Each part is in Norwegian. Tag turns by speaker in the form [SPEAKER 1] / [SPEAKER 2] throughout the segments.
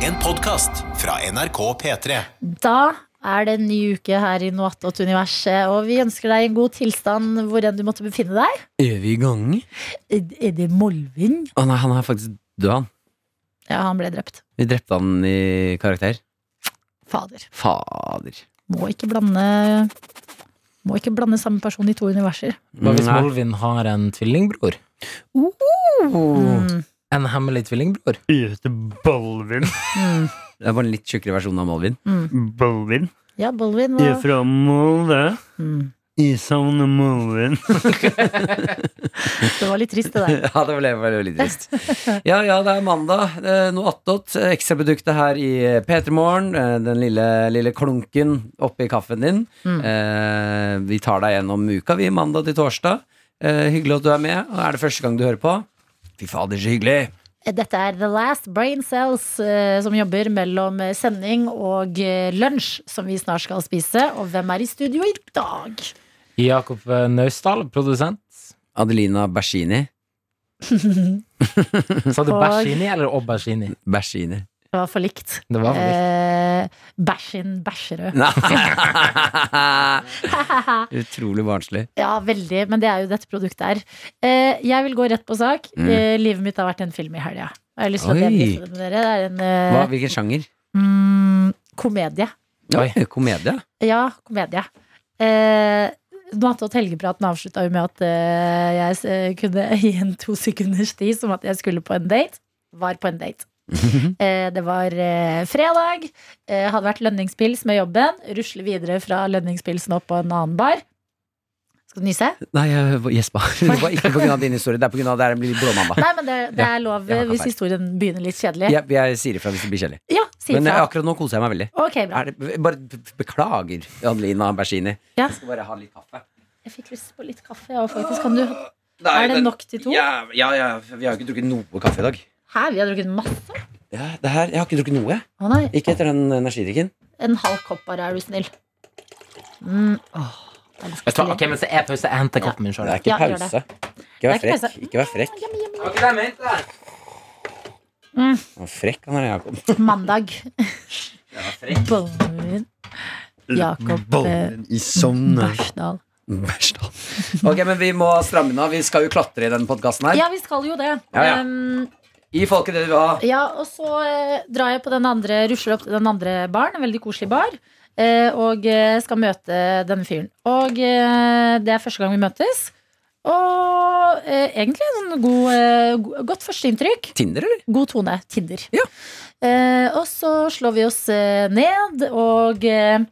[SPEAKER 1] En podkast fra NRK P3.
[SPEAKER 2] Da er det en ny uke her i Noatot-universet, og vi ønsker deg en god tilstand hvor enn du måtte befinne deg.
[SPEAKER 3] Er vi i gang?
[SPEAKER 2] Er- Er det Molvin?
[SPEAKER 3] Å nei, han er faktisk død, han.
[SPEAKER 2] Ja, han ble drept.
[SPEAKER 3] Vi drepte han i karakter.
[SPEAKER 2] Fader.
[SPEAKER 3] Fader.
[SPEAKER 2] Må ikke blande Må ikke blande samme person i to universer.
[SPEAKER 4] Hva hvis
[SPEAKER 3] Nei.
[SPEAKER 4] Molvin har en tvillingbror?
[SPEAKER 2] Mm,
[SPEAKER 4] En hemmelig tvillingbror?
[SPEAKER 5] Ute Bolvin.
[SPEAKER 2] mm,
[SPEAKER 3] Det er bare en litt tjukkere versjon av Malvin.
[SPEAKER 2] mm.
[SPEAKER 5] Bolvin.
[SPEAKER 2] Ja, Bolvin
[SPEAKER 5] Jeg er
[SPEAKER 2] var
[SPEAKER 5] fra Molde.
[SPEAKER 2] mm.
[SPEAKER 5] Jeg savner Molvin.
[SPEAKER 2] Det var litt trist, det der.
[SPEAKER 3] Ja, det ble veldig, veldig trist. Ja, ja, det er mandag. Eh, Noe attåt. Ekstraproduktet her i P3 Morgen. Eh, Den lille, lille klunken oppi kaffen din.
[SPEAKER 2] Mm.
[SPEAKER 3] Eh, vi tar deg gjennom uka, vi, mandag til torsdag. Eh, hyggelig at du er med. Og er det første gang du hører på? Fy fader, så hyggelig!
[SPEAKER 2] Dette er The Last Brain Cells, eh, som jobber mellom eh, sending og eh, lunsj, som vi snart skal spise. Og hvem er i studio i dag?
[SPEAKER 4] Jakob eh, Naustdal, produsent.
[SPEAKER 3] Adelina Bersini.
[SPEAKER 4] Sa du
[SPEAKER 2] Og-
[SPEAKER 4] Bashini eller Aubergini?
[SPEAKER 3] Bersini.
[SPEAKER 2] Det var for likt.
[SPEAKER 4] Det var vel
[SPEAKER 2] Eh, Bæsjin Bæsjerød.
[SPEAKER 3] Nei. Utrolig barnslig.
[SPEAKER 2] Ja, veldig, men det er jo dette produktet her. Eh, jeg vil gå rett på sak.
[SPEAKER 3] Mm.
[SPEAKER 2] Eh, livet mitt har vært en film i helga. Og Jeg har lyst til å
[SPEAKER 3] Oi.
[SPEAKER 2] dele det med dere. Det er en
[SPEAKER 3] Hva,
[SPEAKER 2] eh,
[SPEAKER 3] hvilken sjanger?
[SPEAKER 2] mm, komedie.
[SPEAKER 4] Oi.
[SPEAKER 3] Oi, Komedie?
[SPEAKER 2] Ja, komedie. Eh, nå hadde helgepraten avslutta jo med at eh, jeg eh, kunne gi en to sekunders tid som at jeg skulle på en date. Var på en date. Eh, Det var eh, fredag. Eh, Hadde vært lønningspils med jobben. Rusle videre fra lønningspilsen opp på en annen bar. Skal du nyse?
[SPEAKER 3] Nei, jeg gjespa. Det var ikke pga. din historie, det er pga. det er en lille blåmandag.
[SPEAKER 2] Nei, men det, det er lov
[SPEAKER 3] ja,
[SPEAKER 2] eh,
[SPEAKER 3] ja,
[SPEAKER 2] hvis
[SPEAKER 3] feil.
[SPEAKER 2] historien begynner litt kjedelig.
[SPEAKER 3] Jeg, jeg sier ifra hvis det blir kjedelig.
[SPEAKER 2] Ja, si
[SPEAKER 3] Men eh,
[SPEAKER 2] ifra.
[SPEAKER 3] akkurat nå koser jeg meg veldig.
[SPEAKER 2] Ok, bra.
[SPEAKER 3] Er det, bare b- b- beklager, Adelina Bersini.
[SPEAKER 2] Ja.
[SPEAKER 3] Jeg skal bare ha litt kaffe.
[SPEAKER 2] Jeg fikk lyst på litt kaffe, jeg òg, faktisk. Kan du Er det nok til to?
[SPEAKER 3] Ja, ja, ja, vi har jo ikke drukket noe kaffe i dag.
[SPEAKER 2] Hæ, vi har drukket masse.
[SPEAKER 3] Ja, det her, jeg har ikke drukket noe. jeg.
[SPEAKER 2] Å nei.
[SPEAKER 3] Ikke etter den energidrikken.
[SPEAKER 2] En halv kopp bare, er du snill. Mm. Åh, det er litt
[SPEAKER 4] Jeg tar,
[SPEAKER 2] stilig.
[SPEAKER 4] ok, mens det er pause, jeg henter koppen min
[SPEAKER 3] Det
[SPEAKER 4] sjøl.
[SPEAKER 3] er ikke
[SPEAKER 2] Ja, gjør
[SPEAKER 3] pause. Ikke vær
[SPEAKER 2] Det er ikke
[SPEAKER 3] frekk.
[SPEAKER 2] pause.
[SPEAKER 3] Ikke vær frekk.
[SPEAKER 2] Jam, jam, jam. Mm.
[SPEAKER 3] Han er Frekk han er Jakob.
[SPEAKER 2] Mandag.
[SPEAKER 3] Ja, frekk.
[SPEAKER 2] Bollen. Jakob eh,
[SPEAKER 3] i Sogndal.
[SPEAKER 2] Bæsjdal.
[SPEAKER 3] Ok, men vi må stramme inn. nå. Vi skal jo klatre i denne podkasten her.
[SPEAKER 2] Ja, vi skal jo det.
[SPEAKER 3] Ja, ja.
[SPEAKER 2] Um,
[SPEAKER 3] Gi folket det du har.
[SPEAKER 2] Ja, og så eh, drar jeg på den andre, rusler opp til den andre baren, en veldig koselig bar, eh, og eh, skal møte denne fyren. Og eh, det er første gang vi møtes. Og eh, egentlig en sånn god, eh, go- godt førsteinntrykk.
[SPEAKER 3] Tinder, eller?
[SPEAKER 2] God tone. Tinder.
[SPEAKER 3] Ja.
[SPEAKER 2] Eh, og så slår vi oss eh, ned, og eh,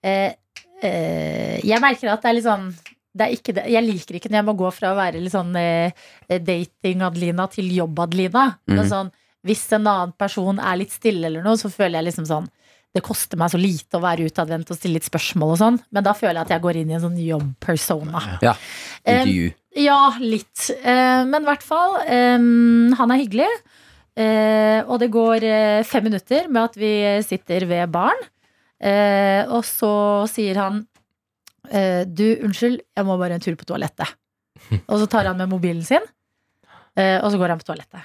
[SPEAKER 2] eh, eh, Jeg merker at det er litt sånn det er ikke det. Jeg liker ikke når jeg må gå fra å være litt sånn eh, dating-Adelina til jobb-Adelina. Det er
[SPEAKER 3] Mhm.
[SPEAKER 2] Sånn, hvis en annen person er litt stille eller noe, så føler jeg liksom sånn Det koster meg så lite å være utadvendt og stille litt spørsmål og sånn, men da føler jeg at jeg går inn i en sånn jobb-persona.
[SPEAKER 3] Ja.
[SPEAKER 2] Eh,
[SPEAKER 3] Intervju.
[SPEAKER 2] ja, litt. Eh, men i hvert fall, eh, han er hyggelig. Eh, og det går eh, fem minutter med at vi sitter ved baren. Eh, og så sier han eh, Du, unnskyld, jeg må bare en tur på toalettet. Og så tar han med mobilen sin, eh, og så går han på toalettet.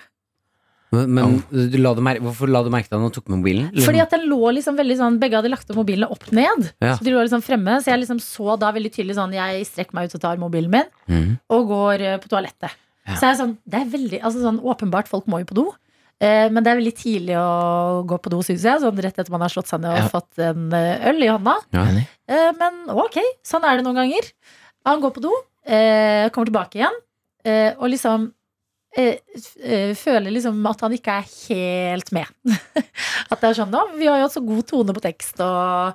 [SPEAKER 3] Men, men du la det mer- hvorfor la du merke til at han tok med mobilen? Eller-
[SPEAKER 2] Fordi at den lå liksom veldig sånn Begge hadde lagt opp mobilene opp ned.
[SPEAKER 3] Ja.
[SPEAKER 2] Så de lå liksom fremme Så jeg liksom så da veldig tydelig sånn Jeg strekker meg ut og tar mobilen min.
[SPEAKER 3] Mhm.
[SPEAKER 2] og går eh, på toalettet.
[SPEAKER 3] Ja.
[SPEAKER 2] Så er jeg sånn, det er veldig, altså sånn, åpenbart folk må jo på do. eh, Men det er veldig tidlig å gå på do, syns jeg. Sånn rett etter man har slått seg ned og
[SPEAKER 4] Ja.
[SPEAKER 2] fått en eh, øl i hånda.
[SPEAKER 3] Ja.
[SPEAKER 4] Enig.
[SPEAKER 2] Eh, Men ok, sånn er det noen ganger. Han går på do, eh, kommer tilbake igjen, eh, og liksom eh, f- eh, føler liksom at han ikke er helt med. at det er sånn, «Å, vi har jo hatt så god tone på tekst, og,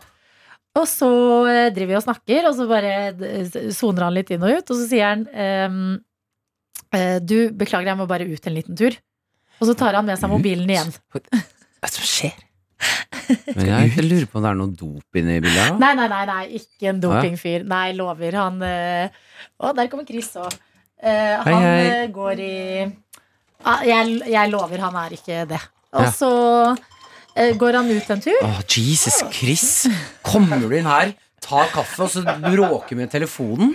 [SPEAKER 2] og så eh, driver vi og snakker, og så bare eh, soner han litt inn og ut, og så sier han ehm, eh, Du, beklager, jeg må bare ut en liten tur. Og så tar han med seg mobilen igjen.
[SPEAKER 4] Hva som skjer?
[SPEAKER 3] Men jeg jeg lurer på om det er noe dop inne i bildet. da.
[SPEAKER 2] Nei, nei, nei, nei, ikke en dopingfyr. Nei, lover. Han eh, Å, der kommer Chris òg. han
[SPEAKER 3] hei.
[SPEAKER 2] eh, går i ah, jeg, jeg lover, han er ikke det. Og
[SPEAKER 3] Ja.
[SPEAKER 2] så eh, går han ut en tur.
[SPEAKER 3] Åh, Jesus Chris! Kommer du inn her, tar kaffe, og så bråker med telefonen?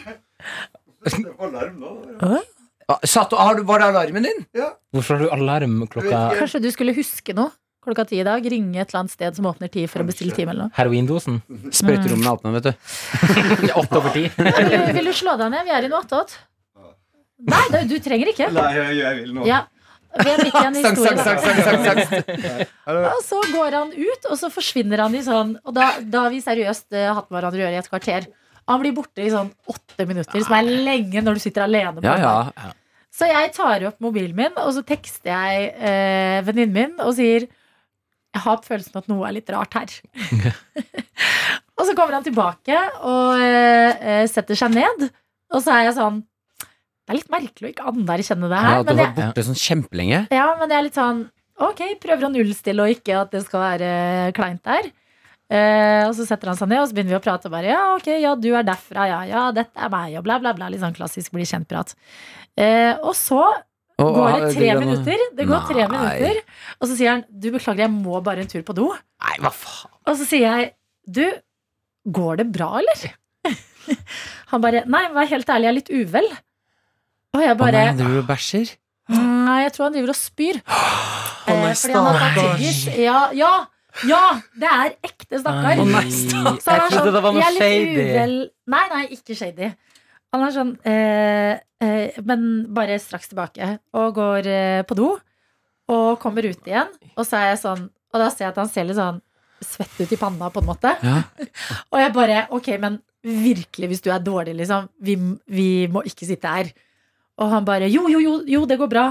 [SPEAKER 2] Hæ?
[SPEAKER 3] Ah, Satt, har du, var det alarmen din?
[SPEAKER 4] Hvorfor har du alarm klokka
[SPEAKER 2] Kanskje du skulle huske noe? klokka ti i dag. Ringe et eller annet sted som åpner ti for å bestille time eller noe.
[SPEAKER 4] Heroindosen.
[SPEAKER 3] Sprøyterommene er åpne, vet du.
[SPEAKER 4] Åtte over ti.
[SPEAKER 2] Vil du, vil du slå deg ned? Vi er i noe attåt. Nei, det, du trenger ikke.
[SPEAKER 6] Nei, jeg, jeg vil nå.
[SPEAKER 2] Ja. Ved midt i en
[SPEAKER 3] Sang, sang,
[SPEAKER 2] historie.
[SPEAKER 3] sang, sang, sang, sang. Eh,
[SPEAKER 2] Og så går han ut, og så forsvinner han i sånn Og da, da har vi seriøst eh, hatt med hverandre å gjøre i et kvarter. Han blir borte i sånn åtte minutter, som er lenge når du sitter alene. på
[SPEAKER 3] Ja,
[SPEAKER 2] en
[SPEAKER 3] ja.
[SPEAKER 2] bar. Så jeg tar opp mobilen min, og så tekster jeg eh, venninnen min og sier Jeg har følelsen at noe er litt rart her. og så kommer han tilbake og eh, eh, setter seg ned, og så er jeg sånn Det er litt merkelig å ikke anerkjenne det her.
[SPEAKER 3] ja du
[SPEAKER 2] men jeg,
[SPEAKER 3] var borte sånn kjempelenge.
[SPEAKER 2] ja, men jeg er litt sånn Ok, prøver å nullstille og ikke at det skal være eh, kleint der. Eh, og så setter han seg ned, og så begynner vi å prate. Og bare, ja, ok, ja, du er derfra, ja, ja, dette er meg, og bla, bla, bla. Litt sånn klassisk bli kjent-prat. Eh, og så
[SPEAKER 3] Og-
[SPEAKER 2] går det
[SPEAKER 3] og-
[SPEAKER 2] tre
[SPEAKER 3] du-
[SPEAKER 2] minutter. Det går tre
[SPEAKER 3] Nei.
[SPEAKER 2] minutter Og så sier han du beklager, jeg må bare en tur på do.
[SPEAKER 4] Nei, hva faen.
[SPEAKER 2] Og så sier jeg du, går det bra, eller? han bare nei, vær helt ærlig, jeg er litt uvel. Og jeg
[SPEAKER 3] Å
[SPEAKER 2] bare
[SPEAKER 3] nei, driver du og bæsjer?
[SPEAKER 2] Nei, jeg tror han driver og spyr.
[SPEAKER 3] Å nei,
[SPEAKER 2] Eh, fordi han har tatt
[SPEAKER 3] stakkars.
[SPEAKER 2] tyggis. Ja, ja, ja! Det er ekte, stakkar.
[SPEAKER 3] Å nei,
[SPEAKER 2] Så han er sånn,
[SPEAKER 4] Jeg trodde det var noe
[SPEAKER 2] jeg er litt
[SPEAKER 4] shady.
[SPEAKER 2] uvel- Nei, nei, ikke shady. Han er sånn eh, eh, Men bare straks tilbake. Og går eh, på do. Og kommer ut igjen. Og så er jeg sånn Og da ser jeg at han ser litt sånn svett ut i panna, på en måte.
[SPEAKER 3] Ja.
[SPEAKER 2] Og jeg bare Ok, men virkelig, hvis du er dårlig, liksom. Vi, vi må ikke sitte her. Og han bare Jo, jo, jo, jo, det går bra.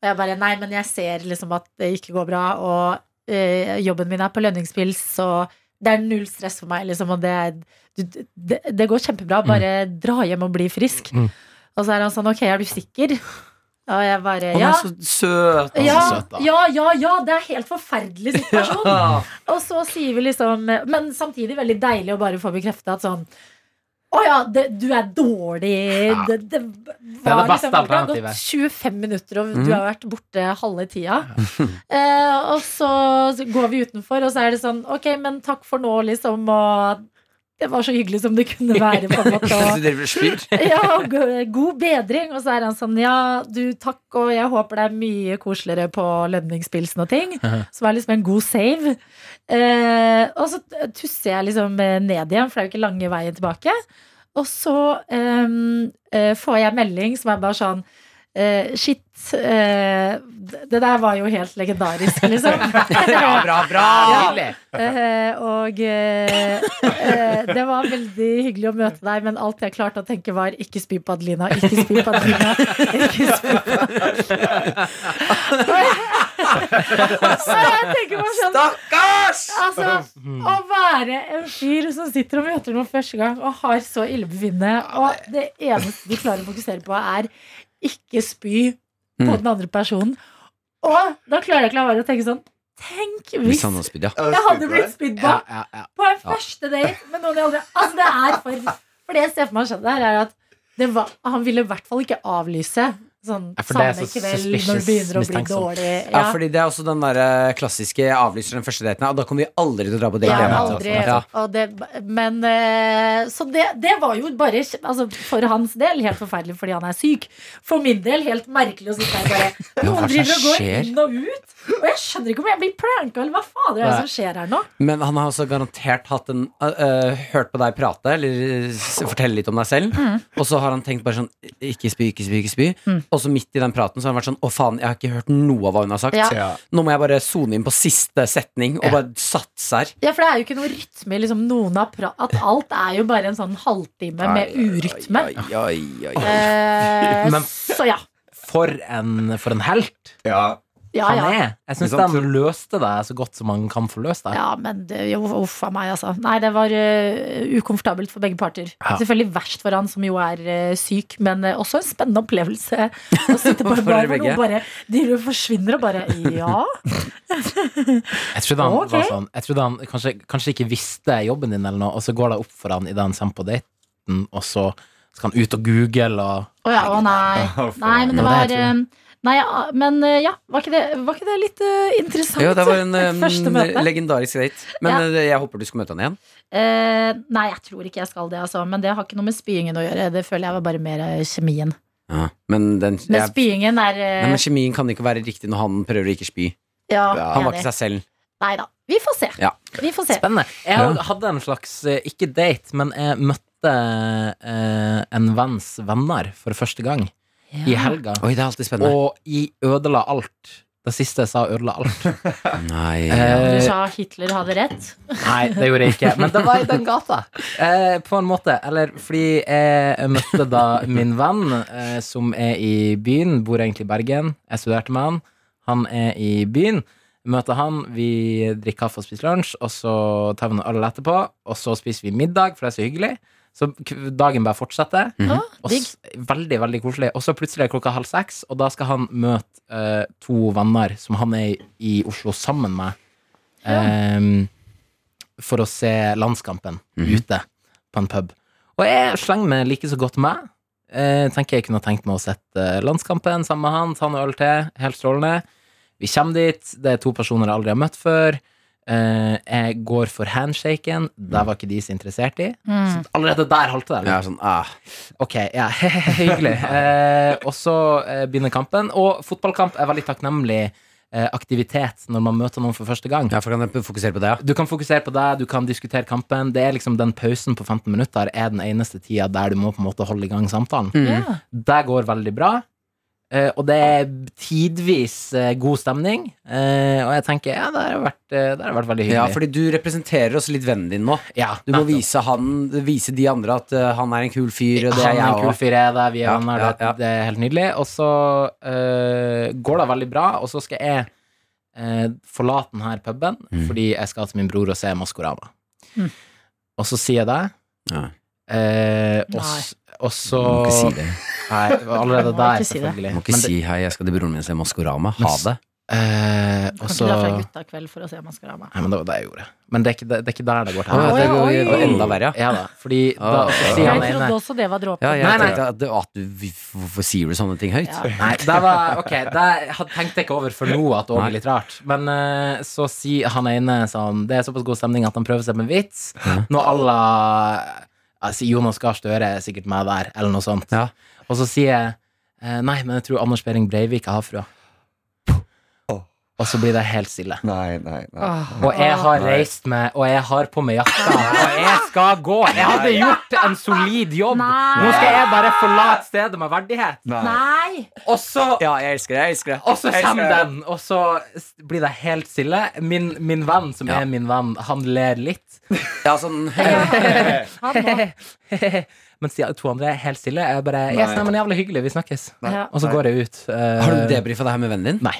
[SPEAKER 2] Og jeg bare Nei, men jeg ser liksom at det ikke går bra, og eh, jobben min er på lønningspils, så det er null stress for meg, liksom, og det, er- du, det, det går kjempebra.
[SPEAKER 3] Mm.
[SPEAKER 2] Bare dra hjem og bli frisk.
[SPEAKER 4] Mm.
[SPEAKER 2] Og så er han sånn Ok, er du sikker? Og jeg bare
[SPEAKER 3] Å, han
[SPEAKER 2] Ja.
[SPEAKER 3] er så søt. altså.
[SPEAKER 2] Ja,
[SPEAKER 6] søt, da.
[SPEAKER 2] ja, ja, ja, det er helt forferdelig situasjon.
[SPEAKER 3] Ja.
[SPEAKER 2] Og så sier vi liksom Men samtidig veldig deilig å bare få bekrefta at sånn å ja, det, du er dårlig. Det, det
[SPEAKER 4] er
[SPEAKER 2] var
[SPEAKER 4] det beste
[SPEAKER 2] liksom Det har
[SPEAKER 4] alternativet.
[SPEAKER 2] gått 25 minutter, og
[SPEAKER 3] Mhm.
[SPEAKER 2] du har vært borte halve tida. eh, og så går vi utenfor, og så er det sånn Ok, men takk for nå, liksom. Og det var så hyggelig som det kunne være. På en måte, og,
[SPEAKER 3] Du driver og spyr?
[SPEAKER 2] ja, og go- god bedring. Og så er han sånn, ja, du takk, og jeg håper det er mye koseligere på lønningspilsen og ting. Som er liksom en god save. Eh, og så tusser jeg liksom eh, ned igjen, for det er jo ikke lange veien tilbake. Og så ehm, eh, får jeg melding som er bare sånn eh, shit, eh, d- det der var jo helt legendarisk, liksom.
[SPEAKER 4] Bra, bra, bra.
[SPEAKER 2] Ja.
[SPEAKER 4] Nydelig.
[SPEAKER 2] Eh, og eh, eh, det var veldig hyggelig å møte deg, men alt jeg klarte å tenke, var ikke spy på Adelina, ikke spy på Adelina. Ikke spy på Så jeg tenker bare sånn
[SPEAKER 3] Stakkars!
[SPEAKER 2] Altså, å være en fyr som sitter og møter noen første gang og har så illebefinnende, og det eneste du klarer å fokusere på, er ikke spy på
[SPEAKER 3] Mm.
[SPEAKER 2] den andre personen. Og da klarer jeg ikke la være å tenke sånn Tenk
[SPEAKER 3] Hvis
[SPEAKER 2] hvis
[SPEAKER 3] han har spydd, ja.
[SPEAKER 6] Jeg
[SPEAKER 2] jeg hadde blitt spydd på
[SPEAKER 4] Ja, ja, ja.
[SPEAKER 2] på en første date med noen jeg aldri Altså, det er for For det jeg ser for meg skjedde her, er at det var, han ville i hvert fall ikke avlyse sånn
[SPEAKER 4] Ja, for det er
[SPEAKER 2] samme
[SPEAKER 4] så
[SPEAKER 2] kveld når
[SPEAKER 4] suspicious sånn.
[SPEAKER 2] det begynner å bli
[SPEAKER 4] mistenksom.
[SPEAKER 2] dårlig.
[SPEAKER 3] Ja, fordi Det er også den der eh, klassiske avlyser den første daten. Og da kommer vi aldri til å dra på altså. date.
[SPEAKER 2] Ja,
[SPEAKER 3] igjen.
[SPEAKER 2] aldri. Og det, men eh, Så det, det var jo bare kj- altså, For hans del helt forferdelig fordi han er syk. For min del helt merkelig å sitte her og bare
[SPEAKER 3] hva
[SPEAKER 2] Noen driver og
[SPEAKER 3] som
[SPEAKER 2] går
[SPEAKER 3] skjer?
[SPEAKER 2] inn og ut. Og jeg skjønner ikke om jeg blir pranka, eller hva fader er det
[SPEAKER 4] Nei.
[SPEAKER 2] som skjer her nå?
[SPEAKER 3] Men han har også garantert hatt en, øh, øh, hørt på deg prate, eller s- fortelle litt om deg selv.
[SPEAKER 2] Mm.
[SPEAKER 3] Og så har han tenkt bare sånn Ikke spy, ikke spy, ikke spy. Og så midt i den praten så har han vært sånn Å, faen, jeg har ikke hørt noe av hva hun har sagt.
[SPEAKER 2] Ja.
[SPEAKER 4] Ja.
[SPEAKER 3] Nå må jeg bare sone inn på siste setning og bare satse her.
[SPEAKER 2] Ja, for det er jo ikke noe rytme i liksom, noen av pra At alt er jo bare en sånn halvtime med urytme.
[SPEAKER 3] Ai, ai, ai, ai.
[SPEAKER 2] Eh,
[SPEAKER 4] Men-
[SPEAKER 2] så ja.
[SPEAKER 4] For en, for en helt
[SPEAKER 6] Ja.
[SPEAKER 2] Ja,
[SPEAKER 4] han
[SPEAKER 2] Ah, ja.
[SPEAKER 4] er. Jeg syns
[SPEAKER 6] Ikke sant?
[SPEAKER 4] de løste det så godt som man kan få løst det.
[SPEAKER 2] ja men det, jo, uff a meg, altså. Nei, det var eh, ukomfortabelt for begge parter.
[SPEAKER 4] Ja.
[SPEAKER 2] Selvfølgelig verst for han som jo er eh, syk, men eh, også en spennende opplevelse å sitte på
[SPEAKER 3] For
[SPEAKER 2] en bar hvor
[SPEAKER 3] begge.
[SPEAKER 2] noen bare de forsvinner og bare Ja.
[SPEAKER 4] Jeg trodde han
[SPEAKER 2] Ok.
[SPEAKER 4] var sånn Jeg trodde han kanskje, kanskje ikke visste jobben din, eller noe, og så går det opp for han idet han kommer på daten, og så skal han ut og google
[SPEAKER 2] Å
[SPEAKER 4] og
[SPEAKER 2] ja, å nei. Nei, men det
[SPEAKER 4] Ja,
[SPEAKER 2] var
[SPEAKER 4] det
[SPEAKER 2] eh,
[SPEAKER 4] tror
[SPEAKER 2] Nei, ja, men eh, ja, var ikke det, var ikke det litt eh, interessant?
[SPEAKER 3] Jo, det var en øhm,
[SPEAKER 2] Første møte.
[SPEAKER 3] legendarisk date. Men
[SPEAKER 2] Ja.
[SPEAKER 3] øh, jeg håper du skal møte han igjen.
[SPEAKER 2] Eh, nei, jeg tror ikke jeg skal det, altså. Men det har ikke noe med spyingen å gjøre. Det føler jeg var bare mer eh, kjemien.
[SPEAKER 3] Men, den,
[SPEAKER 2] Men
[SPEAKER 3] jeg,
[SPEAKER 2] spyingen er eh,
[SPEAKER 3] nei, men kjemien kan ikke være riktig når han prøver å ikke spy.
[SPEAKER 2] ja,
[SPEAKER 3] Han var
[SPEAKER 2] enig.
[SPEAKER 3] ikke seg selv.
[SPEAKER 2] Nei da. Vi får se.
[SPEAKER 3] Ja.
[SPEAKER 2] Vi får se.
[SPEAKER 4] Spennende. Jeg
[SPEAKER 3] Ja.
[SPEAKER 4] har- hadde en slags, eh, ikke date, men jeg møtte eh, en venns venner for første gang i helga.
[SPEAKER 3] Oi, det er alltid spennende.
[SPEAKER 4] Og jeg ødela alt. Det siste jeg sa, ødela alt.
[SPEAKER 3] Nei
[SPEAKER 2] Du
[SPEAKER 4] Eh,
[SPEAKER 2] sa Hitler hadde rett.
[SPEAKER 4] nei, det gjorde jeg ikke. Men det var i den gata. Eh, på en måte. Eller fordi jeg møtte da min venn, eh, som er i byen. Bor egentlig i Bergen. Jeg studerte med han. Han er i byen. Møter han, vi drikker kaffe og spiser lunsj, og så tar vi noe øl etterpå. Og så spiser vi middag, for det er så hyggelig. Så k- dagen bare fortsetter.
[SPEAKER 2] Å,
[SPEAKER 4] Og
[SPEAKER 2] digg.
[SPEAKER 4] s- veldig, veldig koselig. Og så plutselig er det klokka halv seks, og da skal han møte eh, to venner som han er i Oslo sammen med, eh, for å se landskampen ute på en pub. Og jeg slenger meg like så godt med. Eh, tenker jeg kunne tenkt meg å sette eh, landskampen sammen med han, ta noe øl til. Helt strålende. Vi kommer dit, det er to personer jeg aldri har møtt før. Eh, jeg går for handshaken. Det var ikke de så interessert i.
[SPEAKER 2] Mm.
[SPEAKER 4] Så allerede der halter det. liksom.
[SPEAKER 3] Jeg er sånn ah.
[SPEAKER 4] Ok, ja, hyggelig. Eh, og så eh, begynner kampen. Og fotballkamp er veldig takknemlig eh, aktivitet når man møter noen for første gang.
[SPEAKER 3] Ja, for kan jeg fokusere på det, ja?
[SPEAKER 4] Du kan fokusere på det, du kan diskutere kampen. Det er liksom Den pausen på 15 minutter er den eneste tida der du må på en måte holde i gang samtalen.
[SPEAKER 3] Mm.
[SPEAKER 2] Ja.
[SPEAKER 4] Det går veldig bra. eh, og det er tidvis eh, god stemning. eh, og jeg tenker ja, det har vært, eh, det har vært veldig
[SPEAKER 3] Ja,
[SPEAKER 4] hyggelig.
[SPEAKER 3] fordi du representerer oss litt vennen din nå.
[SPEAKER 4] Ja,
[SPEAKER 3] Du må
[SPEAKER 4] nettopp.
[SPEAKER 3] vise, han, vise de andre at eh, han er en kul fyr, og det er
[SPEAKER 4] Han er en
[SPEAKER 3] jeg
[SPEAKER 4] kul
[SPEAKER 3] òg.
[SPEAKER 4] fyr, jeg er det, vi er
[SPEAKER 3] Ja,
[SPEAKER 4] venner,
[SPEAKER 3] ja,
[SPEAKER 4] det,
[SPEAKER 3] ja.
[SPEAKER 4] det er eh, helt nydelig. Og så øh, går det veldig bra, og så skal jeg øh, forlate denne puben
[SPEAKER 3] Mm.
[SPEAKER 4] fordi jeg skal til min bror og se Maskorama.
[SPEAKER 2] Mm.
[SPEAKER 4] Og så sier jeg det,
[SPEAKER 3] Ja.
[SPEAKER 4] øh, og,
[SPEAKER 2] Nei.
[SPEAKER 4] s- og så
[SPEAKER 3] Må ikke si det.
[SPEAKER 4] Nei, det var allerede
[SPEAKER 2] Må
[SPEAKER 4] der,
[SPEAKER 2] ikke si det.
[SPEAKER 4] selvfølgelig.
[SPEAKER 3] Må ikke
[SPEAKER 4] Men det-
[SPEAKER 3] si hei, jeg skal til broren min og se Maskorama. Ha
[SPEAKER 4] Men-
[SPEAKER 3] det.
[SPEAKER 4] øh,
[SPEAKER 2] Kan
[SPEAKER 4] og
[SPEAKER 2] ikke
[SPEAKER 4] så
[SPEAKER 2] dra fra
[SPEAKER 4] Nei,
[SPEAKER 2] gutta kveld for å se Maskorama.
[SPEAKER 4] men det var det jeg gjorde. Men det er ikke, det, det er ikke der det går til.
[SPEAKER 2] Å,
[SPEAKER 3] Ah, det
[SPEAKER 2] ja,
[SPEAKER 3] går-
[SPEAKER 2] oi.
[SPEAKER 3] det var enda verre, ja.
[SPEAKER 4] Ja da, fordi da
[SPEAKER 3] Ah,
[SPEAKER 4] så sier
[SPEAKER 2] Jeg
[SPEAKER 4] han ene
[SPEAKER 2] trodde også det var dråpen.
[SPEAKER 3] ja jeg
[SPEAKER 4] Nei, nei.
[SPEAKER 3] tenkte at, det- at du, Hvorfor sier du sånne ting høyt?
[SPEAKER 2] Ja.
[SPEAKER 4] Nei, det var Ok, det had- tenkte jeg ikke over for nå at det også
[SPEAKER 3] Nei.
[SPEAKER 4] er litt rart. Men eh, så sier han ene sånn Det er såpass god stemning at han prøver seg med en vits. Noe à la altså, Jonas Gahr Støre er sikkert meg der, eller noe sånt.
[SPEAKER 3] Ja.
[SPEAKER 4] Og så sier jeg eh, Nei, men jeg tror Anders Behring Breivik er havfrua. Og så blir det helt stille.
[SPEAKER 6] Nei, nei, nei.
[SPEAKER 4] Og jeg har reist meg, og jeg har på meg jakka, og jeg skal gå. Jeg hadde gjort en solid jobb.
[SPEAKER 2] Nei.
[SPEAKER 4] Nå skal jeg bare forlate stedet med verdighet.
[SPEAKER 2] Nei!
[SPEAKER 4] Og så
[SPEAKER 3] Ja, jeg elsker det. Jeg elsker det.
[SPEAKER 4] Og så kommer den, og så s- blir det helt stille. Min, min venn, som
[SPEAKER 3] Ja.
[SPEAKER 4] er min venn, han ler litt.
[SPEAKER 3] Ja, sånn
[SPEAKER 2] Han må.
[SPEAKER 4] Mens de to andre er helt stille. Jeg bare
[SPEAKER 6] Nei.
[SPEAKER 4] yes, nei, men jævlig hyggelig, vi snakkes.
[SPEAKER 2] Ja.
[SPEAKER 4] Og så går jeg ut. eh,
[SPEAKER 3] Har du debrifa det her med vennen din?
[SPEAKER 4] Nei.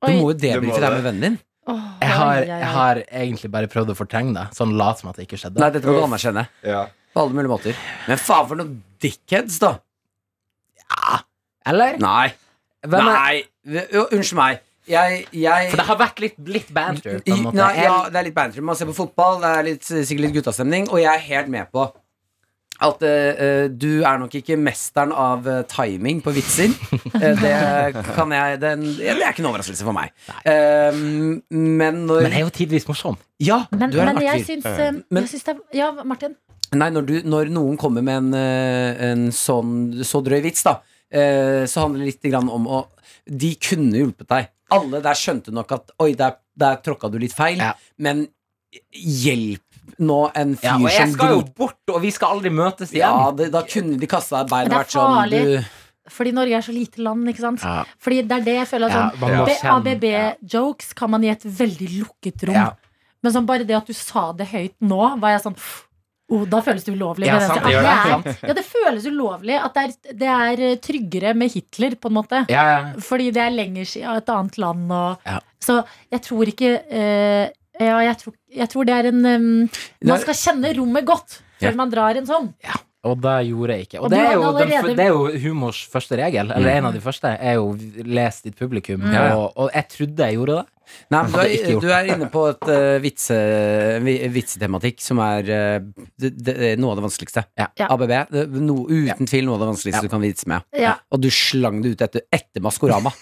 [SPEAKER 3] Du
[SPEAKER 2] Oi.
[SPEAKER 3] må jo
[SPEAKER 6] Du må
[SPEAKER 3] debrife det her med vennen din.
[SPEAKER 2] Åh,
[SPEAKER 4] Jeg har,
[SPEAKER 2] oi, oi, oi.
[SPEAKER 4] jeg har egentlig bare prøvd å fortrenge det. Sånn lat som at det ikke skjedde.
[SPEAKER 3] Nei, dette må du anerkjenne.
[SPEAKER 6] Ja.
[SPEAKER 3] På alle mulige måter. Men faen for noen dickheads, da.
[SPEAKER 4] Eller?
[SPEAKER 3] Nei.
[SPEAKER 4] Hvem er-
[SPEAKER 3] Nei. Jo, Unnskyld meg. Jeg, jeg
[SPEAKER 4] For det har vært litt, litt banter, på en måte.
[SPEAKER 3] Nei, ja,
[SPEAKER 4] Jeg-
[SPEAKER 3] det er litt banter. Man ser på fotball, det er litt, sikkert litt guttastemning, og jeg er helt med på at eh, eh, du er nok ikke mesteren av eh, timing på vitser. Eh, det kan jeg den, ja, Det er ikke en overraskelse for meg. Eh, men når
[SPEAKER 4] Men jeg er jo tidvis morsom.
[SPEAKER 3] Ja,
[SPEAKER 2] Men,
[SPEAKER 3] du er en
[SPEAKER 2] men jeg
[SPEAKER 3] artig fyr.
[SPEAKER 2] syns, eh,
[SPEAKER 3] Men-
[SPEAKER 2] jeg syns det er Ja, Martin.
[SPEAKER 3] Nei, når, du, når noen kommer med en, eh, en sånn så drøy vits, da, eh, så handler det litt grann om å De kunne hjulpet deg. Alle der skjønte nok at Oi, der, der tråkka du litt feil,
[SPEAKER 4] Ja.
[SPEAKER 3] men hjelp nå en fyr
[SPEAKER 4] Ja, og jeg
[SPEAKER 3] som
[SPEAKER 4] skal jo
[SPEAKER 3] dro-
[SPEAKER 4] bort, og vi skal aldri møtes
[SPEAKER 3] Ja,
[SPEAKER 4] igjen.
[SPEAKER 3] det, da kunne de kasta deg bein
[SPEAKER 2] Men
[SPEAKER 3] og
[SPEAKER 2] det
[SPEAKER 3] vært
[SPEAKER 2] er
[SPEAKER 3] sånn du,
[SPEAKER 2] farlig. Fordi Norge er så lite land, ikke sant?
[SPEAKER 4] Ja.
[SPEAKER 2] Fordi det er det jeg føler
[SPEAKER 4] Ja,
[SPEAKER 2] at
[SPEAKER 4] man må
[SPEAKER 2] sånn
[SPEAKER 4] kjenne-
[SPEAKER 2] BABB-jokes kan man i et veldig lukket rom.
[SPEAKER 4] Ja.
[SPEAKER 2] Men sånn bare det at du sa det høyt nå, var jeg sånn oh, Da føles det ulovlig.
[SPEAKER 4] Ja,
[SPEAKER 2] med den-
[SPEAKER 4] sant, det gjør
[SPEAKER 2] Ja,
[SPEAKER 4] det,
[SPEAKER 2] er- ja, det føles ulovlig. At det er, det er eh, tryggere med Hitler, på en måte.
[SPEAKER 4] Ja, ja.
[SPEAKER 2] Fordi det er lenger siden et annet land og
[SPEAKER 4] Ja.
[SPEAKER 2] Så jeg tror ikke eh, Ja, jeg tror, jeg tror det er en em, Man skal kjenne rommet godt før
[SPEAKER 3] Ja.
[SPEAKER 2] man drar en sånn.
[SPEAKER 4] Og det gjorde jeg ikke. Og,
[SPEAKER 2] Og
[SPEAKER 4] det,
[SPEAKER 2] du
[SPEAKER 4] er jo
[SPEAKER 2] hadde
[SPEAKER 4] den,
[SPEAKER 2] allerede-
[SPEAKER 4] det er jo humors første regel, eller en av de første, er jo les ditt publikum.
[SPEAKER 3] Mm. Ja, ja.
[SPEAKER 4] Og, og jeg trodde jeg gjorde det.
[SPEAKER 3] Nei, men du,
[SPEAKER 4] Hadde ikke
[SPEAKER 3] er,
[SPEAKER 4] gjort
[SPEAKER 3] du er inne på et eh, vitse, vi- vitsetematikk som er eh, det, det, er noe av det vanskeligste.
[SPEAKER 2] Ja.
[SPEAKER 3] ABB, det, er no, uten tvil noe av det vanskeligste du kan vitse med.
[SPEAKER 2] Ja.
[SPEAKER 3] Og du slang det ut etter, etter Maskorama.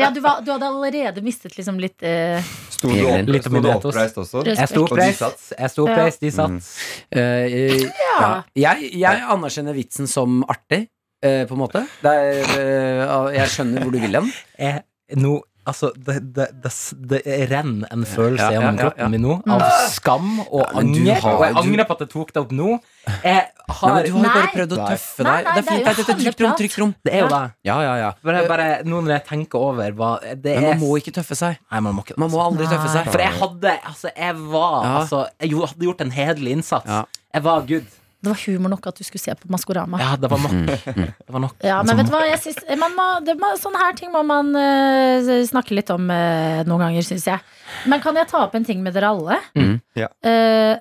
[SPEAKER 2] Ja, du, var, du hadde allerede mistet liksom litt eh,
[SPEAKER 6] Sto du
[SPEAKER 3] Egentlig
[SPEAKER 4] litt
[SPEAKER 6] opp- sto du
[SPEAKER 4] omidlet oss.
[SPEAKER 6] oppreist også?
[SPEAKER 2] Respekt.
[SPEAKER 4] Jeg sto
[SPEAKER 6] Og de
[SPEAKER 4] oppreist,
[SPEAKER 6] satt.
[SPEAKER 4] jeg sto oppreist, de satt.
[SPEAKER 3] Eh, eh,
[SPEAKER 2] Ja.
[SPEAKER 3] jeg, jeg anerkjenner vitsen som artig, eh, på en måte. Det er, eh, jeg skjønner hvor du vil hen.
[SPEAKER 4] Jeg, nå Altså, det, det, det, s- det renner en følelse
[SPEAKER 3] Ja, ja,
[SPEAKER 4] gjennom
[SPEAKER 3] ja,
[SPEAKER 4] kroppen
[SPEAKER 3] ja.
[SPEAKER 4] min nå
[SPEAKER 2] Mm.
[SPEAKER 4] av skam og
[SPEAKER 3] Ja, men du
[SPEAKER 4] anger.
[SPEAKER 3] har-
[SPEAKER 4] og jeg
[SPEAKER 3] du-
[SPEAKER 4] angrer på at jeg tok det opp nå. Jeg
[SPEAKER 3] Nei,
[SPEAKER 4] har,
[SPEAKER 3] men du har jo bare
[SPEAKER 2] Nei.
[SPEAKER 3] prøvd å
[SPEAKER 4] Nei.
[SPEAKER 3] tøffe
[SPEAKER 2] Nei,
[SPEAKER 3] deg.
[SPEAKER 2] nei,
[SPEAKER 3] Det
[SPEAKER 2] det er
[SPEAKER 3] er
[SPEAKER 2] jo
[SPEAKER 3] fint. Det er et trygt rom,
[SPEAKER 2] handleprat.
[SPEAKER 3] trygt rom.
[SPEAKER 4] Det er jo det.
[SPEAKER 3] Ja, ja, ja.
[SPEAKER 4] Bare, bare nå når jeg tenker over hva det
[SPEAKER 3] Men
[SPEAKER 4] er
[SPEAKER 3] man må ikke tøffe seg.
[SPEAKER 4] Nei, man må ikke det.
[SPEAKER 3] Man må aldri tøffe seg.
[SPEAKER 4] For jeg hadde Altså, jeg var
[SPEAKER 3] Ja.
[SPEAKER 4] altså, Jeg jo- hadde gjort en hederlig innsats.
[SPEAKER 3] Ja.
[SPEAKER 4] Jeg var good.
[SPEAKER 2] Det var humor nok at du skulle se på Maskorama.
[SPEAKER 4] Ja, det var nok. Det var nok.
[SPEAKER 2] Ja,
[SPEAKER 3] Sånn.
[SPEAKER 2] men vet du hva, jeg synes, man må, det må, sånne her ting må man eh, snakke litt om eh, noen ganger, syns jeg. Men kan jeg ta opp en ting med dere alle?
[SPEAKER 3] Mm.
[SPEAKER 6] Ja.
[SPEAKER 2] Eh,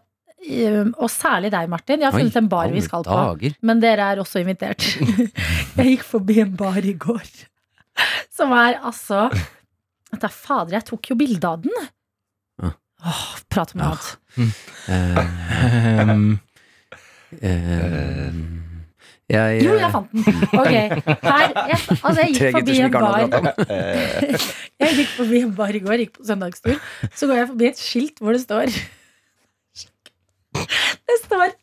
[SPEAKER 2] um, og særlig deg, Martin. Jeg har funnet en bar vi
[SPEAKER 3] alle
[SPEAKER 2] skal på.
[SPEAKER 3] dager.
[SPEAKER 2] Men dere er også invitert. jeg gikk forbi en bar i går som er altså at det er Fader, jeg tok jo bilde av den.
[SPEAKER 3] Ja.
[SPEAKER 2] Åh, prat om noe
[SPEAKER 3] Ja.
[SPEAKER 2] annet.
[SPEAKER 3] Eh,
[SPEAKER 4] Um,
[SPEAKER 3] eh, jeg,
[SPEAKER 2] Jo, jeg fant den. Ok. Her, jeg, altså, jeg gikk
[SPEAKER 3] Eh, Tre gutter
[SPEAKER 2] forbi
[SPEAKER 3] som
[SPEAKER 2] en
[SPEAKER 3] ikke har noe å
[SPEAKER 2] bar.
[SPEAKER 3] prate om. Eh.
[SPEAKER 2] Jeg gikk forbi en bar i går, gikk på søndagstur. Så går jeg forbi et skilt hvor det står Det står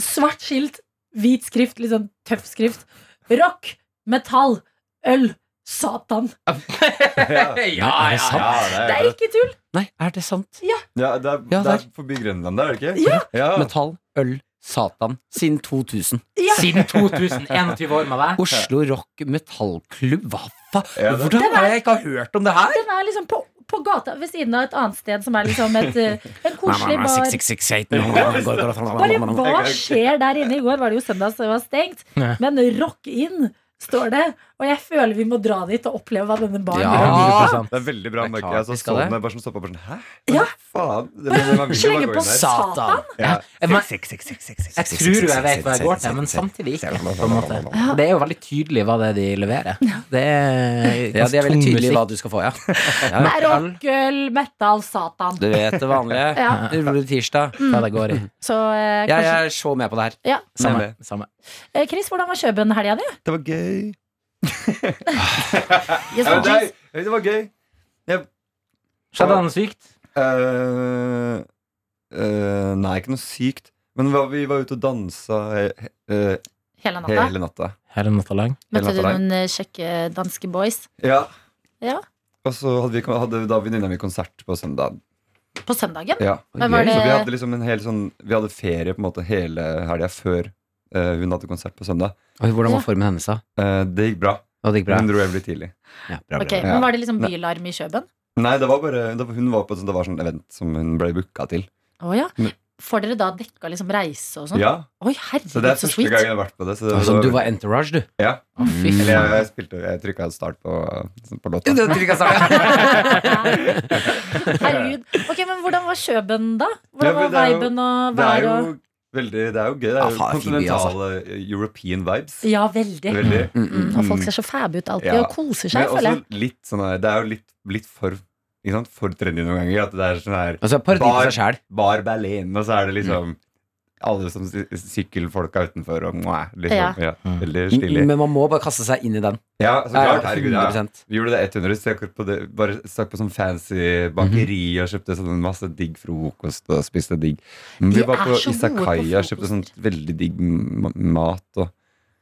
[SPEAKER 2] svart skilt, hvit skrift, litt sånn tøff skrift. Rock, metall, øl, Satan.
[SPEAKER 3] Ja, er det sant?
[SPEAKER 6] Ja,
[SPEAKER 2] Det er ikke tull!
[SPEAKER 3] Nei, er det sant?
[SPEAKER 6] Ja, det er,
[SPEAKER 3] Ja,
[SPEAKER 6] det er
[SPEAKER 3] der.
[SPEAKER 6] forbi Grønland, der, er det ikke?
[SPEAKER 2] Ja.
[SPEAKER 3] Metall, øl, Satan. Siden 2000.
[SPEAKER 2] Ja.
[SPEAKER 4] siden 2021 år med deg.
[SPEAKER 3] Oslo Rock Metallklubb. Hva faen?
[SPEAKER 6] Ja, det-
[SPEAKER 3] Hvordan er det jeg ikke har hørt om det her?
[SPEAKER 2] Den er liksom på, på gata ved siden av et annet sted som er liksom et, eh, en koselig bar.
[SPEAKER 3] 6668
[SPEAKER 2] Bare hva skjer der inne? I går var det jo søndag, så det var stengt.
[SPEAKER 4] Ja.
[SPEAKER 2] Men rock in står det. Og jeg føler vi må dra dit og oppleve hva denne baren
[SPEAKER 3] Ja.
[SPEAKER 2] gjør.
[SPEAKER 6] Det er veldig bra
[SPEAKER 3] Det er
[SPEAKER 6] merke.
[SPEAKER 3] klart
[SPEAKER 6] Jeg så
[SPEAKER 3] vi skal
[SPEAKER 6] sånn,
[SPEAKER 3] det.
[SPEAKER 6] jeg bare sånn stoppa bare sånn Hæ?
[SPEAKER 2] Ja.
[SPEAKER 6] Faen. Det, det, man vil jo bare
[SPEAKER 2] slenge
[SPEAKER 6] gå
[SPEAKER 2] på
[SPEAKER 6] inn der.
[SPEAKER 3] Satan.
[SPEAKER 6] Ja.
[SPEAKER 4] Men, jeg tror jo jeg vet hva jeg går til, men samtidig ikke. På en måte. Det er jo veldig tydelig hva det er de leverer. Det er,
[SPEAKER 3] Ja, de er veldig tydelige hva du skal få, ja. ja,
[SPEAKER 2] Nei, rock, øl, metal, Satan.
[SPEAKER 3] Du vet det vanlige.
[SPEAKER 2] Ja.
[SPEAKER 3] Rolig tirsdag.
[SPEAKER 4] Hva det går i.
[SPEAKER 2] Så eh,
[SPEAKER 3] Jeg
[SPEAKER 2] kanskje
[SPEAKER 3] er så med på det her.
[SPEAKER 2] ja.
[SPEAKER 4] Samme.
[SPEAKER 6] Nemlig.
[SPEAKER 4] samme.
[SPEAKER 2] Eh, Chris, hvordan var Kjøben-helga di?
[SPEAKER 6] Det var gøy.
[SPEAKER 2] Yes,
[SPEAKER 6] Ja, men det,
[SPEAKER 2] Chris.
[SPEAKER 6] er- det var gøy.
[SPEAKER 4] Skjedde det noe sykt?
[SPEAKER 6] Eh, eh, nei, ikke noe sykt. Men hva- vi var ute og dansa he, he, eh,
[SPEAKER 2] Hele natta.
[SPEAKER 6] hele natta.
[SPEAKER 4] Hele natta lang.
[SPEAKER 2] Møtte du
[SPEAKER 6] natta lang.
[SPEAKER 2] noen eh, kjekke danske boys
[SPEAKER 6] Ja.
[SPEAKER 2] Ja.
[SPEAKER 6] Og så hadde, vi, hadde da venninna mi konsert på søndag.
[SPEAKER 2] på søndagen?
[SPEAKER 6] Ja.
[SPEAKER 2] Men var
[SPEAKER 6] Så vi
[SPEAKER 2] det
[SPEAKER 6] hadde liksom en hel sånn Vi hadde ferie på en måte hele helga før eh, hun hadde konsert på søndag.
[SPEAKER 3] Oi, hvordan
[SPEAKER 2] Ja.
[SPEAKER 3] var formen hennes, da?
[SPEAKER 6] Eh, det gikk bra.
[SPEAKER 3] Å, det gikk bra.
[SPEAKER 6] Hun dro hjem litt tidlig.
[SPEAKER 3] Ja, bra, bra.
[SPEAKER 2] Ok,
[SPEAKER 3] bra.
[SPEAKER 2] men Var det liksom bylarm i Kjøben?
[SPEAKER 6] Nei, det var bare det var, Hun var på et sånt, det var sånn event som hun ble booka til.
[SPEAKER 2] Å ja.
[SPEAKER 6] Men-
[SPEAKER 2] Får dere da dekka liksom reise og sånn?
[SPEAKER 6] Ja,
[SPEAKER 2] Oi,
[SPEAKER 6] Så det
[SPEAKER 2] herregud,
[SPEAKER 6] er
[SPEAKER 2] så
[SPEAKER 6] første gang jeg
[SPEAKER 2] sweet.
[SPEAKER 6] har vært på det. Så
[SPEAKER 3] Det
[SPEAKER 6] det
[SPEAKER 3] var sånn, du var entourage, du.
[SPEAKER 6] Ja.
[SPEAKER 4] Å, fy
[SPEAKER 6] Eller jeg,
[SPEAKER 4] faen.
[SPEAKER 6] jeg spilte Jeg trykka start på, på låta.
[SPEAKER 2] Herregud. Ok, Men hvordan var Kjøben, da?
[SPEAKER 6] Ja,
[SPEAKER 2] Hvordan
[SPEAKER 6] men
[SPEAKER 2] var
[SPEAKER 6] det er jo-
[SPEAKER 2] viben og
[SPEAKER 6] Det er
[SPEAKER 2] været
[SPEAKER 6] jo
[SPEAKER 2] og
[SPEAKER 6] veldig Det er jo gøy. Det
[SPEAKER 3] Ja,
[SPEAKER 6] er jo
[SPEAKER 3] faen, fin by, altså.
[SPEAKER 6] kontinentale eh, European vibes.
[SPEAKER 2] Ja, veldig.
[SPEAKER 6] Veldig.
[SPEAKER 3] Mm, mm.
[SPEAKER 2] Mm, og folk ser så fæbe ut alltid
[SPEAKER 6] Ja.
[SPEAKER 2] og koser
[SPEAKER 6] Men
[SPEAKER 2] seg, føler
[SPEAKER 6] også
[SPEAKER 2] jeg.
[SPEAKER 6] litt sånn her Det er jo litt, litt for ikke sant? For trendy noen ganger. At det er sånn her
[SPEAKER 3] Altså, parodi på seg sjæl.
[SPEAKER 6] Bar Berlin, og så er det liksom alle som sy- sykkelfolka utenfor og mwah, liksom. Ja. veldig stilig.
[SPEAKER 3] Men man må bare kaste seg inn i den.
[SPEAKER 6] Ja, så klart. Herregud, ja.
[SPEAKER 3] 100
[SPEAKER 6] Vi gjorde det 100 stakk på det, Bare stakk på sånn fancy bakeri
[SPEAKER 2] Mhm.
[SPEAKER 6] og kjøpte sånn masse digg frokost og spiste digg. Men
[SPEAKER 2] De
[SPEAKER 6] vi var
[SPEAKER 2] er
[SPEAKER 6] på
[SPEAKER 2] så gode på
[SPEAKER 6] Isakaya og kjøpte sånn
[SPEAKER 2] frokost.
[SPEAKER 6] veldig digg m- mat. Og,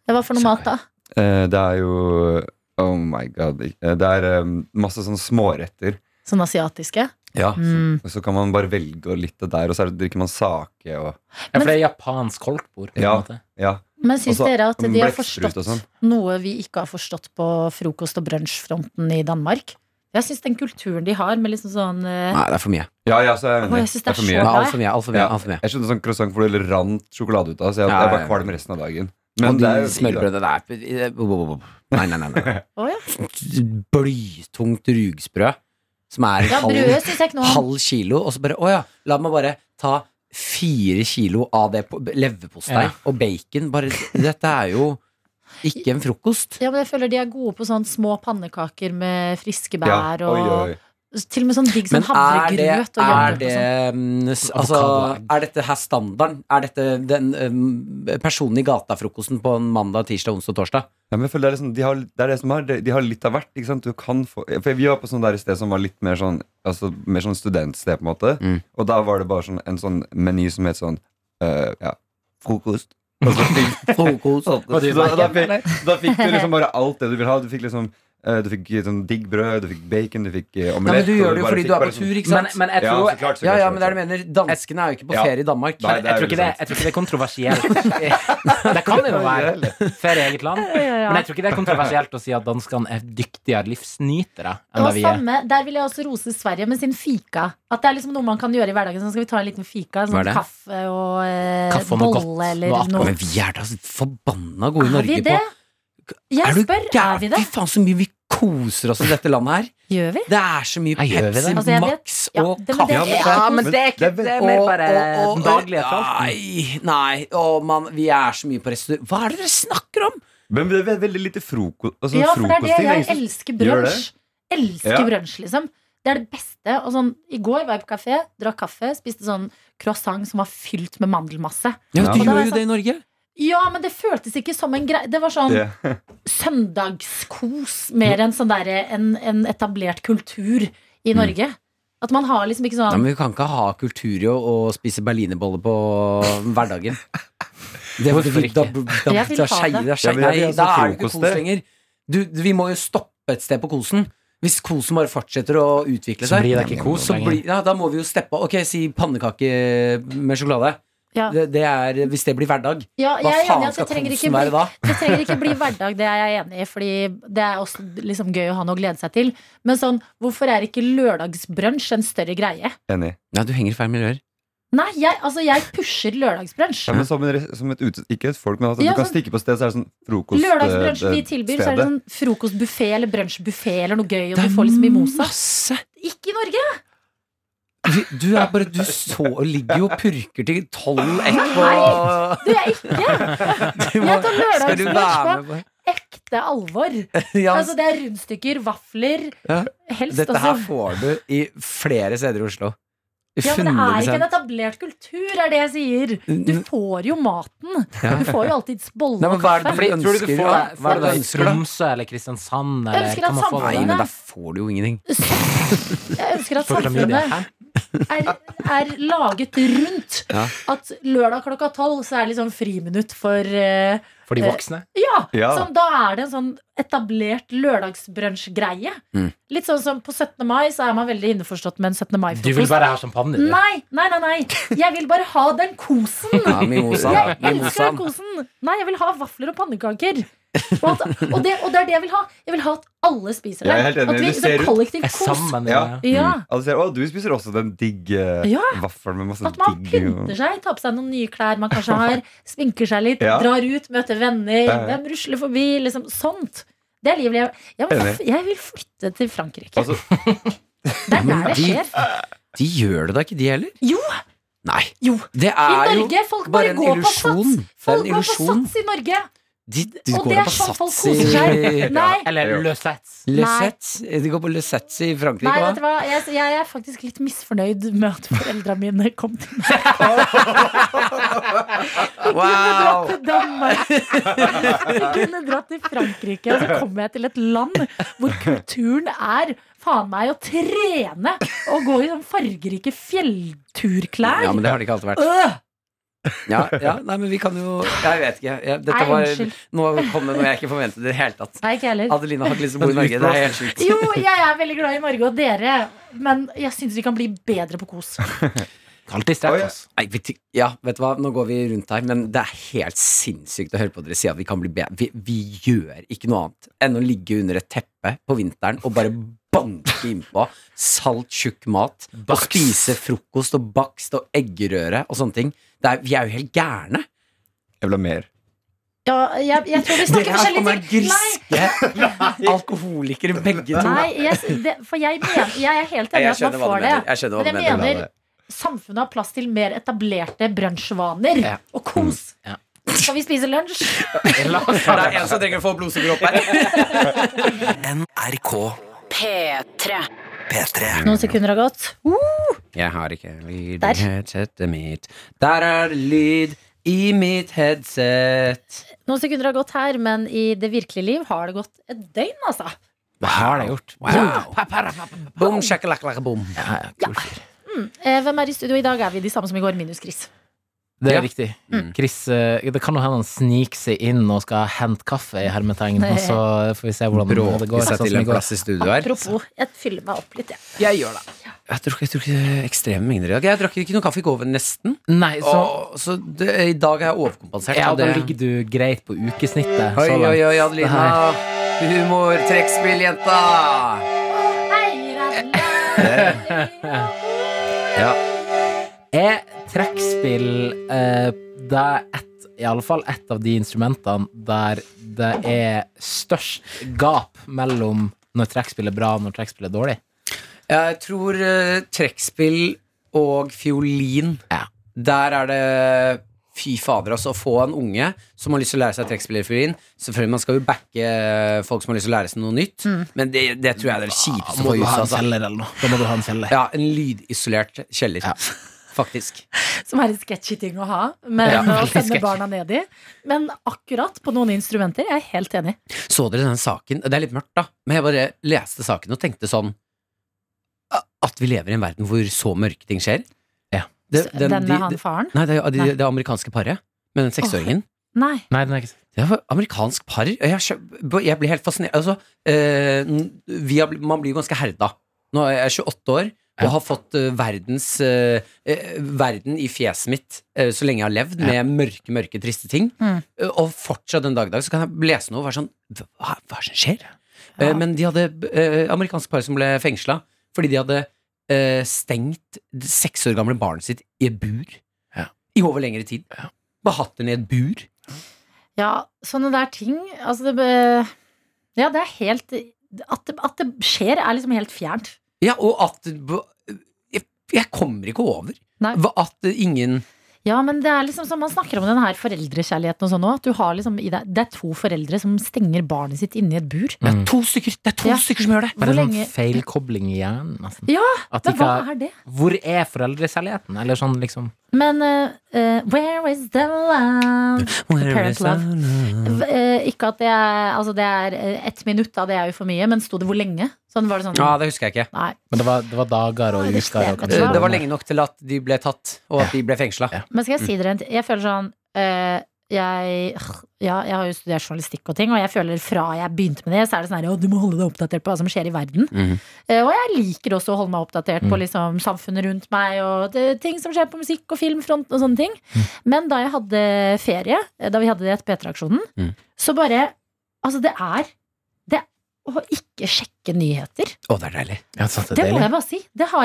[SPEAKER 2] Det var for noe mat, da.
[SPEAKER 6] eh, det er jo Oh my god. eh, Det er eh, masse sånne småretter.
[SPEAKER 2] Sånn asiatiske.
[SPEAKER 6] Ja.
[SPEAKER 2] Mm.
[SPEAKER 6] Og så kan man bare velge og litt det der, og så er det, drikker man sake og
[SPEAKER 4] Ja, for det er japansk koldtbord. på en
[SPEAKER 6] Ja.
[SPEAKER 4] måte.
[SPEAKER 6] Ja.
[SPEAKER 2] Men syns
[SPEAKER 6] Og så
[SPEAKER 2] dere at de har
[SPEAKER 6] blekkfrukt
[SPEAKER 2] forstått
[SPEAKER 6] Altså, og sånn.
[SPEAKER 2] noe vi ikke har forstått på frokost- og brunsjfronten i Danmark? Jeg syns den kulturen de har med liksom sånn eh,
[SPEAKER 3] Nei, det er for mye.
[SPEAKER 6] Ja, ja, så er jeg
[SPEAKER 2] Å,
[SPEAKER 6] enig.
[SPEAKER 2] jeg synes det er
[SPEAKER 3] Det
[SPEAKER 2] så-
[SPEAKER 3] er alt for mye. Alt for mye,
[SPEAKER 6] Ja.
[SPEAKER 3] alt for mye.
[SPEAKER 6] Jeg skjønte sånn croissant hvor det rant sjokolade ut av, så jeg,
[SPEAKER 3] Ja,
[SPEAKER 6] jeg
[SPEAKER 3] ja,
[SPEAKER 6] var
[SPEAKER 3] ja.
[SPEAKER 6] kvalm resten av dagen.
[SPEAKER 3] Og
[SPEAKER 6] det er
[SPEAKER 3] de
[SPEAKER 6] jo digg, da.
[SPEAKER 3] smørbrødene der Nei, nei, nei. nei.
[SPEAKER 2] Å ja.
[SPEAKER 3] Blytungt rugbrød som er
[SPEAKER 2] ja,
[SPEAKER 3] en
[SPEAKER 2] brødet
[SPEAKER 3] halv,
[SPEAKER 2] syns jeg ikke noe om.
[SPEAKER 3] halv kilo, og så bare Å ja, la meg bare ta fire kilo av det på- leverpostei
[SPEAKER 4] Ja.
[SPEAKER 3] og bacon. Bare Dette er jo ikke en frokost.
[SPEAKER 2] Ja, men jeg føler de er gode på sånn små pannekaker med friske
[SPEAKER 6] Ja,
[SPEAKER 2] bær
[SPEAKER 6] oi,
[SPEAKER 2] og
[SPEAKER 6] oi.
[SPEAKER 2] Til og med sånn digg
[SPEAKER 3] Men
[SPEAKER 2] sånn
[SPEAKER 3] er det,
[SPEAKER 2] havregrøt og
[SPEAKER 3] er
[SPEAKER 2] yoghurt
[SPEAKER 3] det
[SPEAKER 2] og sånn.
[SPEAKER 3] mm, s- altså,
[SPEAKER 4] Avokado.
[SPEAKER 3] Er dette her standarden? Er dette den mm, personen i gata-frokosten på en mandag, tirsdag, onsdag og torsdag?
[SPEAKER 6] Ja, men jeg føler det, er liksom, de har, det er det som er, de- de har litt av hvert. Ikke sant? Du kan få, for vi var på sånn der sted som var litt mer sånn, altså, mer sånn studentsted, på en måte.
[SPEAKER 3] Mm.
[SPEAKER 6] Og da var det bare sånn, en sånn meny som het sånn eh, ja, frokost. Og så fikk,
[SPEAKER 3] Frokost.
[SPEAKER 6] så, da, da, fikk, da fikk du liksom bare alt det du vil ha. Du fikk liksom Eh, Du fikk eh, sånn digg brød, du fikk bacon, du fikk eh,
[SPEAKER 3] Nei, men
[SPEAKER 6] omelett
[SPEAKER 3] Du
[SPEAKER 6] og
[SPEAKER 3] gjør det jo
[SPEAKER 6] bare
[SPEAKER 3] fordi
[SPEAKER 6] fikk
[SPEAKER 3] du er
[SPEAKER 6] bare
[SPEAKER 3] på
[SPEAKER 6] sånn-
[SPEAKER 3] tur, ikke sant?
[SPEAKER 6] Men-
[SPEAKER 3] Men jeg
[SPEAKER 6] Ja,
[SPEAKER 3] tror
[SPEAKER 6] så klart, så
[SPEAKER 3] Ja,
[SPEAKER 6] klart,
[SPEAKER 3] ja,
[SPEAKER 6] så
[SPEAKER 3] men det er det
[SPEAKER 6] klart.
[SPEAKER 3] jeg mener. Danskene er jo ikke på
[SPEAKER 6] Ja.
[SPEAKER 3] ferie i Danmark.
[SPEAKER 6] Nei,
[SPEAKER 3] Men-
[SPEAKER 6] det er
[SPEAKER 4] Jeg tror, ikke
[SPEAKER 6] veldig
[SPEAKER 4] det,
[SPEAKER 6] sant.
[SPEAKER 4] jeg tror ikke det er kontroversielt. Det kan det jo være. Ferie i eget land. Men jeg tror ikke det er kontroversielt å si at danskene er dyktigere livsnytere enn
[SPEAKER 2] Og
[SPEAKER 4] det vi er.
[SPEAKER 2] samme, Der vil jeg også rose Sverige med sin fika. At det er liksom noe man kan gjøre i hverdagen. Sånn skal vi ta en liten fika?
[SPEAKER 3] Hva er
[SPEAKER 2] Sånn
[SPEAKER 3] det?
[SPEAKER 2] kaffe og eh,
[SPEAKER 4] Kaffe og noe
[SPEAKER 2] bolle
[SPEAKER 4] godt,
[SPEAKER 2] eller
[SPEAKER 4] noe
[SPEAKER 3] Å,
[SPEAKER 2] noe.
[SPEAKER 3] men vi er da så forbanna gode i
[SPEAKER 2] Er vi
[SPEAKER 3] Norge
[SPEAKER 2] det?
[SPEAKER 3] på
[SPEAKER 2] Jeg
[SPEAKER 3] du
[SPEAKER 2] spør,
[SPEAKER 3] gæren?
[SPEAKER 2] er vi det?
[SPEAKER 3] Fy faen, så mye vi koser oss i dette landet her.
[SPEAKER 2] Gjør vi?
[SPEAKER 3] Det er så mye
[SPEAKER 4] Nei, gjør vi
[SPEAKER 3] Pepsi
[SPEAKER 4] det?
[SPEAKER 2] Altså, jeg vet-
[SPEAKER 3] Max
[SPEAKER 2] ja,
[SPEAKER 3] og
[SPEAKER 2] det- men det-
[SPEAKER 3] kaffe.
[SPEAKER 2] Ja, men
[SPEAKER 6] det er ikke- det er
[SPEAKER 3] Og- og- og- Nei, nei. Å, mann, vi er så mye på restaurant. Hva er det dere snakker om?
[SPEAKER 6] Men det er veldig lite froko altså,
[SPEAKER 2] Ja, for det er det.
[SPEAKER 6] frokostting.
[SPEAKER 2] Jeg
[SPEAKER 6] egentlig.
[SPEAKER 2] elsker
[SPEAKER 6] Gjør
[SPEAKER 2] brunsj. Elsker
[SPEAKER 6] Ja.
[SPEAKER 2] brunsj, liksom. Det er det beste. Og sånn, I går var jeg på kafé, drakk kaffe, spiste sånn croissant som var fylt med mandelmasse.
[SPEAKER 3] Ja, du
[SPEAKER 2] Og da var
[SPEAKER 3] gjør
[SPEAKER 2] jeg
[SPEAKER 3] jo det i Norge.
[SPEAKER 2] Ja, men det føltes ikke som en greie. Det var sånn
[SPEAKER 6] Ja.
[SPEAKER 2] søndagskos mer enn sånn derre en, en etablert kultur i
[SPEAKER 3] Mm.
[SPEAKER 2] Norge. At man har liksom ikke
[SPEAKER 3] Ja,
[SPEAKER 2] sånn
[SPEAKER 3] men vi kan ikke ha kultur i å å spise berlinerboller på hverdagen. Det
[SPEAKER 4] Hvorfor
[SPEAKER 3] vi- Da,
[SPEAKER 4] ikke?
[SPEAKER 3] da, da,
[SPEAKER 2] Jeg vil
[SPEAKER 3] da,
[SPEAKER 2] ha det.
[SPEAKER 3] skeier- da skeier-
[SPEAKER 6] Ja, men jeg vil
[SPEAKER 3] nei, da
[SPEAKER 6] ha sånn
[SPEAKER 3] er det ikke
[SPEAKER 6] frokost,
[SPEAKER 3] kos
[SPEAKER 6] det.
[SPEAKER 3] lenger. Du, vi må jo stoppe et sted på kosen. Hvis kosen bare fortsetter å utvikle
[SPEAKER 4] Så
[SPEAKER 3] seg,
[SPEAKER 4] blir det ikke kos
[SPEAKER 3] så
[SPEAKER 4] lenger.
[SPEAKER 3] blir- ja, da må vi jo steppe av. Ok, si pannekake med sjokolade.
[SPEAKER 2] Ja,
[SPEAKER 3] Det, det er, hvis det blir hverdag,
[SPEAKER 2] ja
[SPEAKER 3] hva
[SPEAKER 2] jeg er enig i
[SPEAKER 3] faen
[SPEAKER 2] at det
[SPEAKER 3] skal
[SPEAKER 2] trenger
[SPEAKER 3] kosen
[SPEAKER 2] ikke bli
[SPEAKER 3] være da?
[SPEAKER 2] Det trenger ikke bli hverdag, det er jeg enig i. Fordi det er også liksom gøy å ha noe å glede seg til. Men sånn, hvorfor er ikke lørdagsbrunsj en større greie?
[SPEAKER 6] Enig.
[SPEAKER 3] Nei, du henger i feil miljøer.
[SPEAKER 2] Nei, jeg, altså, jeg pusher lørdagsbrunsj.
[SPEAKER 6] Ja, men som, en, res- som et ute, ikke et folk, men at
[SPEAKER 2] Ja,
[SPEAKER 6] du kan
[SPEAKER 2] sånn-
[SPEAKER 6] stikke på sted, så er det sånn frokost
[SPEAKER 2] Lørdagsbrunsj
[SPEAKER 6] eh,
[SPEAKER 2] vi tilbyr, så er det sånn
[SPEAKER 6] stedet.
[SPEAKER 2] frokostbuffé eller brunsjbuffé eller noe gøy, og du får liksom mimosa.
[SPEAKER 3] masse
[SPEAKER 2] Ikke i Norge!
[SPEAKER 3] Du, du er bare Du så, ligger jo og purker til tolv ett på
[SPEAKER 2] Du, jeg ikke!
[SPEAKER 3] Du
[SPEAKER 2] Jeg tar
[SPEAKER 3] Skal du
[SPEAKER 2] lørdagsbrunsj
[SPEAKER 3] være
[SPEAKER 2] på
[SPEAKER 3] med på
[SPEAKER 2] ekte alvor.
[SPEAKER 3] ja,
[SPEAKER 2] Altså, det er rundstykker, vafler,
[SPEAKER 3] Ja.
[SPEAKER 2] helst
[SPEAKER 3] Dette her
[SPEAKER 2] også.
[SPEAKER 3] får du i flere steder i Oslo. I
[SPEAKER 2] altså. Ja, men det er ikke en
[SPEAKER 3] 100%.
[SPEAKER 2] etablert kultur, er det jeg sier. Du får jo maten.
[SPEAKER 3] Ja.
[SPEAKER 2] Du får jo alltids bolle
[SPEAKER 3] Nei,
[SPEAKER 2] og
[SPEAKER 3] men hva er
[SPEAKER 2] kaffe.
[SPEAKER 3] det du
[SPEAKER 4] Fordi, tror du du
[SPEAKER 3] ønsker?
[SPEAKER 4] får
[SPEAKER 3] da?
[SPEAKER 4] det,
[SPEAKER 3] Hva er det du
[SPEAKER 4] i
[SPEAKER 3] ønsker, da?
[SPEAKER 4] Tromsø eller Kristiansand?
[SPEAKER 2] Jeg
[SPEAKER 4] Eller,
[SPEAKER 2] ønsker
[SPEAKER 4] kan
[SPEAKER 2] at
[SPEAKER 4] man få
[SPEAKER 3] Nei,
[SPEAKER 4] det
[SPEAKER 2] samfunnet-
[SPEAKER 4] der?
[SPEAKER 3] men der får du jo ingenting.
[SPEAKER 2] Jeg ønsker at
[SPEAKER 4] Social media.
[SPEAKER 2] samfunnet er, er laget rundt
[SPEAKER 3] Ja.
[SPEAKER 2] at lørdag klokka tolv så er det liksom friminutt for eh,
[SPEAKER 4] For de voksne?
[SPEAKER 2] Ja!
[SPEAKER 6] Ja.
[SPEAKER 2] Sånn, da er det en sånn etablert lørdagsbrunsjgreie.
[SPEAKER 3] Mm.
[SPEAKER 2] Litt sånn som på 17. mai så er man veldig innforstått med en 17.
[SPEAKER 4] Du vil
[SPEAKER 2] mai-frokost.
[SPEAKER 4] bare ha champagne? du.
[SPEAKER 2] Nei, nei, nei, nei! Jeg vil bare ha den kosen!
[SPEAKER 3] Ja, mimosaen.
[SPEAKER 2] Jeg elsker den kosen! Nei, jeg vil ha vafler og pannekaker. Og, at, og, det, og det er det jeg vil ha. Jeg vil ha at alle spiser det.
[SPEAKER 6] Jeg er helt enig.
[SPEAKER 2] At vi
[SPEAKER 6] Det ser
[SPEAKER 2] liksom
[SPEAKER 6] ut-
[SPEAKER 2] kollektiv
[SPEAKER 4] Er
[SPEAKER 2] kos.
[SPEAKER 4] sammen,
[SPEAKER 6] Ja.
[SPEAKER 4] ja.
[SPEAKER 2] Ja.
[SPEAKER 3] Mm.
[SPEAKER 6] Alle sier 'Å, du spiser også den digge
[SPEAKER 2] Ja.
[SPEAKER 6] vaffelen med masse
[SPEAKER 2] At man
[SPEAKER 6] digg
[SPEAKER 2] pynter seg, tar på seg noen nye klær man kanskje har, sminker seg litt,
[SPEAKER 6] Ja.
[SPEAKER 2] drar ut, møter venner,
[SPEAKER 6] Ja, ja.
[SPEAKER 2] hvem rusler forbi, liksom sånt. Det er livet jeg jeg vil,
[SPEAKER 6] Enig.
[SPEAKER 2] jeg vil flytte til Frankrike.
[SPEAKER 6] Altså-
[SPEAKER 2] det er der det
[SPEAKER 3] de-
[SPEAKER 2] skjer.
[SPEAKER 3] De gjør det da ikke, de heller?
[SPEAKER 2] Jo,
[SPEAKER 3] Nei.
[SPEAKER 2] jo.
[SPEAKER 3] Det
[SPEAKER 2] I
[SPEAKER 3] er jo
[SPEAKER 2] Norge, folk
[SPEAKER 3] bare
[SPEAKER 2] bare
[SPEAKER 3] en
[SPEAKER 2] går på
[SPEAKER 3] illusjon.
[SPEAKER 2] sats.
[SPEAKER 3] Det er
[SPEAKER 2] Folk
[SPEAKER 3] en
[SPEAKER 2] går på
[SPEAKER 3] illusjon.
[SPEAKER 2] sats i Norge.
[SPEAKER 3] De, de
[SPEAKER 2] Og
[SPEAKER 3] går
[SPEAKER 2] det
[SPEAKER 3] da
[SPEAKER 2] er
[SPEAKER 3] på
[SPEAKER 2] sånn folk
[SPEAKER 3] sats
[SPEAKER 2] koser seg.
[SPEAKER 3] i
[SPEAKER 2] Nei,
[SPEAKER 4] Eller
[SPEAKER 6] Ja.
[SPEAKER 4] Løsets.
[SPEAKER 3] Lesets. De går på Lesets i Frankrike.
[SPEAKER 2] nei
[SPEAKER 3] hva?
[SPEAKER 2] vet du hva? Jeg, jeg er faktisk litt misfornøyd med at foreldra mine kom til meg.
[SPEAKER 3] Wow!
[SPEAKER 2] til Danmark. Jeg kunne dratt til Frankrike, og så kommer jeg til et land hvor kulturen er faen meg å trene og gå i sånn fargerike fjellturklær.
[SPEAKER 3] Ja, men det har det ikke alltid vært.
[SPEAKER 2] Øh!
[SPEAKER 3] Ja, ja, nei, men vi kan jo Jeg vet ikke. Jeg, dette
[SPEAKER 2] Nei,
[SPEAKER 3] var,
[SPEAKER 2] unnskyld.
[SPEAKER 3] nå kom det noe jeg ikke forventet i det hele tatt.
[SPEAKER 2] Nei, ikke jeg heller.
[SPEAKER 3] Adelina har ikke lyst til å bo i Norge. Det er helt sjukt.
[SPEAKER 2] Jo, jeg er veldig glad i Norge og dere, men jeg syns vi kan bli bedre på kos.
[SPEAKER 4] Alltid
[SPEAKER 6] Oi.
[SPEAKER 4] strekt, ass.
[SPEAKER 3] Nei, vet du, ja, vet du hva, nå går vi rundt her, men det er helt sinnssykt å høre på dere si at vi kan bli bedre. Vi, vi gjør ikke noe annet enn å ligge under et teppe på vinteren og bare banke innpå salt, tjukk mat. Og
[SPEAKER 4] Bakst.
[SPEAKER 3] spise frokost og bakst og eggerøre og sånne ting. Det er, vi er jo helt gærne.
[SPEAKER 6] Jeg vil ha mer.
[SPEAKER 2] Ja, jeg, jeg tror vi snakker
[SPEAKER 3] Dere er sånne
[SPEAKER 2] forskjellige ting. Nei,
[SPEAKER 3] griske alkoholikere begge to.
[SPEAKER 2] nei jeg, det, for jeg, mener, jeg er helt
[SPEAKER 3] Nei,
[SPEAKER 2] enig i at
[SPEAKER 3] Jeg
[SPEAKER 2] man
[SPEAKER 3] skjønner hva
[SPEAKER 2] får
[SPEAKER 3] du
[SPEAKER 2] det.
[SPEAKER 3] mener. Jeg skjønner hva
[SPEAKER 2] Men
[SPEAKER 3] du
[SPEAKER 2] jeg
[SPEAKER 3] mener.
[SPEAKER 2] mener samfunnet har plass til mer etablerte brunsjvaner
[SPEAKER 4] Ja.
[SPEAKER 2] og kos.
[SPEAKER 4] Ja.
[SPEAKER 2] Skal vi spise lunsj?
[SPEAKER 4] La oss
[SPEAKER 3] Det
[SPEAKER 4] ta det.
[SPEAKER 3] er en som trenger å få blodsukker opp her.
[SPEAKER 1] NRK
[SPEAKER 7] P3.
[SPEAKER 1] P3.
[SPEAKER 2] Noen sekunder har gått.
[SPEAKER 3] Jeg har ikke lyd
[SPEAKER 2] Der.
[SPEAKER 3] i headsetet mitt. Der er det lyd i mitt headset.
[SPEAKER 2] Noen sekunder har gått her, men i det virkelige liv har det gått et døgn, altså.
[SPEAKER 4] Hva har det gjort?
[SPEAKER 3] Wow. Boom, shakalaka, boom.
[SPEAKER 4] Ja, ja, kult.
[SPEAKER 2] Eh, hvem er i studio i dag? Er vi de samme som i går, minus Chris?
[SPEAKER 4] Det er
[SPEAKER 3] Ja.
[SPEAKER 4] riktig.
[SPEAKER 3] Mm.
[SPEAKER 4] Chris, eh, det kan jo hende han sniker seg inn og skal hente kaffe i hermetegn, og så får vi se hvordan det
[SPEAKER 3] Bråke
[SPEAKER 4] går.
[SPEAKER 3] seg
[SPEAKER 4] Sånn
[SPEAKER 3] til
[SPEAKER 4] som i
[SPEAKER 3] en
[SPEAKER 4] går.
[SPEAKER 3] plass i studio her.
[SPEAKER 2] Apropos, jeg fyller meg opp litt, jeg.
[SPEAKER 4] Jeg gjør det.
[SPEAKER 3] Jeg tror, ikke- jeg tror ikke ekstreme mengder i dag. Jeg drakk ikke noe kaffe i går, nesten.
[SPEAKER 4] Nei, så
[SPEAKER 3] Åh, så det, i dag er jeg overkompensert.
[SPEAKER 4] ja,
[SPEAKER 3] og
[SPEAKER 4] da
[SPEAKER 3] det-
[SPEAKER 4] ligger du greit på ukesnittet.
[SPEAKER 3] Oi,
[SPEAKER 4] så langt.
[SPEAKER 3] oi, oi, Adelina. Humor, trekkspill, jenta.
[SPEAKER 4] Er trekkspill eh, det er et, i alle fall ett av de instrumentene der det er størst gap mellom når trekkspill er bra og når trekkspill er dårlig?
[SPEAKER 3] Jeg tror eh, trekkspill og fiolin
[SPEAKER 4] Ja.
[SPEAKER 3] Der er det Fy fader, altså. Å få en unge som har lyst til å lære seg trekkspill eller fiolin Selvfølgelig, man skal jo backe folk som har lyst til å lære seg noe nytt,
[SPEAKER 4] Mm.
[SPEAKER 3] men det, det tror jeg er
[SPEAKER 4] Ah,
[SPEAKER 3] det kjipeste å få ut. Altså.
[SPEAKER 4] kjeller eller noe. Da må du ha en kjeller.
[SPEAKER 3] Ja, en lydisolert kjeller.
[SPEAKER 4] Ja.
[SPEAKER 3] Faktisk.
[SPEAKER 2] Som er en sketchy ting å ha, men
[SPEAKER 4] Ja,
[SPEAKER 2] å
[SPEAKER 4] veldig
[SPEAKER 2] sende
[SPEAKER 4] sketchy.
[SPEAKER 2] barna ned i. Men akkurat på noen instrumenter, jeg er helt enig.
[SPEAKER 3] Så dere den saken? Det er litt mørkt, da, men jeg bare leste saken og tenkte sånn a- At vi lever i en verden hvor så mørke ting skjer.
[SPEAKER 4] Ja.
[SPEAKER 3] Det,
[SPEAKER 2] Så
[SPEAKER 3] den,
[SPEAKER 2] Den
[SPEAKER 3] de,
[SPEAKER 2] med han faren?
[SPEAKER 3] nei, det, er jo- de,
[SPEAKER 2] Nei.
[SPEAKER 3] det amerikanske paret med den seksåringen.
[SPEAKER 2] Nei.
[SPEAKER 4] Nei, den er ikke
[SPEAKER 3] Det var amerikansk par. og Jeg, skjø- jeg blir helt fascinert. Altså, eh, n- vi har, bl- man blir jo ganske herda. Nå er jeg 28 år og
[SPEAKER 4] Ja.
[SPEAKER 3] har fått eh, verdens eh, eh, verden i fjeset mitt eh, så lenge jeg har levd, med mørke, mørke, triste ting.
[SPEAKER 2] Mm.
[SPEAKER 3] Eh, og fortsatt den dag i dag så kan jeg lese noe og være sånn Hva, hva er det som skjer? Eh, men de hadde eh, amerikanske par som ble fengsla fordi de hadde eh, stengt det seks år gamle barnet sitt i et bur
[SPEAKER 4] Ja.
[SPEAKER 3] i over lengre tid.
[SPEAKER 4] Ja.
[SPEAKER 3] Behatt henne i et bur.
[SPEAKER 2] Ja, sånne der ting Altså, det be- Ja, det er helt At det, at det skjer, er liksom helt fjernt.
[SPEAKER 3] Ja, og at Jeg, jeg kommer ikke over
[SPEAKER 2] Nei.
[SPEAKER 3] Hva- at ingen
[SPEAKER 2] Ja, men det er liksom sånn Man snakker om den her foreldrekjærligheten og sånn òg. At du har liksom i deg Det er to foreldre som stenger barnet sitt inne i et bur.
[SPEAKER 3] Det
[SPEAKER 4] Mm.
[SPEAKER 3] er to stykker Det er to
[SPEAKER 2] Ja.
[SPEAKER 3] stykker som gjør det!
[SPEAKER 4] Bare
[SPEAKER 2] Hvor
[SPEAKER 4] sånn
[SPEAKER 2] lenge-
[SPEAKER 4] feilkobling i hjernen, nesten.
[SPEAKER 2] Ja,
[SPEAKER 4] At
[SPEAKER 2] Men
[SPEAKER 4] ikke,
[SPEAKER 2] hva er det?
[SPEAKER 4] Hvor er foreldrekjærligheten? Eller sånn, liksom.
[SPEAKER 2] Men eh, eh, Where is the love? Parent love. Eh, ikke at det er Altså, det er eh, ett minutt, da. Det er jo for mye. Men sto det hvor lenge? Sånn var det sånn
[SPEAKER 3] Ja, det husker jeg ikke.
[SPEAKER 2] Nei.
[SPEAKER 4] Men det var, det var dager
[SPEAKER 2] Nei,
[SPEAKER 4] og
[SPEAKER 2] det
[SPEAKER 4] uker og
[SPEAKER 2] stemmer.
[SPEAKER 3] Eh,
[SPEAKER 4] kanskje-
[SPEAKER 3] Det var lenge nok til at de ble tatt, og at de ble fengsla.
[SPEAKER 4] Ja.
[SPEAKER 2] Men skal jeg si dere en ting? Jeg føler sånn eh, jeg, ja, jeg har jo studert journalistikk og ting, og jeg føler fra jeg begynte med det, så er det sånn her, «Å, du må holde deg oppdatert på hva som skjer i verden.
[SPEAKER 3] Mhm.
[SPEAKER 2] Eh, og jeg liker også å holde meg oppdatert på
[SPEAKER 4] Mm.
[SPEAKER 2] liksom, samfunnet rundt meg og det, ting som skjer på musikk og filmfronten og sånne ting. Men da jeg hadde ferie, eh, da vi hadde det etter P3-aksjonen,
[SPEAKER 3] Mm.
[SPEAKER 2] så bare Altså, det er det å ikke sjekke nyheter.
[SPEAKER 3] Å, det er deilig.
[SPEAKER 4] Ja, sant, det
[SPEAKER 2] Det
[SPEAKER 4] er
[SPEAKER 2] må
[SPEAKER 4] deilig.
[SPEAKER 2] jeg bare si. Det har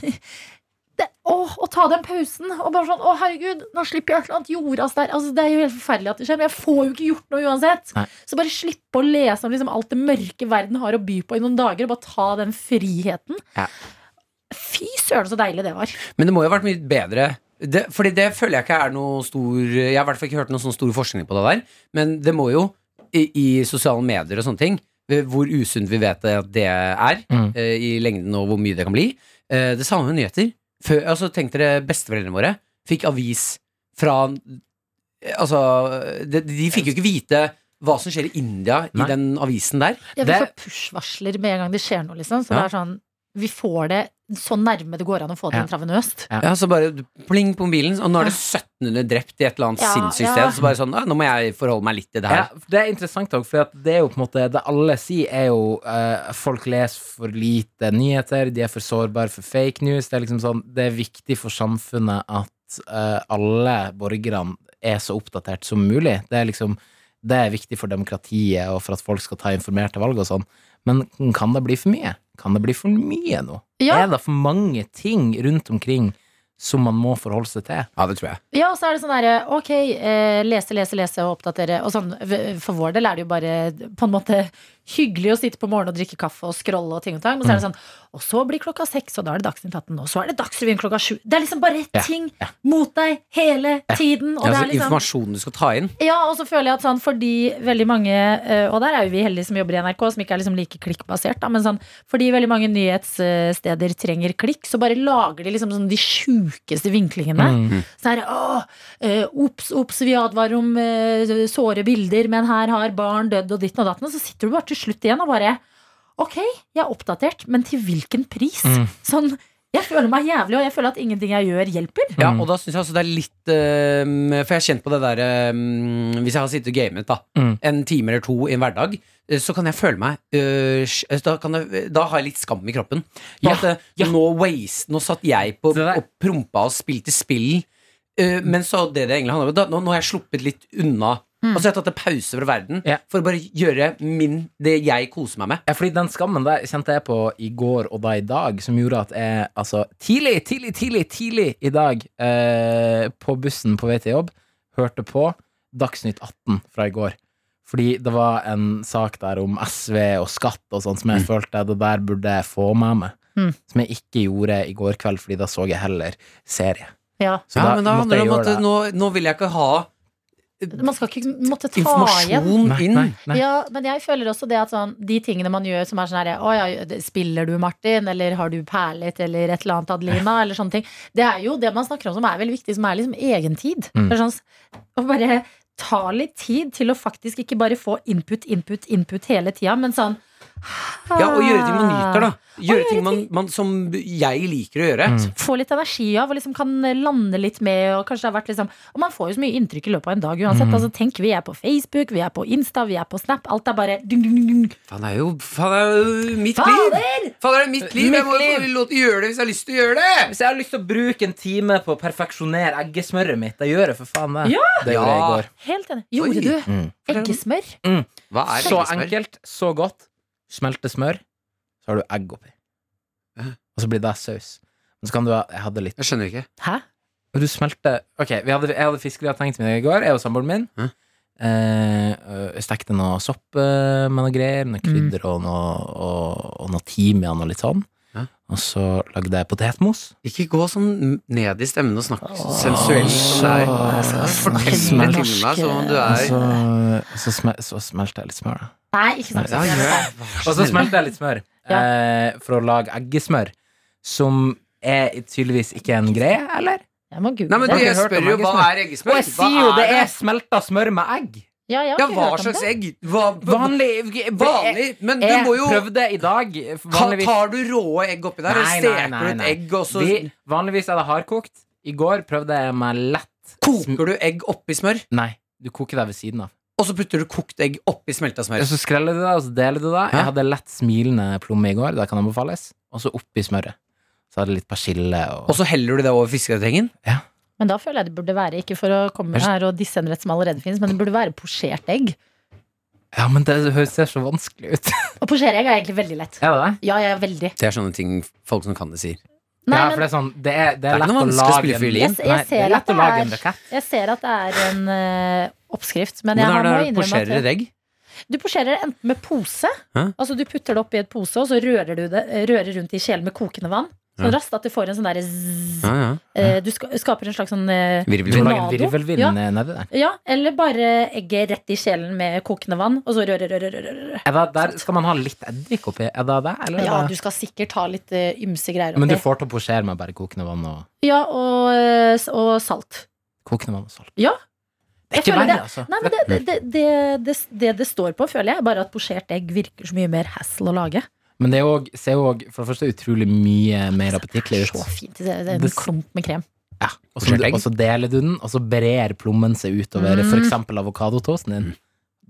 [SPEAKER 2] jeg. Det, åh, å ta den pausen og bare sånn Å, herregud, nå slipper jeg et eller annet jordas der. Altså, det er jo helt forferdelig at det skjer, men jeg får jo ikke gjort noe uansett.
[SPEAKER 4] Nei.
[SPEAKER 2] Så bare slippe å lese om liksom, alt det mørke verden har å by på i noen dager, og bare ta den friheten.
[SPEAKER 4] Ja.
[SPEAKER 2] Fy søren, så deilig det var.
[SPEAKER 3] Men det må jo ha vært mye bedre. Det, fordi det føler jeg ikke er noe stor Jeg har i hvert fall ikke hørt noen sånn stor forskning på det der. Men det må jo, i, i sosiale medier og sånne ting, eh, hvor usunt vi vet at det er,
[SPEAKER 4] Mm.
[SPEAKER 3] eh, i lengden og hvor mye det kan bli. Eh, det samme med nyheter. Før, altså, tenk dere besteforeldrene våre fikk avis fra eh, Altså, de, de fikk jo ikke vite hva som skjer i India
[SPEAKER 4] Nei.
[SPEAKER 3] i den avisen der.
[SPEAKER 2] Ja, vi
[SPEAKER 4] Det-
[SPEAKER 2] får sånn push-varsler med en gang det skjer noe, liksom. Så
[SPEAKER 3] Ja.
[SPEAKER 2] det er sånn Vi får det så nærme det går an å få det
[SPEAKER 4] Ja.
[SPEAKER 2] intravenøst.
[SPEAKER 3] Ja, så bare pling på mobilen, og nå er det 1700 drept i et eller annet
[SPEAKER 2] Ja,
[SPEAKER 3] sinnssykt
[SPEAKER 2] ja.
[SPEAKER 3] sted. Så bare sånn, «Ah, nå må jeg forholde meg litt til det her.
[SPEAKER 4] Ja, det er interessant òg, for at det er jo på en måte Det alle sier, er jo eh, folk leser for lite nyheter, de er for sårbare for fake news. Det er liksom sånn Det er viktig for samfunnet at eh, alle borgerne er så oppdatert som mulig. Det er liksom Det er viktig for demokratiet og for at folk skal ta informerte valg og sånn. Men kan det bli for mye? Kan det bli for mye nå?
[SPEAKER 2] Ja.
[SPEAKER 4] Er det for mange ting rundt omkring som man må forholde seg til?
[SPEAKER 3] Ja, det tror jeg.
[SPEAKER 2] Ja, og så er det sånn derre ok, eh, lese, lese, lese og oppdatere. Og sånn, v- for vår del er det jo bare på en måte hyggelig å sitte på morgenen og drikke kaffe og scrolle og ting og tang. Men så
[SPEAKER 3] Mm.
[SPEAKER 2] er det sånn, og så blir klokka seks, og da er det Dagsnytt 18, og så er det Dagsrevyen klokka sju. Det er liksom bare
[SPEAKER 4] Ja,
[SPEAKER 2] ting mot deg hele tiden. Og
[SPEAKER 3] Ja,
[SPEAKER 2] det
[SPEAKER 3] altså,
[SPEAKER 2] er liksom
[SPEAKER 3] informasjonen du skal ta inn.
[SPEAKER 2] ja, og så føler jeg at sånn fordi veldig mange eh, Og der er jo vi heldige som jobber i NRK, som ikke er liksom like klikkbasert, da, men sånn fordi veldig mange nyhetssteder trenger klikk, så bare lager de liksom sånn de sjukeste vinklingene. Så er det åh, eh, ops, ops, vi advarer om eh, såre bilder, men her har barn dødd og ditten og datten, og så sitter du bare til slutt igjen og bare Ok, jeg er oppdatert, men til hvilken pris?
[SPEAKER 4] Mm.
[SPEAKER 2] Sånn Jeg føler meg jævlig, og jeg føler at ingenting jeg gjør, hjelper.
[SPEAKER 3] Ja,
[SPEAKER 4] Mm.
[SPEAKER 3] og da syns jeg også det er litt eh, For jeg har kjent på det derre Hvis jeg har sittet og gamet da
[SPEAKER 4] Mm.
[SPEAKER 3] en time eller to i en hverdag, eh, så kan jeg føle meg eh, sj- da, kan jeg, da har jeg litt skam i kroppen. På
[SPEAKER 4] Ja,
[SPEAKER 3] at, eh, Nå waste, nå satt jeg på
[SPEAKER 4] Det der-
[SPEAKER 3] og prompa og spilte spill, eh, men så det det egentlig handler om da, nå, nå har jeg sluppet litt unna. Altså Jeg har tatt en pause fra verden
[SPEAKER 4] Mm. Ja.
[SPEAKER 3] for å bare gjøre min, det jeg koser meg med.
[SPEAKER 4] Ja, fordi den skammen der kjente jeg på i går og da i dag, som gjorde at jeg altså tidlig, tidlig, tidlig, tidlig i dag eh, på bussen på vei til jobb hørte på Dagsnytt 18 fra i går. Fordi det var en sak der om SV og skatt og sånn
[SPEAKER 3] Mm.
[SPEAKER 4] som jeg følte det der burde jeg få med meg.
[SPEAKER 2] Mm.
[SPEAKER 4] Som jeg ikke gjorde i går kveld, fordi da så jeg heller serie.
[SPEAKER 2] Ja.
[SPEAKER 4] Så
[SPEAKER 3] ja, men da
[SPEAKER 4] måtte
[SPEAKER 3] handler
[SPEAKER 4] jeg
[SPEAKER 3] det om
[SPEAKER 4] gjøre
[SPEAKER 3] at nå, nå vil jeg ikke ha
[SPEAKER 2] Man skal ikke måtte ta igjen.
[SPEAKER 3] informasjon
[SPEAKER 4] Nei,
[SPEAKER 3] inn.
[SPEAKER 4] nei, nei.
[SPEAKER 2] Ja, men jeg føler også det at sånn, de tingene man gjør som er sånn her Å ja, det- spiller du, Martin? Eller har du perlet? Eller et eller annet, Adelina? Eller sånne ting. Det er jo det man snakker om som er veldig viktig, som er liksom egentid.
[SPEAKER 4] Mm.
[SPEAKER 2] Det er Sånn, s- å bare ta litt tid til å faktisk ikke bare få input, input, input hele tida, men sånn
[SPEAKER 3] Ja, og gjøre ting man nyter, da.
[SPEAKER 4] Ah.
[SPEAKER 3] Gjøre
[SPEAKER 2] gjøre
[SPEAKER 3] ting man, man, som jeg liker å gjøre.
[SPEAKER 4] Mm.
[SPEAKER 2] «Ah, få litt energi av og liksom kan lande litt med. Og kanskje det har vært liksom Og man får jo så mye inntrykk i løpet av en dag uansett.
[SPEAKER 4] Mm.
[SPEAKER 2] Altså Tenk, vi er på Facebook, vi er på Insta, vi er på Snap. Alt er bare dung, dung, dung, dung.
[SPEAKER 3] Faen, det er jo, faen, det er jo mitt liv!
[SPEAKER 2] Fader!
[SPEAKER 3] Faen, det er mitt liv! Jeg må jo
[SPEAKER 4] Mitt
[SPEAKER 3] få lov til å gjøre det hvis jeg har lyst til å gjøre det!
[SPEAKER 4] Hvis jeg har lyst til å bruke en time på å perfeksjonere eggesmørret mitt, da gjør jeg for faen det. Det gjorde jeg i
[SPEAKER 3] Ja.
[SPEAKER 4] går.
[SPEAKER 2] Helt enig.
[SPEAKER 3] Oi.
[SPEAKER 2] Gjorde du
[SPEAKER 4] Mm.
[SPEAKER 2] eggesmør?
[SPEAKER 3] Hva er
[SPEAKER 4] Så
[SPEAKER 3] eggesmør?
[SPEAKER 4] enkelt, så godt. Smelte smør, så har du egg oppi. Og så blir det saus. Men så kan du ha Jeg hadde litt
[SPEAKER 3] Jeg skjønner ikke.
[SPEAKER 2] Hæ?
[SPEAKER 4] Og du smelter Ok, vi hadde, jeg hadde fiskegrateng til middag i går, jeg og samboeren min.
[SPEAKER 3] Hæ?
[SPEAKER 4] Eh, øh, jeg stekte noe sopp eh, med noe greier, noe krydder og noe, og, og noe timian og litt sånn.
[SPEAKER 3] Ja.
[SPEAKER 4] Og så lagde jeg potetmos.
[SPEAKER 3] Ikke gå sånn ned i stemmen og snakk sensuelt som det er.
[SPEAKER 4] Åh, Altså,
[SPEAKER 3] Fortelle
[SPEAKER 4] smelte.
[SPEAKER 3] til meg som altså, om du
[SPEAKER 4] Og
[SPEAKER 3] er
[SPEAKER 4] så, og så, smel, så smelter jeg litt smør, da.
[SPEAKER 2] Nei, ikke sant.
[SPEAKER 3] ja, gjør-
[SPEAKER 4] Og så smelte jeg litt smør
[SPEAKER 2] Ja.
[SPEAKER 4] eh, for å lage eggesmør, som er tydeligvis ikke en greie, eller?
[SPEAKER 2] Jeg må
[SPEAKER 3] Nei,
[SPEAKER 2] google
[SPEAKER 3] men du,
[SPEAKER 2] det.
[SPEAKER 3] jeg
[SPEAKER 4] hørt om
[SPEAKER 3] spør jo hva
[SPEAKER 4] eggesmør.
[SPEAKER 3] er eggesmør?
[SPEAKER 4] Og jeg sier jo
[SPEAKER 3] Hva
[SPEAKER 4] det er smelta smør med egg!
[SPEAKER 2] Ja, jeg har ikke
[SPEAKER 3] Ja, hva
[SPEAKER 2] hørt om
[SPEAKER 3] slags
[SPEAKER 2] det.
[SPEAKER 3] egg? Hva,
[SPEAKER 4] Vanlig
[SPEAKER 3] vanlig, men du
[SPEAKER 4] Jeg
[SPEAKER 3] må jo
[SPEAKER 4] prøvde i dag
[SPEAKER 3] Ta-
[SPEAKER 4] vanligvis,
[SPEAKER 3] Tar du rå egg oppi der,
[SPEAKER 4] Nei,
[SPEAKER 3] eller
[SPEAKER 4] nei,
[SPEAKER 3] steker
[SPEAKER 4] nei,
[SPEAKER 3] du et
[SPEAKER 4] nei.
[SPEAKER 3] egg, og så
[SPEAKER 4] vi, vanligvis er det hardkokt. I går prøvde jeg med lett
[SPEAKER 3] koker du egg oppi smør?
[SPEAKER 4] Nei, du koker deg ved siden av.
[SPEAKER 3] Og så putter du kokt egg oppi smelta smør.
[SPEAKER 4] Og så skreller du det, og så deler du det.
[SPEAKER 3] Hæ?
[SPEAKER 4] Jeg hadde lett smilende plomme i går, det kan anbefales. Og så oppi smøret. Så hadde jeg litt persille og
[SPEAKER 3] Og så heller du det over fiskegratengen?
[SPEAKER 2] Men da føler jeg det burde være, ikke for å komme
[SPEAKER 4] Jeg-
[SPEAKER 2] her og disse en rett som allerede finnes, men det burde være posjert egg.
[SPEAKER 4] Ja, men det høres ser så vanskelig ut.
[SPEAKER 2] Og posjere egg er egentlig veldig lett.
[SPEAKER 4] er det det?
[SPEAKER 2] Ja, jeg er veldig.
[SPEAKER 3] Det er sånne ting folk som kan det, sier.
[SPEAKER 2] Nei,
[SPEAKER 4] ja,
[SPEAKER 2] men-
[SPEAKER 4] for det er sånn Det er, det
[SPEAKER 3] er
[SPEAKER 4] er,
[SPEAKER 3] ikke
[SPEAKER 4] lett
[SPEAKER 3] noe
[SPEAKER 4] å
[SPEAKER 3] vanskelig å
[SPEAKER 4] lage
[SPEAKER 3] spille
[SPEAKER 4] en-
[SPEAKER 3] fiolin.
[SPEAKER 2] Jeg, jeg,
[SPEAKER 4] Nei, det er
[SPEAKER 2] ser at
[SPEAKER 4] lett å
[SPEAKER 2] det
[SPEAKER 4] lage en
[SPEAKER 2] er,
[SPEAKER 4] rakett.
[SPEAKER 2] jeg ser at det er en eh, oppskrift, men jeg
[SPEAKER 3] Hvordan
[SPEAKER 2] har
[SPEAKER 3] er
[SPEAKER 2] må
[SPEAKER 3] det du
[SPEAKER 2] innrømme
[SPEAKER 3] posjerer
[SPEAKER 2] at
[SPEAKER 3] et egg?
[SPEAKER 2] Du posjerer det enten med pose,
[SPEAKER 3] Hæ?
[SPEAKER 2] altså du putter det oppi et pose, og så rører du det eh, rører rundt i kjelen med kokende vann. Så
[SPEAKER 3] Ja.
[SPEAKER 2] raskt at det får en sånn derre zzz.
[SPEAKER 3] Ja, ja.
[SPEAKER 2] Eh, Du ska- skaper en slags sånn eh,
[SPEAKER 4] Du må
[SPEAKER 3] Virvelvind.
[SPEAKER 4] lage en
[SPEAKER 2] Tornado?
[SPEAKER 4] virvelvind
[SPEAKER 2] Ja.
[SPEAKER 4] eh, nedi der.
[SPEAKER 2] Ja, eller bare egget rett i kjelen med kokende vann, og så røre, røre, røre. røre.
[SPEAKER 4] Er det, der skal man ha litt eddik oppi. Er det det, eller? er
[SPEAKER 2] Ja, du
[SPEAKER 4] det-
[SPEAKER 2] skal sikkert ta litt eh, ymse greier
[SPEAKER 4] Men du
[SPEAKER 2] oppi.
[SPEAKER 4] får til å posjere med bare kokende vann og
[SPEAKER 2] Ja, og, eh, s- og salt.
[SPEAKER 4] kokende vann og salt.
[SPEAKER 2] Ja.
[SPEAKER 4] Det
[SPEAKER 2] Jeg
[SPEAKER 4] er ikke
[SPEAKER 2] føler
[SPEAKER 4] verre, altså.
[SPEAKER 2] Nei, men det det, det, det, det, det det står på, føler jeg, er bare at posjert egg virker så mye mer hassle å lage.
[SPEAKER 4] Men det er jo- ser jo òg for det første utrolig mye mer appetittlig
[SPEAKER 2] Så
[SPEAKER 4] ut.
[SPEAKER 2] fint. Det er en
[SPEAKER 4] Det s-
[SPEAKER 2] klump med krem.
[SPEAKER 4] Ja. Og så
[SPEAKER 3] Posjert egg.
[SPEAKER 4] og så deler du den, og så brer plommen seg utover
[SPEAKER 2] Mm.
[SPEAKER 4] for eksempel avokadotoasten din.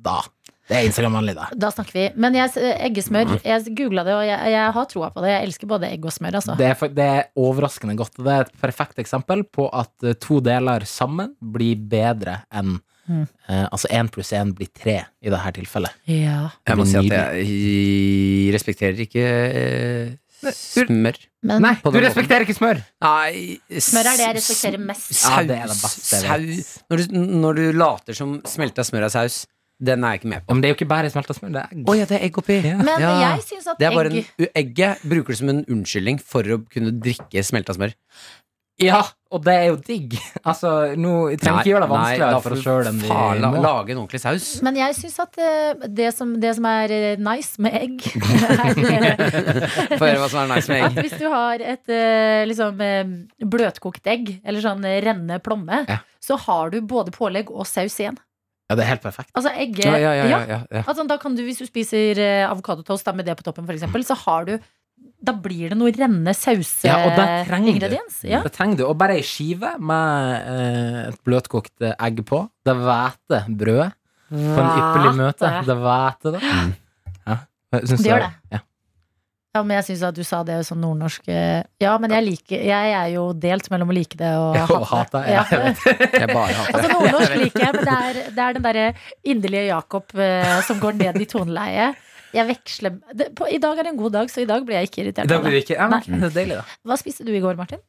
[SPEAKER 4] Da. Det er Instagram-vennlig, da.
[SPEAKER 2] Da snakker vi. Men jeg, eh, eggesmør,
[SPEAKER 4] Mm.
[SPEAKER 2] jeg googla det, og jeg, jeg har troa på det. Jeg elsker både egg og smør, altså.
[SPEAKER 4] Det er, for, det er overraskende godt. og Det er et perfekt eksempel på at eh, to deler sammen blir bedre enn
[SPEAKER 2] Mm.
[SPEAKER 4] eh, Altså én pluss én blir tre i dette tilfellet.
[SPEAKER 2] Ja.
[SPEAKER 3] Jeg må si at jeg respekterer ikke eh, smør.
[SPEAKER 2] Men
[SPEAKER 4] Nei,
[SPEAKER 3] På
[SPEAKER 4] du
[SPEAKER 3] den måten.
[SPEAKER 4] respekterer ikke smør!
[SPEAKER 3] Nei
[SPEAKER 2] smør er det jeg respekterer mest.
[SPEAKER 4] Ja, det er det
[SPEAKER 3] Saus,
[SPEAKER 4] beste jeg vet.
[SPEAKER 3] saus når du, når du later som smelta smør er saus, den er jeg ikke med
[SPEAKER 4] Ja,
[SPEAKER 3] på.
[SPEAKER 4] men det er jo ikke bare smelta smør, det er egg.
[SPEAKER 3] Å ja, det er egg oppi.
[SPEAKER 2] Men
[SPEAKER 3] Ja.
[SPEAKER 2] jeg syns at
[SPEAKER 3] Det er bare
[SPEAKER 2] egg
[SPEAKER 3] en, egget bruker du som en unnskyldning for å kunne drikke smelta smør.
[SPEAKER 4] Ja, og det er jo digg. Altså, nå jeg trenger ikke gjøre det
[SPEAKER 3] nei, da
[SPEAKER 4] vanskeligere
[SPEAKER 3] får
[SPEAKER 4] for
[SPEAKER 3] du
[SPEAKER 4] oss sjøl enn vi
[SPEAKER 3] faen la,
[SPEAKER 4] må.
[SPEAKER 3] lage en ordentlig saus.
[SPEAKER 2] men jeg syns at eh, det som, det som er eh, nice med egg, er eh,
[SPEAKER 3] Få høre hva som er nice med
[SPEAKER 2] at
[SPEAKER 3] egg.
[SPEAKER 2] hvis du har et eh, liksom, eh, bløtkokt egg, eller sånn eh, rennende plomme,
[SPEAKER 4] Ja.
[SPEAKER 2] så har du både pålegg og saus igjen.
[SPEAKER 4] Ja, det er helt perfekt.
[SPEAKER 2] Altså egget
[SPEAKER 3] Ja, ja, ja, ja, ja.
[SPEAKER 2] Altså, da kan du, Hvis du spiser eh, avokadotoast da, med det på toppen, for eksempel, så har du da blir det noe renne
[SPEAKER 4] Ja, og da trenger du-
[SPEAKER 2] sauseingrediens. Ja,
[SPEAKER 4] Da trenger du og bare ei skive med eh, et bløtkokt eh, egg på. Det hveter brødet på en ypperlig møte.
[SPEAKER 2] Væte.
[SPEAKER 4] Det hveter det. Ja. Jeg syns
[SPEAKER 2] Det gjør det.
[SPEAKER 4] Ja.
[SPEAKER 2] ja, men jeg syns at du sa det sånn nordnorsk eh, Ja, men jeg, liker, jeg er jo delt mellom å like det og
[SPEAKER 4] Ja, og
[SPEAKER 2] hate det.
[SPEAKER 4] hate, ja, jeg
[SPEAKER 3] Jeg bare hater det.
[SPEAKER 2] Altså Nordnorsk liker jeg, men det er, det er den derre inderlige Jakob eh, som går ned i toneleiet. Jeg veksler det, på, I dag er det en god dag, så i dag blir jeg ikke irritert. av
[SPEAKER 4] Da blir det ikke ja, men,
[SPEAKER 2] Nei.
[SPEAKER 4] Det er deilig, da.
[SPEAKER 2] Hva spiste du i går, Martin?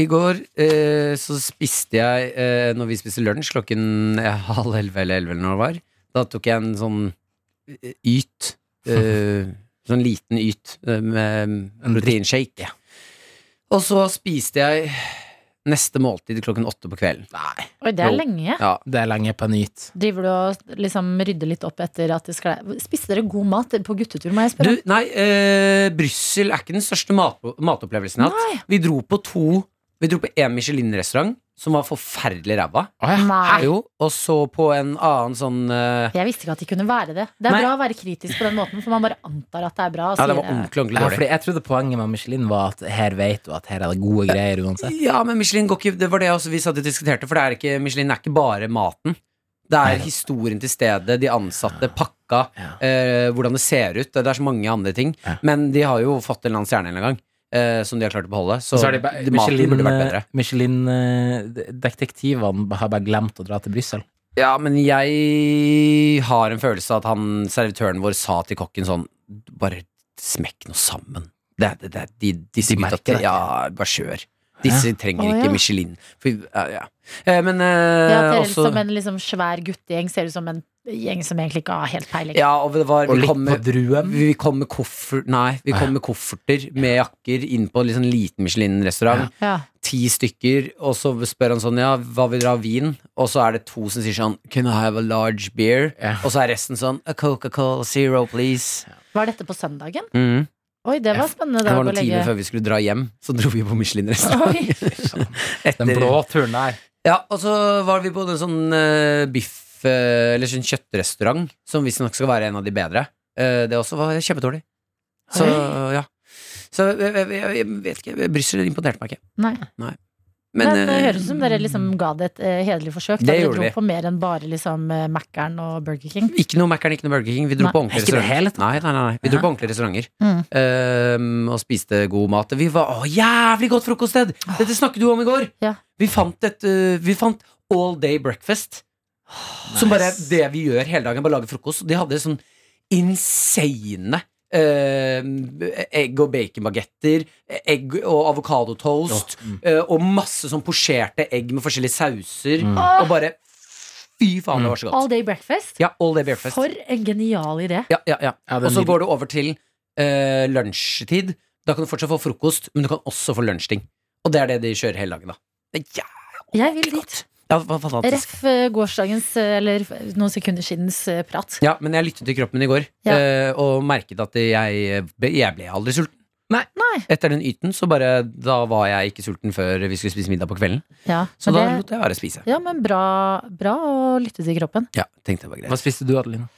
[SPEAKER 3] I går eh, så spiste jeg eh, Når vi spiste lunsj klokken eh, halv elleve eller elleve eller når det var Da tok jeg en sånn eh, yt eh, Sånn liten yt eh, Med proteinshake Og så spiste jeg Neste måltid klokken åtte på kvelden
[SPEAKER 2] Oi, det er
[SPEAKER 3] Jo.
[SPEAKER 2] lenge.
[SPEAKER 3] Ja,
[SPEAKER 4] Det er lenge på nyt.
[SPEAKER 2] Driver du og liksom rydder litt opp etter at det sklei? Spiste dere god mat på guttetur, må jeg
[SPEAKER 3] Du,
[SPEAKER 2] spørre?
[SPEAKER 3] nei, eh, Bryssel er ikke den største mat, matopplevelsen jeg har hatt. Vi dro på to Vi dro på en Michelin-restaurant Som var forferdelig ræva
[SPEAKER 2] Nei.
[SPEAKER 3] Jo, Og så på en annen sånn eh,
[SPEAKER 2] Jeg visste ikke at de kunne være det. Det er
[SPEAKER 3] Nei.
[SPEAKER 2] bra å være kritisk på den måten, for man bare antar at det er bra. og
[SPEAKER 3] Ja, det
[SPEAKER 2] sier
[SPEAKER 3] var ordentlig, ordentlig
[SPEAKER 4] Ja,
[SPEAKER 3] dårlig
[SPEAKER 4] fordi jeg trodde poenget med Michelin var at her vet du at her er det gode greier uansett.
[SPEAKER 3] Ja, men Michelin går ikke Det var det også vi satt og diskuterte, for det er ikke, Michelin er ikke bare maten. Det er historien til stedet, de ansatte, pakka,
[SPEAKER 4] Ja.
[SPEAKER 3] eh, hvordan det ser ut. Det er så mange andre ting.
[SPEAKER 4] Ja.
[SPEAKER 3] Men de har jo fått en eller annen stjerne en eller annen gang, eh, som de har klart å beholde. Så,
[SPEAKER 4] Så er det bare-
[SPEAKER 3] maten burde vært bedre.
[SPEAKER 4] Michelin, eh, Michelin-detektivene har bare glemt å dra til Brussel.
[SPEAKER 3] Ja, men jeg har en følelse av at han servitøren vår sa til kokken sånn Bare smekk noe sammen. Det, det, det, de, disse
[SPEAKER 4] De
[SPEAKER 3] gutta
[SPEAKER 4] merker det.
[SPEAKER 3] tre- Ja, bare kjør. Disse trenger
[SPEAKER 2] Å,
[SPEAKER 3] ikke
[SPEAKER 2] ja.
[SPEAKER 3] Michelin. For, ja, ja. Eh, men eh,
[SPEAKER 2] Ja, dere
[SPEAKER 3] også
[SPEAKER 2] som en liksom svær guttegjeng ser ut som en gjeng som egentlig ikke har helt peiling.
[SPEAKER 3] Ja, og det var
[SPEAKER 4] Og
[SPEAKER 3] Vi
[SPEAKER 4] litt
[SPEAKER 3] kom
[SPEAKER 4] på
[SPEAKER 3] med,
[SPEAKER 4] druen.
[SPEAKER 3] vi kom med koffer, Nei, vi kom med kofferter med jakker inn på en liksom liten Michelin-restaurant.
[SPEAKER 2] Ja.
[SPEAKER 3] Ti stykker, og så spør han sånn Ja, hva vil dere ha? Vin? Og så er det to som sier sånn Can I have a large beer?
[SPEAKER 4] Ja.
[SPEAKER 3] Og så er resten sånn A Coca-Cola Zero, please.
[SPEAKER 2] Var dette på søndagen?
[SPEAKER 3] Mm.
[SPEAKER 2] Oi, det var spennende.
[SPEAKER 3] Det
[SPEAKER 2] dag
[SPEAKER 3] var
[SPEAKER 2] å
[SPEAKER 3] noen timer
[SPEAKER 2] legge-
[SPEAKER 3] før vi skulle dra hjem, så dro vi på
[SPEAKER 2] Oi.
[SPEAKER 3] Michelin-restaurant.
[SPEAKER 4] Den blå turen der.
[SPEAKER 3] Ja, og så var vi på en sånn eh, biff eh, Eller sånn kjøttrestaurant Som visstnok skal være en av de bedre Eh, Det også var kjempedårlig Så ja Så jeg, jeg, jeg, jeg vet ikke, Bryssel imponerte meg ikke
[SPEAKER 2] Nei.
[SPEAKER 3] Men,
[SPEAKER 2] Men, det
[SPEAKER 3] eh,
[SPEAKER 2] høres ut som dere liksom ga det et eh, hederlig forsøk.
[SPEAKER 3] Det
[SPEAKER 2] Da dere
[SPEAKER 3] gjorde
[SPEAKER 2] dro
[SPEAKER 3] vi.
[SPEAKER 2] på mer enn bare liksom eh, Mækkern og Burger King.
[SPEAKER 3] Ikke noe Mac'eren, ikke noe Burger King Vi dro
[SPEAKER 2] Nei,
[SPEAKER 3] på ordentlige
[SPEAKER 4] ikke i det hele
[SPEAKER 3] restauranter nei, nei, nei, nei, vi dro
[SPEAKER 4] Ja.
[SPEAKER 3] på ordentlige restauranter
[SPEAKER 2] Mm.
[SPEAKER 3] Eh, Og spiste god mat Vi var, å jævlig godt frokoststed Dette snakket du om i går
[SPEAKER 2] Ja.
[SPEAKER 3] Vi fant et, eh, vi fant all day breakfast Som bare er det vi gjør hele dagen, bare lager frokost. De hadde sånn insane eh, egg og baconbagetter, egg og avokadotoast,
[SPEAKER 4] mm.
[SPEAKER 3] eh, og masse sånn posjerte egg med forskjellige sauser,
[SPEAKER 4] Mm.
[SPEAKER 3] og bare Fy faen, det var så
[SPEAKER 2] Mm. All
[SPEAKER 3] godt.
[SPEAKER 2] Day Breakfast.
[SPEAKER 3] Ja, all day breakfast.
[SPEAKER 2] For en genial idé.
[SPEAKER 3] Ja, ja, ja.
[SPEAKER 4] Ja, det
[SPEAKER 3] Og
[SPEAKER 4] er
[SPEAKER 3] så
[SPEAKER 4] nydelig.
[SPEAKER 3] går du over til eh, lunsjtid. Da kan du fortsatt få frokost, men du kan også få lunsjting. Og det er det de kjører hele dagen, da. Det er jævlig
[SPEAKER 2] Jeg vil dit.
[SPEAKER 3] godt. Ja, det var fantastisk.
[SPEAKER 2] Ref eh, gårsdagens, eh, eller f- noen sekunder sidens eh, prat.
[SPEAKER 3] Ja, men jeg lyttet til kroppen min i går
[SPEAKER 2] Ja.
[SPEAKER 3] eh, og merket at jeg, jeg ble aldri sulten.
[SPEAKER 2] Nei.
[SPEAKER 3] Etter den yten, så bare Da var jeg ikke sulten før vi skulle spise middag på kvelden.
[SPEAKER 2] Ja,
[SPEAKER 3] Så da
[SPEAKER 2] men,
[SPEAKER 3] lot jeg bare spise.
[SPEAKER 2] det, ja, men bra, bra å lytte til kroppen.
[SPEAKER 3] Ja, tenkte det var greit.
[SPEAKER 4] Hva spiste du, Adelina?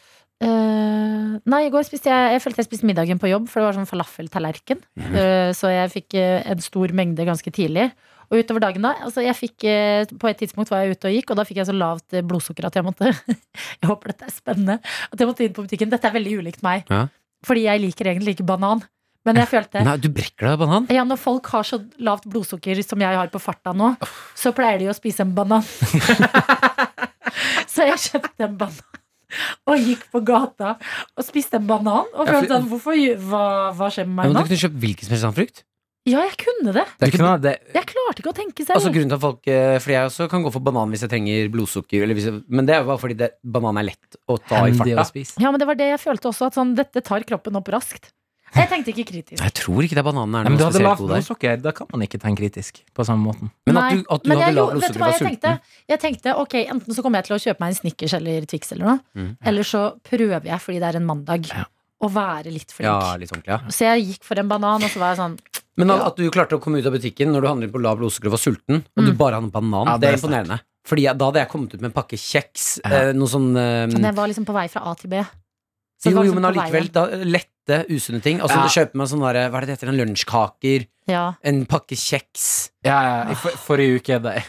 [SPEAKER 2] Eh, nei, i går spiste jeg Jeg følte jeg spiste middagen på jobb, for det var sånn falafeltallerken. Eh, så jeg fikk eh, en stor mengde ganske tidlig. Og utover dagen da, altså jeg fikk, eh, På et tidspunkt var jeg ute og gikk, og da fikk jeg så lavt eh, blodsukker at jeg måtte Jeg håper dette er spennende. At jeg måtte inn på butikken. Dette er veldig ulikt meg.
[SPEAKER 3] Ja.
[SPEAKER 2] Fordi jeg liker egentlig ikke banan. Men jeg følte
[SPEAKER 3] Nei, du brekker deg, banan.
[SPEAKER 2] ja, Når folk har så lavt blodsukker som jeg har på farta nå, så pleier de å spise en banan. så jeg kjøpte en banan og gikk på gata og spiste en banan. Og
[SPEAKER 3] Ja, for-
[SPEAKER 2] følte sånn Hvorfor gjør- hva, hva skjer med
[SPEAKER 3] Ja,
[SPEAKER 2] meg
[SPEAKER 3] men du
[SPEAKER 2] nå?
[SPEAKER 3] kunne kjøpt hvilken som helst annen frukt.
[SPEAKER 2] Ja, jeg kunne det.
[SPEAKER 4] Det er ikke noe, det,
[SPEAKER 2] Jeg klarte ikke å tenke selv.
[SPEAKER 3] Altså, grunnen til at folk eh, Fordi jeg også kan gå for banan hvis jeg trenger blodsukker, eller hvis jeg, men det er jo bare fordi det, banan er lett å ta i
[SPEAKER 4] Hendig å
[SPEAKER 3] farta.
[SPEAKER 4] spise.
[SPEAKER 2] ja, men det var det jeg følte også, at sånn, dette tar kroppen opp raskt. Jeg tenkte ikke kritisk.
[SPEAKER 3] Jeg tror ikke det er bananen er
[SPEAKER 4] Nei, men du
[SPEAKER 3] noe
[SPEAKER 4] hadde
[SPEAKER 3] spesielt
[SPEAKER 4] lavt
[SPEAKER 3] god der.
[SPEAKER 4] blodsukker. Da kan man ikke tenke kritisk på samme måten.
[SPEAKER 3] Men
[SPEAKER 2] Nei,
[SPEAKER 3] at du, at du
[SPEAKER 2] men
[SPEAKER 3] hadde
[SPEAKER 2] jeg
[SPEAKER 3] lavt
[SPEAKER 2] gjorde- vet du hva
[SPEAKER 3] blodsukker, var
[SPEAKER 2] jeg
[SPEAKER 3] sulten.
[SPEAKER 2] tenkte? Jeg tenkte ok, enten så kommer jeg til å kjøpe meg en Snickers eller Twix eller noe,
[SPEAKER 3] Mm.
[SPEAKER 2] eller så prøver jeg fordi det er en mandag,
[SPEAKER 4] Ja.
[SPEAKER 2] å være litt flink.
[SPEAKER 3] Ja, Mm. litt ordentlig, ja.
[SPEAKER 2] Så jeg gikk for en banan, og så var jeg sånn
[SPEAKER 3] Men at,
[SPEAKER 2] Ja.
[SPEAKER 3] at du klarte å komme ut av butikken når du handlet på lav blodsukker og var sulten, og du
[SPEAKER 2] Mm.
[SPEAKER 3] bare hadde en banan,
[SPEAKER 4] Ja,
[SPEAKER 3] det
[SPEAKER 4] det
[SPEAKER 3] er
[SPEAKER 4] er sterkt.
[SPEAKER 3] imponerende. Fordi jeg, da hadde jeg kommet ut med en pakke kjeks,
[SPEAKER 4] Ja.
[SPEAKER 3] eh, noe sånn eh,
[SPEAKER 2] Men jeg var liksom på vei fra A til B. Så det
[SPEAKER 3] Jo,
[SPEAKER 2] var
[SPEAKER 3] jo,
[SPEAKER 2] liksom
[SPEAKER 3] men
[SPEAKER 2] på vei
[SPEAKER 3] allikevel,
[SPEAKER 2] hjem.
[SPEAKER 3] da lette lette, usunne ting. Og så
[SPEAKER 4] Ja.
[SPEAKER 3] kjøper man sånne sånn der, hva er det det heter, en lunsjkaker,
[SPEAKER 2] Ja.
[SPEAKER 3] en pakke kjeks.
[SPEAKER 4] Ja, ja. I for, forrige uke, da jeg,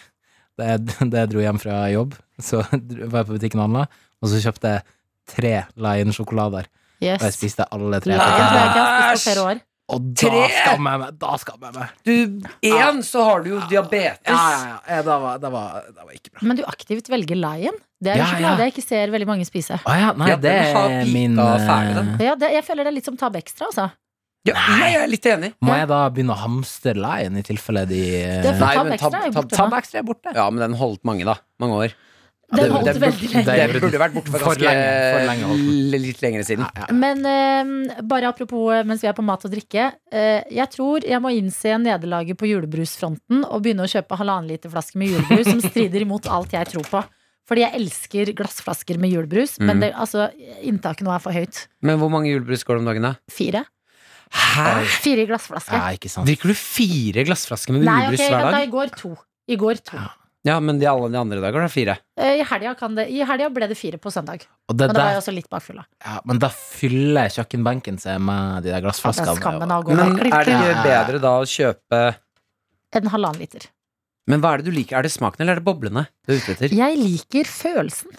[SPEAKER 4] da, jeg, da jeg dro hjem fra jobb, så dro- var jeg på butikken og handla, og så kjøpte jeg tre Lion-sjokolader. Og jeg
[SPEAKER 2] Yes.
[SPEAKER 4] spiste alle tre.
[SPEAKER 2] Laken tror jeg ikke jeg har spist på flere år.
[SPEAKER 4] Og da
[SPEAKER 3] Tre?
[SPEAKER 4] skammer jeg meg! Da skammer jeg meg.
[SPEAKER 3] Du, én, så har du jo diabetes.
[SPEAKER 4] Ja, ja, ja. Eh, Da var, da var, da var ikke bra.
[SPEAKER 2] Men du aktivt velger Lion. Det er en
[SPEAKER 4] Ja,
[SPEAKER 2] sjokolade
[SPEAKER 4] ja.
[SPEAKER 2] jeg ikke ser veldig mange spise.
[SPEAKER 4] Å ja, nei,
[SPEAKER 3] Ja,
[SPEAKER 4] det
[SPEAKER 3] den har
[SPEAKER 4] er
[SPEAKER 3] pika
[SPEAKER 4] min
[SPEAKER 3] ferdig, den.
[SPEAKER 4] eh,
[SPEAKER 2] Ja, det, jeg føler det er litt som Tab Extra, altså.
[SPEAKER 3] Ja, nei, jeg er litt enig.
[SPEAKER 4] Må jeg da begynne å hamstre Lion i tilfelle de eh,
[SPEAKER 2] Det er for
[SPEAKER 3] Nei,
[SPEAKER 2] Tab
[SPEAKER 3] men
[SPEAKER 2] Extra
[SPEAKER 3] Tab-
[SPEAKER 2] er jo
[SPEAKER 3] Tab-
[SPEAKER 2] borte
[SPEAKER 4] Tab
[SPEAKER 2] nå.
[SPEAKER 4] Extra er borte.
[SPEAKER 3] Ja, men den holdt mange, da. Mange år.
[SPEAKER 2] Den
[SPEAKER 3] det-
[SPEAKER 2] holdt
[SPEAKER 3] det-
[SPEAKER 2] veldig lenge.
[SPEAKER 4] det-
[SPEAKER 3] Det burde vært borte for
[SPEAKER 4] For
[SPEAKER 3] ganske
[SPEAKER 4] lenge, for lenge holdt
[SPEAKER 3] l- litt lengre siden.
[SPEAKER 2] Men eh, bare apropos eh, mens vi er på mat og drikke. eh, jeg tror jeg må innse nederlaget på julebrusfronten og begynne å kjøpe halvannen liter flasker med julebrus som strider imot alt jeg tror på. Fordi jeg elsker glassflasker med julebrus,
[SPEAKER 3] Mhm.
[SPEAKER 2] men det, altså, inntaket nå er for høyt.
[SPEAKER 3] Men hvor mange julebrus går det om dagen, da?
[SPEAKER 2] Fire.
[SPEAKER 3] Hæ?
[SPEAKER 2] Fire i glassflaske.
[SPEAKER 4] Ja, ikke sant.
[SPEAKER 3] Drikker du fire glassflasker med
[SPEAKER 2] Nei, ok,
[SPEAKER 3] julebrus
[SPEAKER 2] vent
[SPEAKER 3] hver
[SPEAKER 2] da,
[SPEAKER 3] dag?
[SPEAKER 2] i går to. I går to.
[SPEAKER 3] Ja, men de, alle de andre dager er det fire.
[SPEAKER 2] Eh, I helga, kan det, I helga ble det fire på søndag.
[SPEAKER 4] Og det
[SPEAKER 2] Men da var
[SPEAKER 4] der,
[SPEAKER 2] jeg også litt bakfull. da.
[SPEAKER 4] ja, men da fyller kjøkkenbenken seg med de
[SPEAKER 2] Ja,
[SPEAKER 4] der
[SPEAKER 2] det
[SPEAKER 4] glassflaskene.
[SPEAKER 2] er Skammen av å gå
[SPEAKER 3] Men
[SPEAKER 2] der.
[SPEAKER 3] er det ikke bedre da å kjøpe
[SPEAKER 2] En halvannen liter.
[SPEAKER 3] Men hva er det du liker? Er det smaken eller er det boblene du er ute etter?
[SPEAKER 2] Jeg liker følelsen.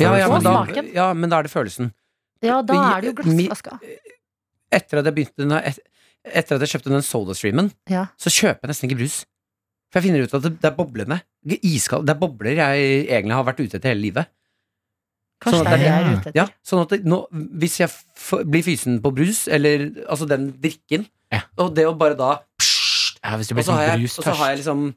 [SPEAKER 3] Ja, ja, men da,
[SPEAKER 2] Og smaken.
[SPEAKER 3] ja, men da er det følelsen.
[SPEAKER 2] Ja, da er det jo
[SPEAKER 3] Mi-
[SPEAKER 2] glassflaska.
[SPEAKER 3] Etter at jeg begynte den- et- Etter at jeg kjøpte den SodaStreamen,
[SPEAKER 2] Ja.
[SPEAKER 3] så kjøper jeg nesten ikke brus. For jeg finner ut at det, det er boblene. Iskald, det er bobler jeg egentlig har vært ute etter hele livet.
[SPEAKER 2] Kanskje
[SPEAKER 3] Sånn
[SPEAKER 2] det
[SPEAKER 3] at
[SPEAKER 2] er det jeg er
[SPEAKER 4] det-
[SPEAKER 2] ute etter.
[SPEAKER 3] Ja, sånn at det, nå, hvis jeg f blir fysen på brus, eller altså den drikken,
[SPEAKER 4] Ja.
[SPEAKER 3] og det å bare da
[SPEAKER 4] Ja, hvis du
[SPEAKER 3] Og
[SPEAKER 4] blir
[SPEAKER 3] så har jeg,
[SPEAKER 4] sånn
[SPEAKER 3] og så har
[SPEAKER 4] brustørst.
[SPEAKER 3] jeg liksom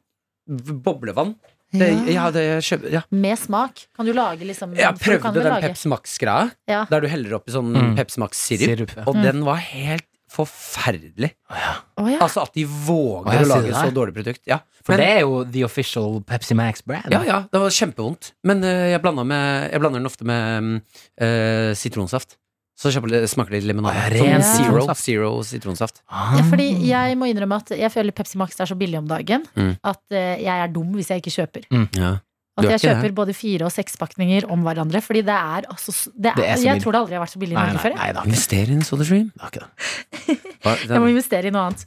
[SPEAKER 3] v- boblevann. Det,
[SPEAKER 2] Ja.
[SPEAKER 3] ja, det jeg kjøper ja.
[SPEAKER 2] Med smak. Kan du lage liksom
[SPEAKER 3] Jeg
[SPEAKER 2] for du kan vel
[SPEAKER 3] prøvde den
[SPEAKER 2] lage-
[SPEAKER 3] Peps Max-greia,
[SPEAKER 2] Ja.
[SPEAKER 3] der du heller oppi sånn
[SPEAKER 4] Mm.
[SPEAKER 3] Peps Max-sirup,
[SPEAKER 4] ja.
[SPEAKER 3] og
[SPEAKER 2] Mm.
[SPEAKER 3] den var helt forferdelig.
[SPEAKER 2] Å ja.
[SPEAKER 3] Altså at de våger
[SPEAKER 4] Å, jeg
[SPEAKER 3] å
[SPEAKER 4] sier
[SPEAKER 3] lage
[SPEAKER 4] det
[SPEAKER 3] et så
[SPEAKER 4] der.
[SPEAKER 3] dårlig produkt. Ja.
[SPEAKER 4] For
[SPEAKER 3] Men-
[SPEAKER 4] det er jo the official Pepsi Max brand.
[SPEAKER 3] Ja, ja, det var kjempevondt. Men eh, jeg, blanda med, jeg blander den ofte med mm, eh, sitronsaft. Så kjøper det- smaker det litt limonade.
[SPEAKER 4] Å, ren
[SPEAKER 2] Ja.
[SPEAKER 3] Sånn
[SPEAKER 4] sitronsaft.
[SPEAKER 3] zero, zero sitronsaft.
[SPEAKER 4] Ah.
[SPEAKER 2] ja, fordi jeg må innrømme at jeg føler Pepsi Max er så billig om dagen
[SPEAKER 3] Mm.
[SPEAKER 2] at eh, jeg er dum hvis jeg ikke kjøper.
[SPEAKER 3] Ja.
[SPEAKER 2] At
[SPEAKER 3] Du er
[SPEAKER 2] jeg
[SPEAKER 3] ikke det.
[SPEAKER 2] kjøper både fire og seks pakninger om hverandre. Fordi det er altså s- det er,
[SPEAKER 4] Det er så
[SPEAKER 2] Jeg
[SPEAKER 4] billig.
[SPEAKER 2] tror det aldri har vært så billig i Norge
[SPEAKER 4] Nei, nei,
[SPEAKER 2] før. jeg.
[SPEAKER 4] nei, det har ikke det.
[SPEAKER 3] Invester i en SodaStream.
[SPEAKER 4] Det har ikke det.
[SPEAKER 3] Hva-
[SPEAKER 2] Jeg må
[SPEAKER 3] den-
[SPEAKER 2] investere i noe annet.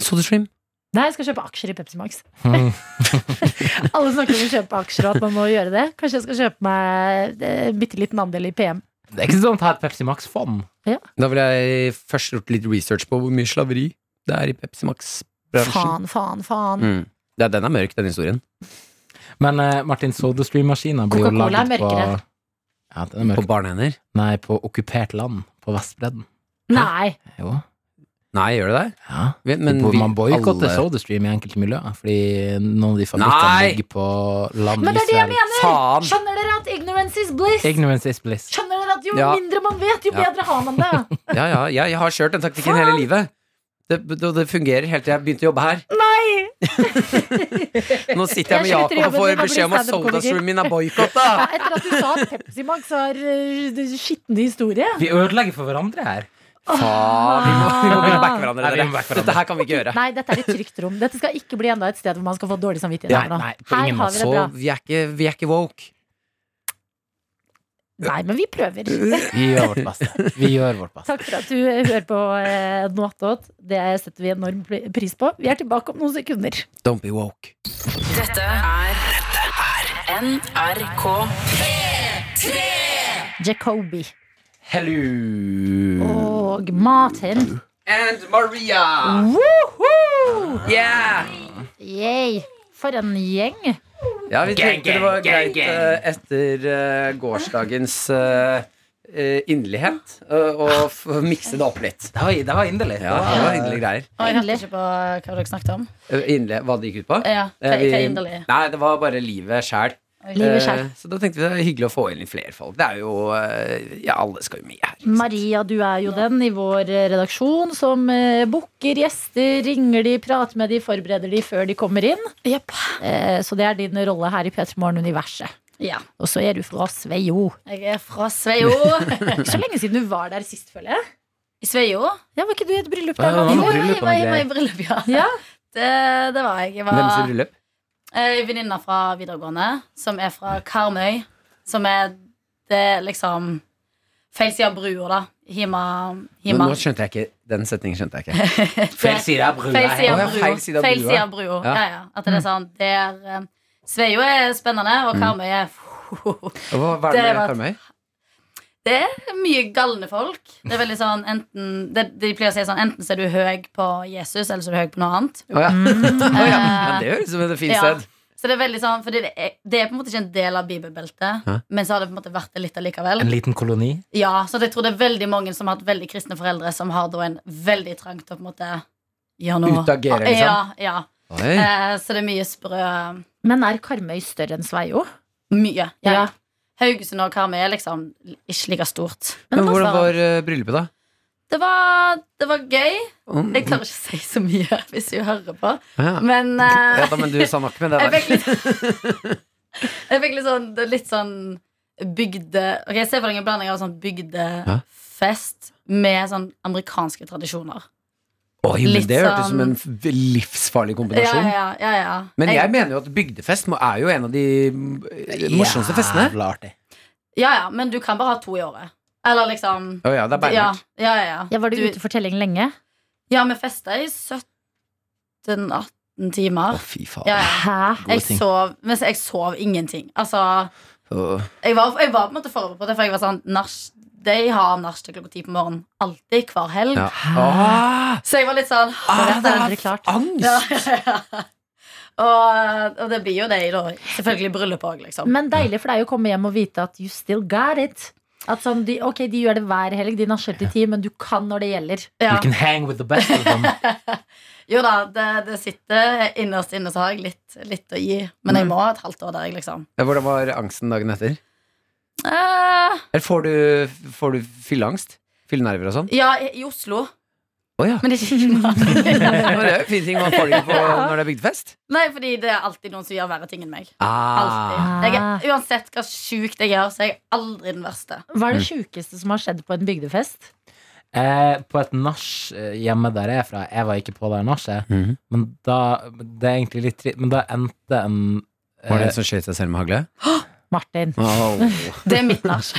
[SPEAKER 3] SodaStream.
[SPEAKER 2] Nei, jeg skal kjøpe aksjer i Pepsi Max.
[SPEAKER 4] Mm.
[SPEAKER 2] Alle snakker om å kjøpe aksjer og at man må gjøre det. Kanskje jeg skal kjøpe meg eh, en bitte liten andel i PM.
[SPEAKER 4] Det er ikke sånn å ha et Pepsi Max-fond.
[SPEAKER 3] Da ville jeg først gjort litt research på hvor mye slaveri det er i Pepsi Max.
[SPEAKER 2] Faen, faen, faen.
[SPEAKER 3] Mm. Ja, den er mørk, den historien.
[SPEAKER 4] Men eh, Martin, SodaStream-maskina blir jo
[SPEAKER 2] Coca-Cola er
[SPEAKER 4] laget på
[SPEAKER 2] mørkere.
[SPEAKER 4] Ja, den er
[SPEAKER 3] På
[SPEAKER 4] mørk.
[SPEAKER 3] barnehender.
[SPEAKER 4] Nei, på okkupert land. På Vestbredden.
[SPEAKER 2] Nei.
[SPEAKER 4] Jo.
[SPEAKER 3] Nei, gjør det det?
[SPEAKER 4] Ja.
[SPEAKER 3] Vi- Men
[SPEAKER 4] Hvor
[SPEAKER 3] vi-
[SPEAKER 4] man boikotter
[SPEAKER 3] alle-
[SPEAKER 4] SodaStream i enkelte miljøer, fordi noen av de fabrikkene
[SPEAKER 3] Nei!
[SPEAKER 4] ligger på land i
[SPEAKER 2] Men det er det jeg
[SPEAKER 4] Israel.
[SPEAKER 2] mener!
[SPEAKER 3] Faen!
[SPEAKER 2] Skjønner dere at ignorance is bliss?
[SPEAKER 4] Ignorance is bliss.
[SPEAKER 2] Skjønner dere at jo
[SPEAKER 3] Ja.
[SPEAKER 2] mindre man vet, jo
[SPEAKER 3] Ja.
[SPEAKER 2] bedre har man det?
[SPEAKER 3] Ja, ja, jeg, jeg har kjørt den taktikken hele livet. Det, det, det fungerer helt til jeg begynte å jobbe her.
[SPEAKER 2] Nei!
[SPEAKER 3] Nå sitter jeg med
[SPEAKER 2] Jeg slutter
[SPEAKER 3] Jakob og
[SPEAKER 2] jobben min,
[SPEAKER 3] får
[SPEAKER 2] jeg blir
[SPEAKER 3] beskjed om at
[SPEAKER 2] standup-komiker.
[SPEAKER 3] SodaStreamen min er boikotta!
[SPEAKER 2] Ja, etter at du sa at Pepsi Max har uh, skitne historie.
[SPEAKER 4] Vi ødelegger for hverandre her.
[SPEAKER 3] Faen, Ah, vi må, vi må begynne å backe hverandre.
[SPEAKER 4] Nei, vi må
[SPEAKER 3] dere.
[SPEAKER 4] backe hverandre.
[SPEAKER 3] Dette her kan vi ikke gjøre.
[SPEAKER 2] Nei, dette er et trygt rom. Dette skal ikke bli enda et sted hvor man skal få dårlig samvittighet.
[SPEAKER 4] Ja,
[SPEAKER 2] Abraham.
[SPEAKER 4] nei, på
[SPEAKER 2] Her
[SPEAKER 4] ingen
[SPEAKER 2] har vi det
[SPEAKER 3] Så
[SPEAKER 2] bra.
[SPEAKER 3] Altså, vi er ikke, vi er ikke woke.
[SPEAKER 2] Nei, men vi prøver.
[SPEAKER 4] Vi gjør vårt beste. Vi gjør vårt beste.
[SPEAKER 2] Takk for at du eh, hører på eh, Noatot. Det setter vi enorm pri- pris på. Vi er tilbake om noen sekunder.
[SPEAKER 3] Don't be woke.
[SPEAKER 7] Dette er NRK.
[SPEAKER 2] Jacobi
[SPEAKER 3] Hello.
[SPEAKER 2] og Martin.
[SPEAKER 3] And Maria.
[SPEAKER 2] Woohoo!
[SPEAKER 3] Yeah.
[SPEAKER 2] Yay. For en gjeng.
[SPEAKER 3] Ja, vi tenkte det var greit eh, etter eh, gårsdagens eh, eh, inderlighet eh, å f- mikse det opp litt.
[SPEAKER 4] Det var, det var inderlig.
[SPEAKER 3] Ja, det var inderlige greier.
[SPEAKER 8] Og jeg hørte ikke på hva dere snakket om.
[SPEAKER 3] Eh, Inderlig, hva det gikk ut på?
[SPEAKER 8] Ja, hva,
[SPEAKER 3] Eh, vi- Eh,
[SPEAKER 8] hva er inderlig?
[SPEAKER 3] Nei, det var bare livet sjæl.
[SPEAKER 2] Livet selv.
[SPEAKER 3] Så da tenkte vi det er hyggelig å få inn litt flere folk. Det er jo eh, Ja, alle skal jo med
[SPEAKER 2] Mm.
[SPEAKER 3] her. ikke sant?
[SPEAKER 2] Maria, du er jo den i vår eh, redaksjon som eh, booker gjester, ringer de, prater med de, forbereder de før de kommer inn.
[SPEAKER 8] Jepp.
[SPEAKER 2] Eh, så det er din rolle her i P3 Morgen-universet.
[SPEAKER 8] Ja.
[SPEAKER 2] Og så er du fra Sveio.
[SPEAKER 8] Jeg er fra Sveio.
[SPEAKER 2] Ikke så lenge siden du var der sist, føler jeg.
[SPEAKER 8] I Sveio?
[SPEAKER 2] Ja, var ikke du i et bryllup
[SPEAKER 4] Ja,
[SPEAKER 2] der?
[SPEAKER 4] det var
[SPEAKER 2] Martin?
[SPEAKER 8] Jo,
[SPEAKER 4] noe. bryllup
[SPEAKER 8] jeg var jeg
[SPEAKER 4] og
[SPEAKER 8] var i bryllup, ja.
[SPEAKER 2] Ja.
[SPEAKER 8] Det, det var jeg. Jeg
[SPEAKER 3] Hvem sitt
[SPEAKER 8] var
[SPEAKER 3] bryllup?
[SPEAKER 8] ei venninne fra videregående som er fra Karmøy. Som er det er liksom feil side av brua, da, Hima,
[SPEAKER 3] Nå,
[SPEAKER 8] hima.
[SPEAKER 3] nå skjønte jeg ikke Den setningen skjønte jeg ikke. Feil side av brua.
[SPEAKER 8] Feil
[SPEAKER 3] Å,
[SPEAKER 8] side
[SPEAKER 3] ja,
[SPEAKER 8] av brua.
[SPEAKER 3] feil side av
[SPEAKER 8] Feil
[SPEAKER 3] brua.
[SPEAKER 8] side av brua.
[SPEAKER 3] Ja.
[SPEAKER 8] Ja, ja. At det er sånn der eh, Sveio er spennende,
[SPEAKER 3] Mm.
[SPEAKER 8] og Karmøy er
[SPEAKER 3] Og Hva, hva er det
[SPEAKER 8] Det
[SPEAKER 3] med
[SPEAKER 8] var-
[SPEAKER 3] Karmøy?
[SPEAKER 8] Det er mye galne folk. Det er veldig sånn enten det, De pleier å si sånn enten så er du høy på Jesus, eller så er du høy på noe annet.
[SPEAKER 3] Å ja. Å ja. ja,
[SPEAKER 8] Eh,
[SPEAKER 3] Det høres ut som et fint
[SPEAKER 8] ja.
[SPEAKER 3] sted.
[SPEAKER 8] Så det er veldig sånn Fordi det er, det er på en måte ikke en del av bibelbeltet,
[SPEAKER 3] Hæ?
[SPEAKER 8] men så har det på en måte vært det litt allikevel.
[SPEAKER 4] En liten koloni.
[SPEAKER 8] Ja, så jeg tror det er veldig mange som har hatt veldig kristne foreldre, som har da en veldig trang til å på en måte gjøre noe.
[SPEAKER 3] Utagere, liksom.
[SPEAKER 8] Ja, ja.
[SPEAKER 3] Oi.
[SPEAKER 8] Eh, så det er mye sprø
[SPEAKER 2] Men er Karmøy større enn Sveio?
[SPEAKER 8] Mye. Ja.
[SPEAKER 2] Ja.
[SPEAKER 8] Haugesund og Karmøy er liksom ikke like stort.
[SPEAKER 3] Men
[SPEAKER 8] det
[SPEAKER 3] hvordan
[SPEAKER 8] var-
[SPEAKER 3] var eh, bryllupet, da?
[SPEAKER 8] Det var, det var gøy.
[SPEAKER 3] Mm.
[SPEAKER 8] Jeg klarer ikke å si så mye hvis du hører på,
[SPEAKER 3] Ja.
[SPEAKER 8] men eh,
[SPEAKER 3] Ja, da, men du sa nok med det
[SPEAKER 8] jeg
[SPEAKER 3] der.
[SPEAKER 8] fikk litt Jeg fikk litt sånn, det er litt sånn bygde Ok, jeg ser for deg en blanding av sånn bygdefest med sånn amerikanske tradisjoner.
[SPEAKER 3] Oi, men
[SPEAKER 8] litt
[SPEAKER 3] det hørtes ut som
[SPEAKER 8] sånn-
[SPEAKER 3] en f- livsfarlig
[SPEAKER 8] Ja,
[SPEAKER 3] kombinasjon.
[SPEAKER 8] ja, ja, ja.
[SPEAKER 3] Men jeg
[SPEAKER 8] Jeg-
[SPEAKER 3] mener jo at bygdefest må- er jo en av de eh, morsomste festene.
[SPEAKER 4] Jævla artig.
[SPEAKER 8] Ja, ja, men du kan bare ha to i året. Eller liksom
[SPEAKER 3] Å ja, det er
[SPEAKER 8] ja,
[SPEAKER 3] beinhardt.
[SPEAKER 8] ja, ja, ja.
[SPEAKER 2] Ja, var du
[SPEAKER 8] Du-
[SPEAKER 2] ute for telling lenge?
[SPEAKER 8] ja, vi festa i 17-18 timer.
[SPEAKER 3] Å, fy faen.
[SPEAKER 8] Ja, ja.
[SPEAKER 2] Hæ?
[SPEAKER 4] Gode
[SPEAKER 8] Jeg
[SPEAKER 4] ting.
[SPEAKER 8] sov, mens jeg sov ingenting. Altså,
[SPEAKER 3] Å.
[SPEAKER 8] jeg var, jeg var på en måte forberedt på det, for jeg var sånn nach, De har nach til klokka ti på morgenen. Alltid. Hver helg.
[SPEAKER 3] Ja. Ah,
[SPEAKER 8] Så jeg var litt sånn
[SPEAKER 3] ah,
[SPEAKER 2] Det
[SPEAKER 3] det
[SPEAKER 2] er aldri
[SPEAKER 3] er
[SPEAKER 2] klart.
[SPEAKER 3] angst!
[SPEAKER 8] ja, ja, ja. og, og det blir jo det i da. Selvfølgelig bryllup òg, liksom.
[SPEAKER 2] Men deilig for deg å komme hjem og vite at you still got it. At sånn, de, ok, de gjør det hver helg, de nasjer til ti, men du kan når det gjelder.
[SPEAKER 8] Ja.
[SPEAKER 4] You can hang with the best of them.
[SPEAKER 8] Jo da, det, det sitter innerst inne, så har jeg litt, litt å gi. Men jeg må ha et halvt år der jeg liksom
[SPEAKER 3] Ja, Hvordan var angsten dagen etter?
[SPEAKER 8] eh,
[SPEAKER 3] Eller får du, får du fylleangst? Fyllenerver og sånn?
[SPEAKER 8] Ja, i, i Oslo.
[SPEAKER 3] Å ja.
[SPEAKER 8] Men ikke i Finnmark.
[SPEAKER 3] Det er jo en fin ting man får det på når det er bygdefest.
[SPEAKER 8] Nei, fordi det er alltid noen som gjør verre ting enn meg.
[SPEAKER 3] Ah.
[SPEAKER 8] Alltid. Jeg, er- uansett hva sjukt jeg gjør, så er jeg aldri den verste.
[SPEAKER 2] Hva er det
[SPEAKER 4] Mm.
[SPEAKER 2] sjukeste som har skjedd på en bygdefest?
[SPEAKER 4] Eh, på et nach eh, hjemme der jeg er fra Jeg var ikke på det nachet,
[SPEAKER 3] Mhm.
[SPEAKER 4] men da Det er egentlig litt trist, men da endte en eh,
[SPEAKER 3] Var det en som skjøt seg selv med hagle?
[SPEAKER 2] Martin.
[SPEAKER 8] Det er mitt nach.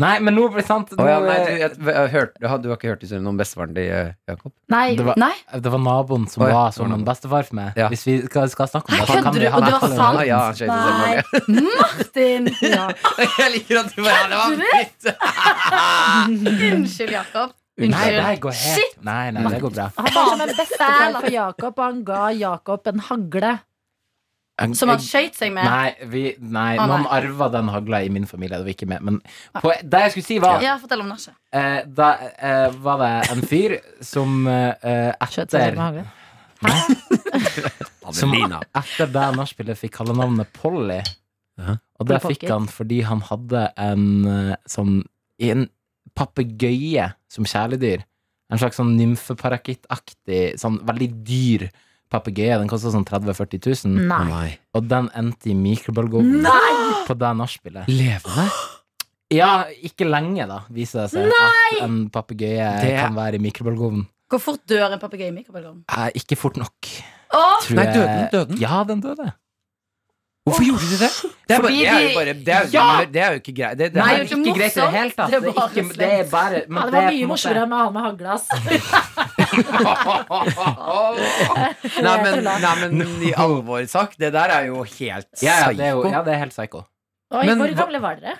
[SPEAKER 4] Nei, men nå blir det sant.
[SPEAKER 3] Å ja,
[SPEAKER 4] nå,
[SPEAKER 3] nei, du,
[SPEAKER 4] eh,
[SPEAKER 3] jeg, jeg hørte, du, har, du har ikke hørt historien om bestefaren til eh, Jakob?
[SPEAKER 2] Nei,
[SPEAKER 4] det, var,
[SPEAKER 8] Nei,
[SPEAKER 4] det var naboen som
[SPEAKER 3] Å ja,
[SPEAKER 4] var
[SPEAKER 3] det
[SPEAKER 4] som
[SPEAKER 3] var
[SPEAKER 4] en
[SPEAKER 3] naboen.
[SPEAKER 4] bestefar for meg.
[SPEAKER 3] Ja.
[SPEAKER 4] Hvis vi skal, skal snakke om det,
[SPEAKER 8] kødder du? Og det var sant?
[SPEAKER 3] Ah, ja, han skjøt seg selv med hagle.
[SPEAKER 8] Martin!
[SPEAKER 3] Jeg liker at du bare ja, det var dritt.
[SPEAKER 8] Unnskyld, Jakob.
[SPEAKER 4] Nei, det
[SPEAKER 8] Unnskyld.
[SPEAKER 4] her går helt Nei, nei, det går bra.
[SPEAKER 2] han var som en bestefar for Jakob, og han ga Jakob en hagle.
[SPEAKER 8] Som han skøyt seg med.
[SPEAKER 4] Nei, vi, nei
[SPEAKER 8] Å,
[SPEAKER 4] noen
[SPEAKER 8] nei.
[SPEAKER 4] arva den hagla i min familie. Det var ikke med. Men på, det jeg skulle si, var
[SPEAKER 8] Ja, fortell om nachet.
[SPEAKER 4] eh, Da eh, var det en fyr som eh,
[SPEAKER 2] Skjøt seg selv
[SPEAKER 4] etter,
[SPEAKER 2] med hagle.
[SPEAKER 4] som e-
[SPEAKER 3] Adelina.
[SPEAKER 4] etter det nachspielet fikk kallenavnet Polly.
[SPEAKER 3] Jaha.
[SPEAKER 4] Og det
[SPEAKER 2] Polly
[SPEAKER 4] fikk han fordi han hadde en eh, sånn En papegøye som kjæledyr. En slags sånn nymfeparakittaktig, sånn veldig dyr papegøye. Den kosta sånn 30 000-40 000.
[SPEAKER 3] Å,
[SPEAKER 2] Nei.
[SPEAKER 3] nei.
[SPEAKER 4] Og den endte i mikrobølgeovnen på det nachspielet.
[SPEAKER 3] Levende?
[SPEAKER 4] Ja, ikke lenge, da, viser det seg at en papegøye
[SPEAKER 3] Det-
[SPEAKER 4] kan være i mikrobølgeovnen.
[SPEAKER 8] Hvor fort dør en papegøye i mikrobølgeovnen?
[SPEAKER 4] Eh, ikke fort nok.
[SPEAKER 8] Åh!
[SPEAKER 4] tror
[SPEAKER 3] Nei,
[SPEAKER 4] jeg-
[SPEAKER 3] døde den, døde den?
[SPEAKER 4] Ja, den døde.
[SPEAKER 3] Hvorfor gjorde de det? Det er, bare,
[SPEAKER 4] Fordi
[SPEAKER 3] det er jo
[SPEAKER 4] de-
[SPEAKER 3] bare Det er jo,
[SPEAKER 4] Ja!
[SPEAKER 3] det er jo ikke greit. Det, det,
[SPEAKER 4] Nei,
[SPEAKER 3] er-
[SPEAKER 4] det er ikke greit i det hele tatt.
[SPEAKER 8] Det er
[SPEAKER 4] Det er,
[SPEAKER 8] bare
[SPEAKER 4] ikke, det er bare men
[SPEAKER 2] Ja, det var
[SPEAKER 4] på en
[SPEAKER 2] mye
[SPEAKER 4] måte-
[SPEAKER 2] morsommere med han med hagla. ass.
[SPEAKER 3] nei, men, nei, men i alvor sagt, det der er jo helt
[SPEAKER 4] Ja, ja, det er jo,
[SPEAKER 3] psyko.
[SPEAKER 4] ja, det er helt psycho.
[SPEAKER 2] Oi,
[SPEAKER 3] Men
[SPEAKER 2] hvor
[SPEAKER 3] hva-
[SPEAKER 2] gamle var dere?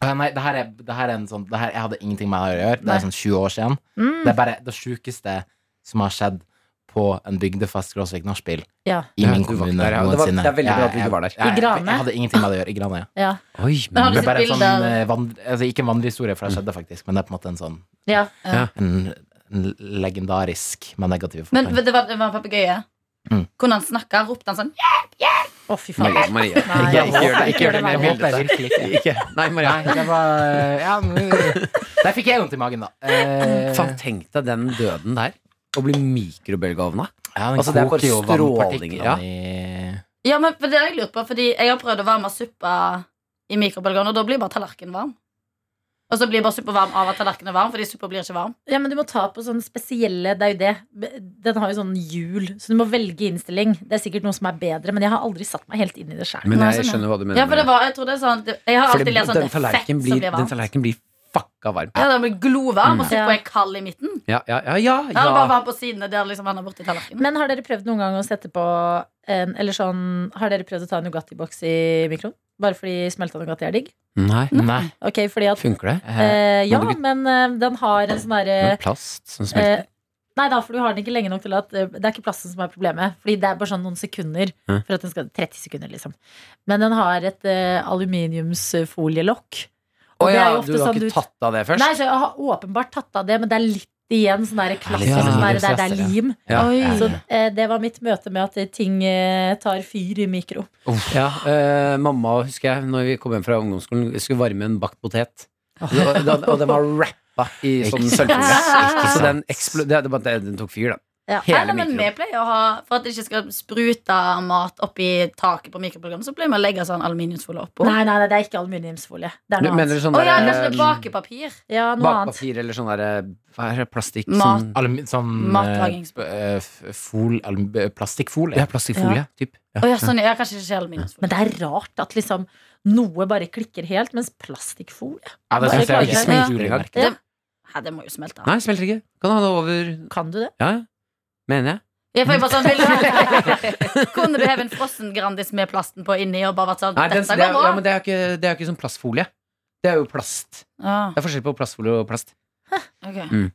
[SPEAKER 4] Eh, Nei, det her er, det her er en sånn det her, Jeg hadde ingenting med det å gjøre. Det er sånn 20 år siden. Det
[SPEAKER 2] Mm.
[SPEAKER 4] er bare det sjukeste som har skjedd på en bygdefest skråstrek nachspiel
[SPEAKER 2] Ja.
[SPEAKER 4] i
[SPEAKER 3] Ja,
[SPEAKER 4] min
[SPEAKER 3] du var
[SPEAKER 4] kommune
[SPEAKER 3] ikke der, ja. Det var-
[SPEAKER 4] noensinne.
[SPEAKER 3] det er veldig bra at du
[SPEAKER 4] Jeg-
[SPEAKER 3] ikke var der.
[SPEAKER 4] jeg- jeg-
[SPEAKER 2] I Grane?
[SPEAKER 4] Jeg hadde ingenting med det å gjøre. I Grane, ja.
[SPEAKER 2] Ja.
[SPEAKER 3] Oi,
[SPEAKER 8] Men har du
[SPEAKER 4] Det er
[SPEAKER 8] sett
[SPEAKER 4] bare en sånn,
[SPEAKER 8] bilder?
[SPEAKER 4] eh, van, altså, ikke en vandrehistorie, for det skjedde faktisk, men det er på en måte en sånn
[SPEAKER 2] ja.
[SPEAKER 4] en, en legendarisk, men negativ
[SPEAKER 8] Men
[SPEAKER 4] fortelling.
[SPEAKER 8] det var, det var en papegøye.
[SPEAKER 4] Mm.
[SPEAKER 8] Kunne han snakke? Ropte han sånn?
[SPEAKER 2] Å, fy faen. Nei.
[SPEAKER 3] Maria. Ikke, ikke gjør det. Ikke gjør det
[SPEAKER 4] Nei,
[SPEAKER 3] mer
[SPEAKER 4] jeg håper
[SPEAKER 3] bildete.
[SPEAKER 4] jeg virkelig ikke.
[SPEAKER 3] Ikke. Nei, Maria.
[SPEAKER 4] Nei, det var eh, ja, men, Der fikk jeg vondt i magen, da. Eh,
[SPEAKER 3] Faen, tenk deg den døden der. Å bli mikrobølgeovna.
[SPEAKER 4] ja, den
[SPEAKER 3] altså, det er bare
[SPEAKER 4] koker jo
[SPEAKER 3] stråling,
[SPEAKER 4] vannpartiklene
[SPEAKER 3] ja.
[SPEAKER 4] i-
[SPEAKER 8] Ja, men for det har jeg lurt på, fordi jeg har prøvd å varme suppa i mikrobølgeovnen, og da blir bare tallerkenen varm. Og så blir bare suppa varm av at tallerkenen er varm, fordi suppa blir ikke varm.
[SPEAKER 2] Ja, men du må ta på sånne spesielle Det er jo det. Den har jo sånn hjul, så du må velge innstilling. Det er sikkert noe som er bedre, men jeg har aldri satt meg helt inn i det sjøl.
[SPEAKER 3] Men
[SPEAKER 8] Nei,
[SPEAKER 3] jeg
[SPEAKER 8] sånn, ja.
[SPEAKER 3] skjønner hva du mener.
[SPEAKER 8] Ja, for det var, jeg tror det er sånn Jeg har
[SPEAKER 3] Fordi
[SPEAKER 8] alltid lest sånn
[SPEAKER 3] den
[SPEAKER 8] effekt
[SPEAKER 3] tallerkenen
[SPEAKER 8] som
[SPEAKER 3] blir,
[SPEAKER 8] blir
[SPEAKER 3] den
[SPEAKER 8] varmt.
[SPEAKER 3] tallerkenen blir fucka varm.
[SPEAKER 8] Ja, den blir glovarm, og så
[SPEAKER 2] Ja.
[SPEAKER 8] får jeg kald i midten.
[SPEAKER 3] Ja, ja, ja, ja,
[SPEAKER 8] Ja. Eller bare
[SPEAKER 3] ja.
[SPEAKER 8] varm på sidene der liksom han er borti tallerkenen.
[SPEAKER 2] Men har dere prøvd noen gang å sette på en, Eller sånn, har dere prøvd å ta en Nugatti-boks i mikroen? Bare fordi smelta Nugatti er digg?
[SPEAKER 3] Nei.
[SPEAKER 4] Nei.
[SPEAKER 2] Ok, fordi at
[SPEAKER 3] Funker det?
[SPEAKER 2] eh, Ja,
[SPEAKER 3] men
[SPEAKER 2] men eh, den har en sånn
[SPEAKER 3] Med
[SPEAKER 2] derre
[SPEAKER 3] plast som smelter?
[SPEAKER 2] eh, Nei da, for du har den ikke lenge nok til at eh, Det er ikke plassen som er problemet. Fordi det er bare sånn noen sekunder.
[SPEAKER 3] Ja.
[SPEAKER 2] For at den skal, 30 sekunder, liksom. Men den har et eh, aluminiumsfolielokk.
[SPEAKER 3] Å
[SPEAKER 2] og det
[SPEAKER 3] ja,
[SPEAKER 2] er jo ofte
[SPEAKER 3] du har
[SPEAKER 2] sånn du-
[SPEAKER 3] ikke tatt av det først?
[SPEAKER 2] Nei, så jeg har åpenbart tatt av det, men det er litt igjen sånn der klassisk
[SPEAKER 3] Ja,
[SPEAKER 2] sånn der,
[SPEAKER 4] litt
[SPEAKER 2] der det er
[SPEAKER 4] stress,
[SPEAKER 2] lim.
[SPEAKER 3] Ja.
[SPEAKER 2] Så eh, det var mitt møte med at eh, ting eh, tar fyr i mikro.
[SPEAKER 3] Ja, eh, mamma, husker jeg, når vi kom hjem fra ungdomsskolen, skulle varme en bakt potet. Og- da- Og den var rappa i sånn
[SPEAKER 4] Ikke sant,
[SPEAKER 3] sølvpose.
[SPEAKER 4] ikke
[SPEAKER 3] Så den
[SPEAKER 4] sant.
[SPEAKER 3] eksploderte bare at Den tok fyr, da.
[SPEAKER 2] Ja.
[SPEAKER 3] Hele
[SPEAKER 8] Nei, nei, men vi
[SPEAKER 3] mikroen.
[SPEAKER 8] pleier å ha For at det ikke skal sprute mat oppi taket på mikroprogrammet, så pleier vi å legge sånn aluminiumsfolie oppå.
[SPEAKER 2] Nei, nei, nei, det er ikke aluminiumsfolie. Det er
[SPEAKER 3] Du
[SPEAKER 2] noe
[SPEAKER 3] mener
[SPEAKER 2] annet.
[SPEAKER 3] sånn
[SPEAKER 8] Å ja,
[SPEAKER 3] der,
[SPEAKER 8] kanskje det er
[SPEAKER 3] eh,
[SPEAKER 8] bakepapir.
[SPEAKER 2] Ja, noe annet.
[SPEAKER 3] bakpapir eller sånn der eh, Hva er det, plastikk?
[SPEAKER 8] Mat.
[SPEAKER 3] Sånn,
[SPEAKER 4] Alum, sånn
[SPEAKER 8] Matlaging.
[SPEAKER 4] eh, eh, f- fol, alum, eh, plastikkfolie.
[SPEAKER 3] ja, plastikkfolie, typ.
[SPEAKER 8] Å ja, sånn, ja, kanskje ikke aluminiumsfolie.
[SPEAKER 2] Men det er rart at liksom noe bare klikker helt, mens plastikkfolie
[SPEAKER 4] Ja,
[SPEAKER 2] det synes jeg er
[SPEAKER 3] Ikke
[SPEAKER 2] Ja.
[SPEAKER 3] smelter engang.
[SPEAKER 8] Det, ja, det må jo smelte.
[SPEAKER 3] Nei, smelter ikke. Kan ha det over
[SPEAKER 2] Kan du det?
[SPEAKER 3] Ja, ja. mener jeg.
[SPEAKER 8] Ja, for jeg bare sånn, vil du, Kunne du heve en frossen Grandis med plasten på inni og bare vært sånn
[SPEAKER 3] Nei, den,
[SPEAKER 8] Dette
[SPEAKER 3] det, er,
[SPEAKER 8] går bra.
[SPEAKER 3] ja, men det er jo ikke, det er jo ikke sånn plastfolie. Det er jo plast.
[SPEAKER 8] Ah,
[SPEAKER 3] Det er forskjell på plastfolie og plast.
[SPEAKER 8] ok.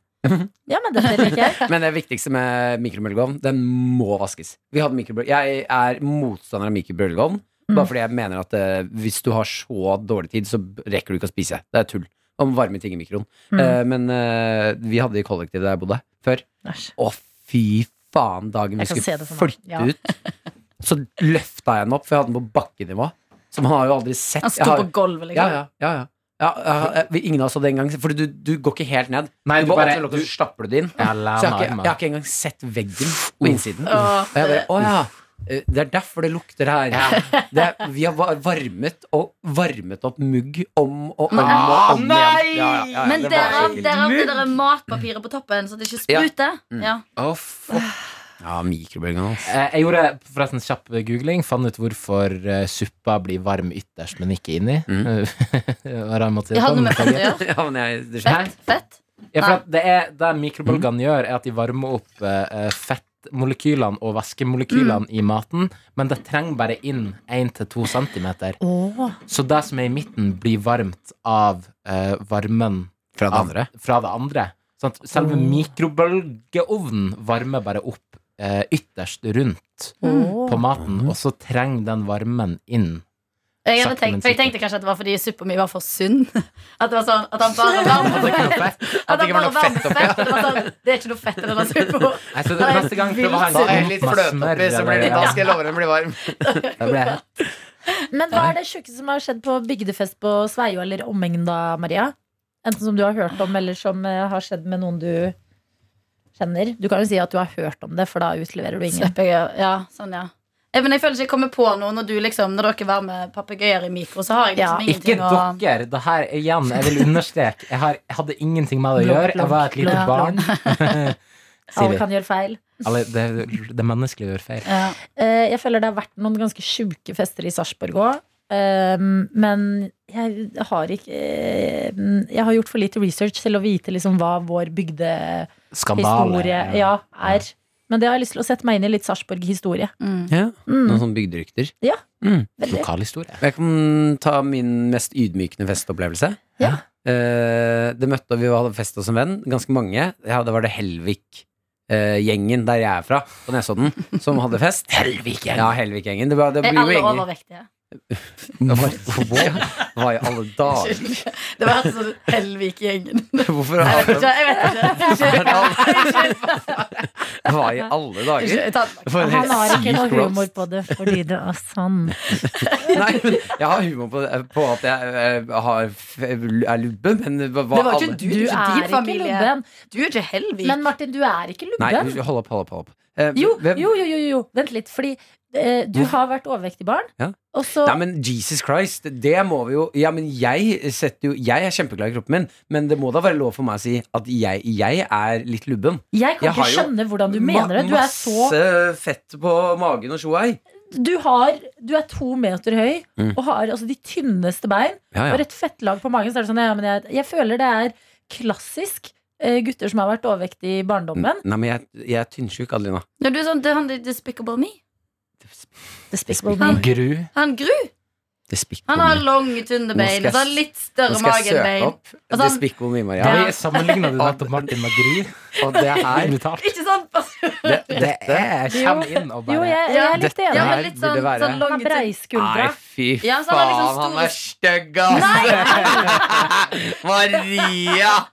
[SPEAKER 2] Ja, men dette liker jeg.
[SPEAKER 3] Men det viktigste med mikrobølgeovn, den må vaskes. Vi hadde mikrobøl- jeg er motstander av mikrobølgeovn,
[SPEAKER 2] Mm.
[SPEAKER 3] bare fordi jeg mener at eh, hvis du har så dårlig tid, så rekker du ikke å spise. Det er tull. Om varme ting i mikroen.
[SPEAKER 2] Mm.
[SPEAKER 3] Eh, men eh, vi hadde i kollektivet der jeg bodde før.
[SPEAKER 2] Æsj.
[SPEAKER 3] Å, fy faen, dagen vi
[SPEAKER 2] Jeg kan se
[SPEAKER 3] skulle
[SPEAKER 2] det for meg.
[SPEAKER 3] flytte
[SPEAKER 2] Ja.
[SPEAKER 3] ut. Så løfta jeg den opp, for jeg hadde den på bakkenivå. Som han har jo aldri sett.
[SPEAKER 8] Han
[SPEAKER 3] Jeg
[SPEAKER 8] sto
[SPEAKER 3] har-
[SPEAKER 8] på gulvet,
[SPEAKER 3] Mm. ja,
[SPEAKER 8] liksom.
[SPEAKER 3] ja, ja, ja. Ja, ja, vi- ingen av oss hadde engang For du, du går ikke helt ned.
[SPEAKER 4] Nei,
[SPEAKER 3] du
[SPEAKER 4] du
[SPEAKER 3] bare
[SPEAKER 4] bare-
[SPEAKER 3] åpner lokket, så slapper du det inn.
[SPEAKER 4] Jeg
[SPEAKER 3] Så jeg har, ikke, jeg
[SPEAKER 4] armen.
[SPEAKER 3] har ikke engang sett veggen på innsiden.
[SPEAKER 8] Åh,
[SPEAKER 3] Og jeg bare, å ja, eh, det er derfor det lukter her. Det er, vi har va- varmet og varmet opp mugg om og om og om igjen. Ja, ja, ja, ja,
[SPEAKER 8] Men
[SPEAKER 3] det var
[SPEAKER 8] derav
[SPEAKER 3] skikkelig.
[SPEAKER 8] derav det der matpapiret på toppen, så det ikke
[SPEAKER 3] Ja.
[SPEAKER 8] spruter.
[SPEAKER 3] Mm.
[SPEAKER 8] Ja.
[SPEAKER 4] Å, fuck.
[SPEAKER 3] Ja, mikrobølgen altså. hans.
[SPEAKER 4] Eh, Jeg gjorde forresten kjapp googling, fant ut hvorfor eh, suppa blir varm ytterst, men ikke inni.
[SPEAKER 3] Mm.
[SPEAKER 4] Rar måte å si det
[SPEAKER 8] Jeg
[SPEAKER 4] på,
[SPEAKER 8] hadde noe
[SPEAKER 4] men
[SPEAKER 8] med fett å gjøre.
[SPEAKER 3] Ja, men jeg, det skjer.
[SPEAKER 8] Fett, fett.
[SPEAKER 4] Ja, for at det, er, det
[SPEAKER 3] Mm.
[SPEAKER 4] mikrobølgene gjør, er at de varmer opp eh, eh, fettmolekylene og
[SPEAKER 8] Mm.
[SPEAKER 4] væskemolekylene i maten, men det trenger bare inn 1-2 cm.
[SPEAKER 2] Åh.
[SPEAKER 4] Så det som er i midten, blir varmt av eh, varmen
[SPEAKER 3] Fra det
[SPEAKER 4] av-
[SPEAKER 3] andre.
[SPEAKER 4] Fra det andre. Sånn at selve mikrobølgeovnen varmer bare opp eh, ytterst rundt på maten, og så trenger den varmen inn.
[SPEAKER 8] Jeg, hadde
[SPEAKER 4] Sakte,
[SPEAKER 8] tenkt,
[SPEAKER 4] men
[SPEAKER 8] for jeg
[SPEAKER 4] sikkert.
[SPEAKER 8] tenkte kanskje at det var fordi suppa mi var for sunn. At det var sånn, at han bare
[SPEAKER 4] At
[SPEAKER 8] varmer
[SPEAKER 4] det ikke var fett.
[SPEAKER 8] At
[SPEAKER 4] det
[SPEAKER 8] han
[SPEAKER 4] ikke var noe
[SPEAKER 8] bare varmer
[SPEAKER 4] fett oppi.
[SPEAKER 8] fett. Det, var sånn, det er ikke noe fett i denne suppa.
[SPEAKER 4] Nei, så neste gang prøv å henge
[SPEAKER 8] Da er
[SPEAKER 4] opp med smør eller- Ja.
[SPEAKER 3] jeg love den blir varm.
[SPEAKER 4] Da ble jeg-
[SPEAKER 2] Men hva er det sjukeste som har skjedd på bygdefest på Sveio eller omegn da, Maria? Enten som du har hørt om, eller som eh, har skjedd med noen du kjenner. Du kan jo si at du har hørt om det, for da utleverer du ingen.
[SPEAKER 8] Slipper jeg, ja, sånn, ja. Eh, Men jeg føler ikke jeg kommer på noe når, du liksom, når dere varmer papegøyer i mikro. Så har jeg
[SPEAKER 2] Ja,
[SPEAKER 8] liksom
[SPEAKER 4] Ikke
[SPEAKER 8] ingenting å
[SPEAKER 4] dere. Det her igjen, jeg vil understreke. Jeg, har, jeg hadde ingenting med det å
[SPEAKER 2] Blokk,
[SPEAKER 4] gjøre. Jeg var et lite
[SPEAKER 2] blokk,
[SPEAKER 4] barn.
[SPEAKER 2] Alle
[SPEAKER 4] Sier vi.
[SPEAKER 2] kan gjøre feil.
[SPEAKER 4] Alle, det, det menneskelige gjør feil.
[SPEAKER 8] ja.
[SPEAKER 2] Eh, Jeg føler det har vært noen ganske sjuke fester i Sarpsborg òg. Men jeg har ikke eh, Jeg har gjort for lite research til å vite liksom hva vår bygdehistorie
[SPEAKER 4] Skandale.
[SPEAKER 2] ja, er. Men det har jeg lyst til å sette meg inn i litt Sarpsborg-historie.
[SPEAKER 8] mm.
[SPEAKER 3] Ja,
[SPEAKER 2] Mm,
[SPEAKER 3] noen sånne bygderykter.
[SPEAKER 2] veldig.
[SPEAKER 4] Lokalhistorie.
[SPEAKER 3] Jeg kan ta min mest ydmykende festopplevelse.
[SPEAKER 2] Ja.
[SPEAKER 3] Eh, det møtte Vi hadde fest hos en venn, ganske mange. Ja, det var det Helvik-gjengen der jeg er fra, på Nesodden, som hadde fest. Helvik-gjengen! Ja, Helvik-gjengen. Det, var- det
[SPEAKER 8] Er
[SPEAKER 3] blir jo
[SPEAKER 8] alle
[SPEAKER 3] gjenger.
[SPEAKER 8] overvektige?
[SPEAKER 3] Hva hva i alle dager?
[SPEAKER 8] Det var helt sånn Hellvik-gjengen.
[SPEAKER 3] Hvorfor
[SPEAKER 8] Jeg
[SPEAKER 3] har
[SPEAKER 8] vet ikke. Jeg vet ikke.
[SPEAKER 3] Hva i alle
[SPEAKER 8] Ikke-
[SPEAKER 3] dager?
[SPEAKER 8] jeg tar den bak.
[SPEAKER 3] For en
[SPEAKER 2] Han har ikke
[SPEAKER 3] syk
[SPEAKER 2] noe
[SPEAKER 3] roast.
[SPEAKER 2] humor på det fordi det er sånn. sann.
[SPEAKER 3] Nei, men jeg har humor på, det- på at jeg, eh, har, f- er lubbe, men hva
[SPEAKER 8] Det var
[SPEAKER 3] alle-
[SPEAKER 8] ikke du.
[SPEAKER 2] Du er
[SPEAKER 8] det er ikke din
[SPEAKER 2] ikke
[SPEAKER 8] familie.
[SPEAKER 2] lubben.
[SPEAKER 8] Du er ikke Hellvik.
[SPEAKER 2] Men Martin, du er ikke
[SPEAKER 3] Nei,
[SPEAKER 2] lubben.
[SPEAKER 3] hold opp, hold opp, hold opp. Eh,
[SPEAKER 2] Jo,
[SPEAKER 3] hvem-
[SPEAKER 2] jo, jo, jo, jo. vent litt. Fordi eh, du har vært overvektig barn,
[SPEAKER 3] Ja.
[SPEAKER 2] og så
[SPEAKER 3] Nei, men Jesus Christ, det må vi jo Ja, men jeg setter jo Jeg er kjempeglad i kroppen min, men det må da være lov for meg å si at jeg, jeg er litt lubben.
[SPEAKER 2] Jeg kan
[SPEAKER 3] jeg har
[SPEAKER 2] ikke
[SPEAKER 3] jo
[SPEAKER 2] skjønne hvordan du mener det. Du er så
[SPEAKER 3] Masse fett på magen og tjoei.
[SPEAKER 2] du, har, du er to meter høy
[SPEAKER 3] Mm.
[SPEAKER 2] og har altså de tynneste bein
[SPEAKER 3] Ja,
[SPEAKER 2] og et fettlag på magen. Så er det sånn, ja, men jeg, jeg føler det er klassisk eh, gutter som har vært overvektige i barndommen.
[SPEAKER 3] Nei, men jeg, jeg er tynnsjuk, Adelina.
[SPEAKER 8] Ja, du er sånn, det er han i Despicable Me.
[SPEAKER 2] Despicable
[SPEAKER 8] Han-
[SPEAKER 2] Me.
[SPEAKER 4] Gru.
[SPEAKER 8] Han Gru.
[SPEAKER 3] Det spikker
[SPEAKER 8] Han har lange, tynne
[SPEAKER 3] Nå skal
[SPEAKER 8] bein.
[SPEAKER 3] jeg
[SPEAKER 8] Og så har han litt større mage enn bein.
[SPEAKER 3] opp.
[SPEAKER 8] Altså,
[SPEAKER 3] det
[SPEAKER 8] han-
[SPEAKER 3] spikker mye, Maria.
[SPEAKER 8] Ja.
[SPEAKER 4] Ja, Sammenligna du nettopp Martin med Gry?
[SPEAKER 3] Og det her
[SPEAKER 4] Brutalt.
[SPEAKER 8] Ikke sant?
[SPEAKER 3] det,
[SPEAKER 4] Det er Kjem inn og
[SPEAKER 2] Jo,
[SPEAKER 4] bare
[SPEAKER 2] jeg, jeg
[SPEAKER 8] Ja.
[SPEAKER 2] er litt
[SPEAKER 8] Ja,
[SPEAKER 2] enig.
[SPEAKER 8] men litt
[SPEAKER 3] Burde
[SPEAKER 8] sånn,
[SPEAKER 3] være.
[SPEAKER 8] sånn
[SPEAKER 2] Han
[SPEAKER 8] lange
[SPEAKER 2] har
[SPEAKER 8] tynne
[SPEAKER 2] breistskuldra.
[SPEAKER 3] fy
[SPEAKER 8] Ja, så han er liksom stor-
[SPEAKER 3] stygg, ass! Maria!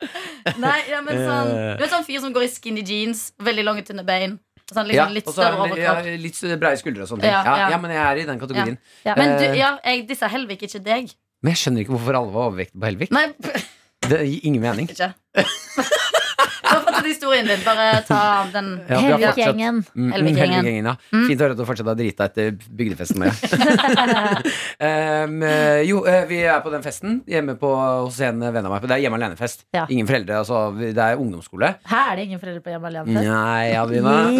[SPEAKER 8] Nei, ja, men sånn
[SPEAKER 3] Eh.
[SPEAKER 8] Du vet sånn fyr som går i skinny jeans, veldig lange, tynne bein. Og sånn,
[SPEAKER 3] Ja,
[SPEAKER 8] liksom, litt
[SPEAKER 3] og så er
[SPEAKER 8] større
[SPEAKER 3] det litt- ja,
[SPEAKER 8] overkropp.
[SPEAKER 3] litt breie skuldre og sånne ting.
[SPEAKER 8] Ja,
[SPEAKER 3] Ja,
[SPEAKER 8] ja.
[SPEAKER 3] ja, men jeg er i den kategorien.
[SPEAKER 2] Ja.
[SPEAKER 8] Men du,
[SPEAKER 3] Eh,
[SPEAKER 8] ja, jeg dissa Helvik, ikke deg.
[SPEAKER 3] Men jeg skjønner ikke hvorfor alle var overvektige på Helvik.
[SPEAKER 8] Nei, p-
[SPEAKER 3] Det gir ingen mening.
[SPEAKER 8] ikke. Du har fått ut historien din. Bare ta den.
[SPEAKER 3] Ja, vi har fortsatt-
[SPEAKER 2] Helvik-gjengen.
[SPEAKER 3] Mm,
[SPEAKER 8] Helvik-gjengen.
[SPEAKER 3] Helvik-gjengen, ja. Fint å høre at du fortsatt har drita etter bygdefesten med um, eh, Jo, eh, vi er på den festen hjemme på, hos en venn av meg. Det er hjemme alene-fest.
[SPEAKER 2] Ja.
[SPEAKER 3] Ingen foreldre, altså. vi- Det er ungdomsskole.
[SPEAKER 2] Her er det ingen foreldre på hjemme alene.
[SPEAKER 3] Nei, Adelina.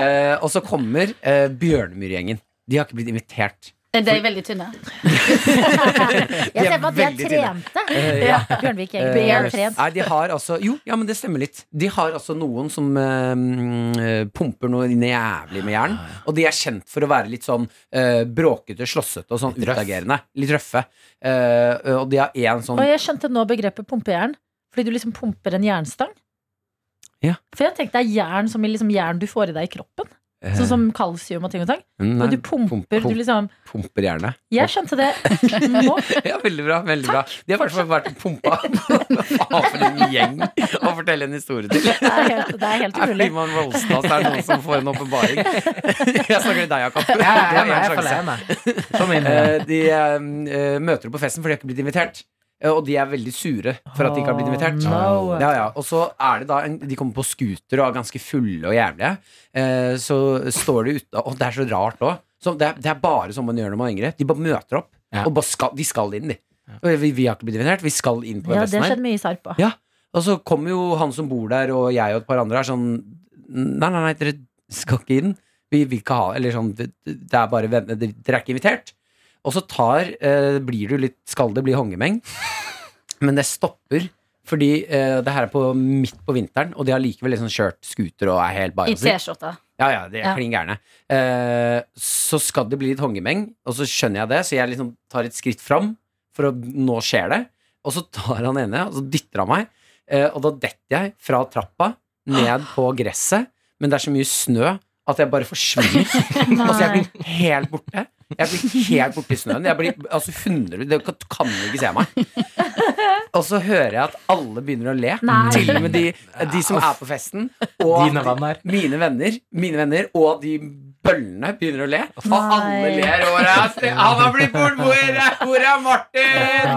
[SPEAKER 3] Eh, og så kommer eh, Bjørnemyrgjengen. De har ikke blitt invitert.
[SPEAKER 8] Er de veldig tynne?
[SPEAKER 2] Jeg ser på at de er
[SPEAKER 3] veldig
[SPEAKER 2] trente.
[SPEAKER 3] Eh, ja.
[SPEAKER 2] Bjørnvik-gjengen. De
[SPEAKER 3] Eh,
[SPEAKER 2] er trent.
[SPEAKER 3] Nei, de har altså Jo, ja, men det stemmer litt. De har altså noen som eh, mm, eh, pumper noe inn i jævlig med
[SPEAKER 4] Ah,
[SPEAKER 3] jern. Og de er kjent for å være litt sånn eh, bråkete, slåssete og sånn
[SPEAKER 4] Litt røff.
[SPEAKER 3] utagerende. Litt røffe. Eh, og de har én sånn
[SPEAKER 2] Og jeg skjønte nå begrepet pumpejern. Fordi du liksom pumper en jernstang.
[SPEAKER 3] Ja.
[SPEAKER 2] For jeg tenkte det er jern som i liksom jern du får i deg i kroppen.
[SPEAKER 3] eh,
[SPEAKER 2] Sånn som kalsium og ting og tang.
[SPEAKER 3] Mm, nei,
[SPEAKER 2] Og du
[SPEAKER 3] pump-
[SPEAKER 2] pumper,
[SPEAKER 3] pump-
[SPEAKER 2] du liksom
[SPEAKER 3] pumper jernet.
[SPEAKER 2] Jeg skjønte det nå.
[SPEAKER 3] Ja, veldig bra. veldig bra De har i hvert fall vært pumpa. Faen, for en gjeng å fortelle en historie til.
[SPEAKER 2] Det er helt, det er helt
[SPEAKER 3] Her
[SPEAKER 2] umulig.
[SPEAKER 3] blir man roasta, så er det noen som får en åpenbaring. Jeg snakker til deg, Jakob.
[SPEAKER 4] Ja,
[SPEAKER 3] Du har
[SPEAKER 4] jeg, jeg,
[SPEAKER 3] en
[SPEAKER 4] jeg,
[SPEAKER 3] sjanse. Eh, de eh, møter opp på festen, for de har ikke blitt invitert. Eh, Og de er veldig sure for at de ikke har blitt invitert.
[SPEAKER 2] Oh, no.
[SPEAKER 3] ja, ja. Og så er det da en, De kommer på scooter og er ganske fulle og jævlige. Eh, så står de ute Og det er så rart òg. Det, er- det er bare sånn man gjør når man er yngre. De bare møter opp,
[SPEAKER 4] Ja.
[SPEAKER 3] og bare skal, de skal inn, de. Og Vi, vi har ikke blitt invitert. Vi skal inn på den
[SPEAKER 2] Ja, det
[SPEAKER 3] festen her.
[SPEAKER 2] skjedde mye i Sarpa.
[SPEAKER 3] Ja. Og så kommer jo han som bor der, og jeg og et par andre er sånn Nei, nei, nei, dere skal ikke inn. Vi vil ikke ha Eller sånn Det det er bare venner. Dere dere er ikke invitert. Og så tar eh, Blir du litt Skal det bli hongemeng? Men det stopper. Fordi eh, det her er på midt på vinteren, og de har likevel liksom kjørt scooter og er helt
[SPEAKER 8] I
[SPEAKER 3] bajaser.
[SPEAKER 8] T-skjorte.
[SPEAKER 3] Ja, ja, det er
[SPEAKER 8] Ja.
[SPEAKER 3] klin gærne. Eh, så skal det bli litt hongemeng, og så skjønner jeg det, så jeg liksom tar et skritt fram, for å, nå skjer det. Og så tar han ene, og så dytter han meg, eh, og da detter jeg fra trappa ned på gresset, men det er så mye snø at jeg bare forsvinner. altså, jeg blir helt borte. Jeg blir helt borte i snøen. Jeg blir, altså, 100, det kan, kan ikke se meg. Og så hører jeg at alle begynner å le.
[SPEAKER 2] Nei.
[SPEAKER 3] Til og med de, de som er på festen. Og
[SPEAKER 4] Dine venner.
[SPEAKER 3] mine venner, mine venner og de bøllene begynner å le. Og alle ler. Og bare, "Ast- han har blitt bort! Hvor er, hvor er Martin?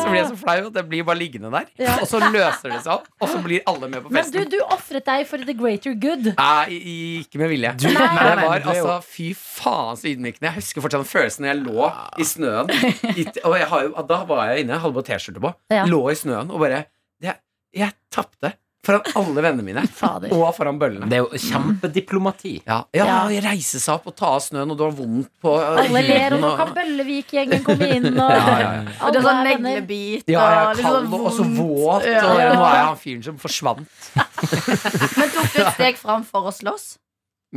[SPEAKER 3] Så blir jeg så flau at jeg blir bare liggende der.
[SPEAKER 2] Ja.
[SPEAKER 3] Og så løser det seg opp, og så blir alle med på
[SPEAKER 2] Men du,
[SPEAKER 3] festen.
[SPEAKER 2] du ofret deg for the greater good.
[SPEAKER 3] Nei, i- ikke med vilje.
[SPEAKER 4] Du-
[SPEAKER 3] det
[SPEAKER 4] Nei. Nei,
[SPEAKER 3] var
[SPEAKER 4] men det er jo-
[SPEAKER 3] altså Fy faen så ydmykende. Jeg husker fortsatt den følelsen når jeg lå i snøen. I, t- og jeg har jo, da var jeg inne, hadde på T-skjorte på,
[SPEAKER 2] Ja.
[SPEAKER 3] lå i snøen og bare Jeg, jeg tapte foran alle vennene mine.
[SPEAKER 2] Fader.
[SPEAKER 3] Og foran bøllene.
[SPEAKER 4] Det er jo kjempediplomati.
[SPEAKER 3] Ja, ja,
[SPEAKER 2] Ja.
[SPEAKER 3] og reise seg opp og ta av snøen, og du har vondt på eh,
[SPEAKER 2] Alle ler, og nå
[SPEAKER 3] huden,
[SPEAKER 2] kan Bøllevik-gjengen komme inn, og
[SPEAKER 3] ja, ja, ja.
[SPEAKER 8] Og det er sånn
[SPEAKER 2] alle er venner.
[SPEAKER 8] neglebit
[SPEAKER 3] Ja, jeg er
[SPEAKER 8] litt
[SPEAKER 3] kald
[SPEAKER 8] sånn
[SPEAKER 3] og og så
[SPEAKER 8] vondt.
[SPEAKER 3] våt,
[SPEAKER 8] Ja.
[SPEAKER 3] og nå er jeg han fyren som forsvant.
[SPEAKER 8] Men tok du et steg fram for å slåss?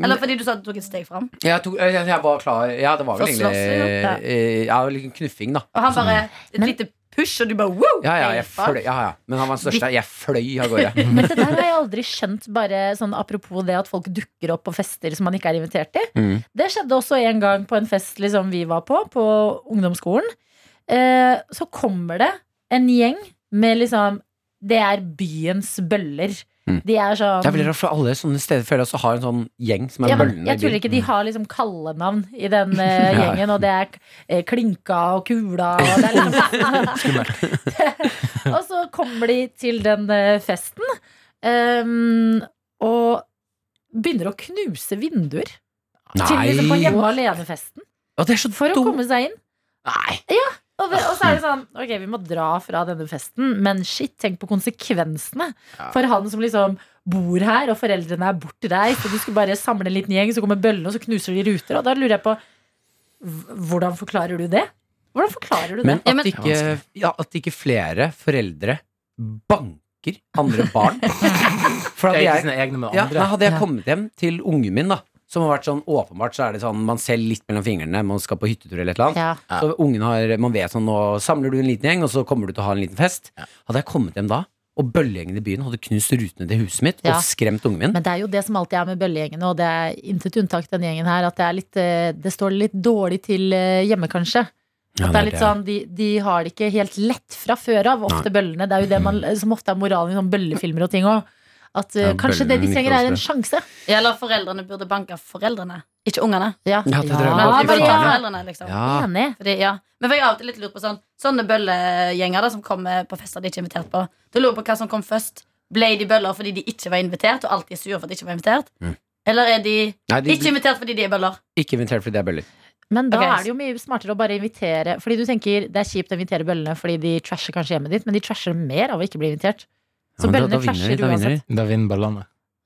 [SPEAKER 8] Eller fordi du sa at du tok et steg fram?
[SPEAKER 3] Jeg, tok, øh, jeg, jeg var klar Ja, det var vel
[SPEAKER 8] For
[SPEAKER 3] egentlig
[SPEAKER 8] slåssing,
[SPEAKER 2] ja.
[SPEAKER 3] eh, Ja, litt knuffing, da.
[SPEAKER 8] Og han bare et lite push, og du bare wow!
[SPEAKER 3] Sånn. Ja, ja, jeg
[SPEAKER 8] helt bak.
[SPEAKER 3] fløy, ja, ja. Men han var den største. Jeg fløy av gårde.
[SPEAKER 2] Men det der har jeg aldri skjønt, bare sånn apropos det at folk dukker opp på fester som man ikke er invitert til.
[SPEAKER 3] Mm.
[SPEAKER 2] Det skjedde også en gang på en fest liksom, vi var på, på ungdomsskolen. Eh, så kommer det en gjeng med liksom Det er byens bøller.
[SPEAKER 3] Mm.
[SPEAKER 2] De er sånn
[SPEAKER 3] Det er veldig rart, for alle sånne steder føler jeg også har en sånn gjeng som er
[SPEAKER 2] ja, men,
[SPEAKER 3] bøllene.
[SPEAKER 2] jeg
[SPEAKER 3] i
[SPEAKER 2] tror
[SPEAKER 3] byen.
[SPEAKER 2] ikke de har liksom kallenavn i den eh, gjengen, og det er eh, Klinka og Kula og det er liksom Og så kommer de til den eh, festen, ehm, og begynner å knuse vinduer. Til liksom på
[SPEAKER 3] Nei!
[SPEAKER 2] hjemme alene-festen.
[SPEAKER 3] Å, det er så
[SPEAKER 2] For å
[SPEAKER 3] dumt!
[SPEAKER 2] komme seg inn.
[SPEAKER 3] Nei!
[SPEAKER 2] Og, og så er det sånn Ok, vi må dra fra denne festen, men shit, tenk på konsekvensene.
[SPEAKER 4] Ja.
[SPEAKER 2] For han som liksom bor her, og foreldrene er bortreist, og de skulle bare samle en liten gjeng, så kommer bøllene, og så knuser de ruter. Og da lurer jeg på hv- Hvordan forklarer du det? Hvordan forklarer du det?
[SPEAKER 3] Men
[SPEAKER 8] Ja, men-
[SPEAKER 3] at ikke, ja, at ikke flere foreldre banker andre barn For at
[SPEAKER 4] Det er ikke
[SPEAKER 3] jeg,
[SPEAKER 4] sine egne, men
[SPEAKER 3] sånn- ja,
[SPEAKER 4] andre.
[SPEAKER 3] nei, Hadde jeg
[SPEAKER 2] Ja.
[SPEAKER 3] kommet hjem til ungen min, da som har vært sånn åpenbart, så er det sånn man ser litt mellom fingrene, man skal på hyttetur eller et eller annet.
[SPEAKER 2] Ja.
[SPEAKER 4] Ja.
[SPEAKER 3] Så ungen har, man vet sånn, nå samler du en liten gjeng, og så kommer du til å ha en liten fest. Hadde jeg kommet hjem da, og bøllegjengen i byen hadde knust rutene til huset mitt
[SPEAKER 2] Ja.
[SPEAKER 3] og skremt ungen min
[SPEAKER 2] Men det er jo det som alltid er med bøllegjengene, og det er intet unntak denne gjengen her, at det, er litt, eh, det står litt dårlig til eh, hjemme, kanskje.
[SPEAKER 3] Ja,
[SPEAKER 2] At det er litt sånn, de, de har det ikke helt lett fra før av, ofte bøllene. Det er jo det man,
[SPEAKER 3] Mm.
[SPEAKER 2] som ofte er moralen i sånne bøllefilmer og ting òg. At eh,
[SPEAKER 6] Ja,
[SPEAKER 2] kanskje det de
[SPEAKER 6] bøllene
[SPEAKER 2] trenger, er en
[SPEAKER 6] liker
[SPEAKER 2] sjanse.
[SPEAKER 8] Ja, Eller foreldrene burde banke foreldrene, ikke ungene.
[SPEAKER 2] Ja,
[SPEAKER 3] Ja, det tror jeg
[SPEAKER 2] Ja,
[SPEAKER 3] var
[SPEAKER 8] Banke
[SPEAKER 3] ikke
[SPEAKER 2] Maria.
[SPEAKER 3] farlig.
[SPEAKER 8] foreldrene, liksom.
[SPEAKER 3] Ah, Ja,
[SPEAKER 2] Enig.
[SPEAKER 8] Fordi, ja. Men for jeg har alltid litt lurt på sånn Sånne bøllegjenger da, som kommer på fester de ikke er invitert på. Da lurer jeg på hva som kom først. Ble de bøller fordi de ikke var invitert, og alltid er sure for at de ikke var invitert?
[SPEAKER 3] Mm.
[SPEAKER 8] Eller er de
[SPEAKER 3] Nei, de,
[SPEAKER 8] ikke invitert fordi de er bøller?
[SPEAKER 3] ikke invitert fordi det er bøller.
[SPEAKER 2] Men da
[SPEAKER 8] Ok.
[SPEAKER 2] er det jo mye smartere å bare invitere Fordi du tenker det er kjipt å invitere bøllene fordi de trasher kanskje hjemmet ditt, men de trasher mer av å ikke bli invitert. Så
[SPEAKER 3] Ja, men da- da
[SPEAKER 2] bøllene
[SPEAKER 3] vinner
[SPEAKER 2] trasher
[SPEAKER 3] de, da vinner de.
[SPEAKER 2] uansett.
[SPEAKER 4] Da vinner ballene.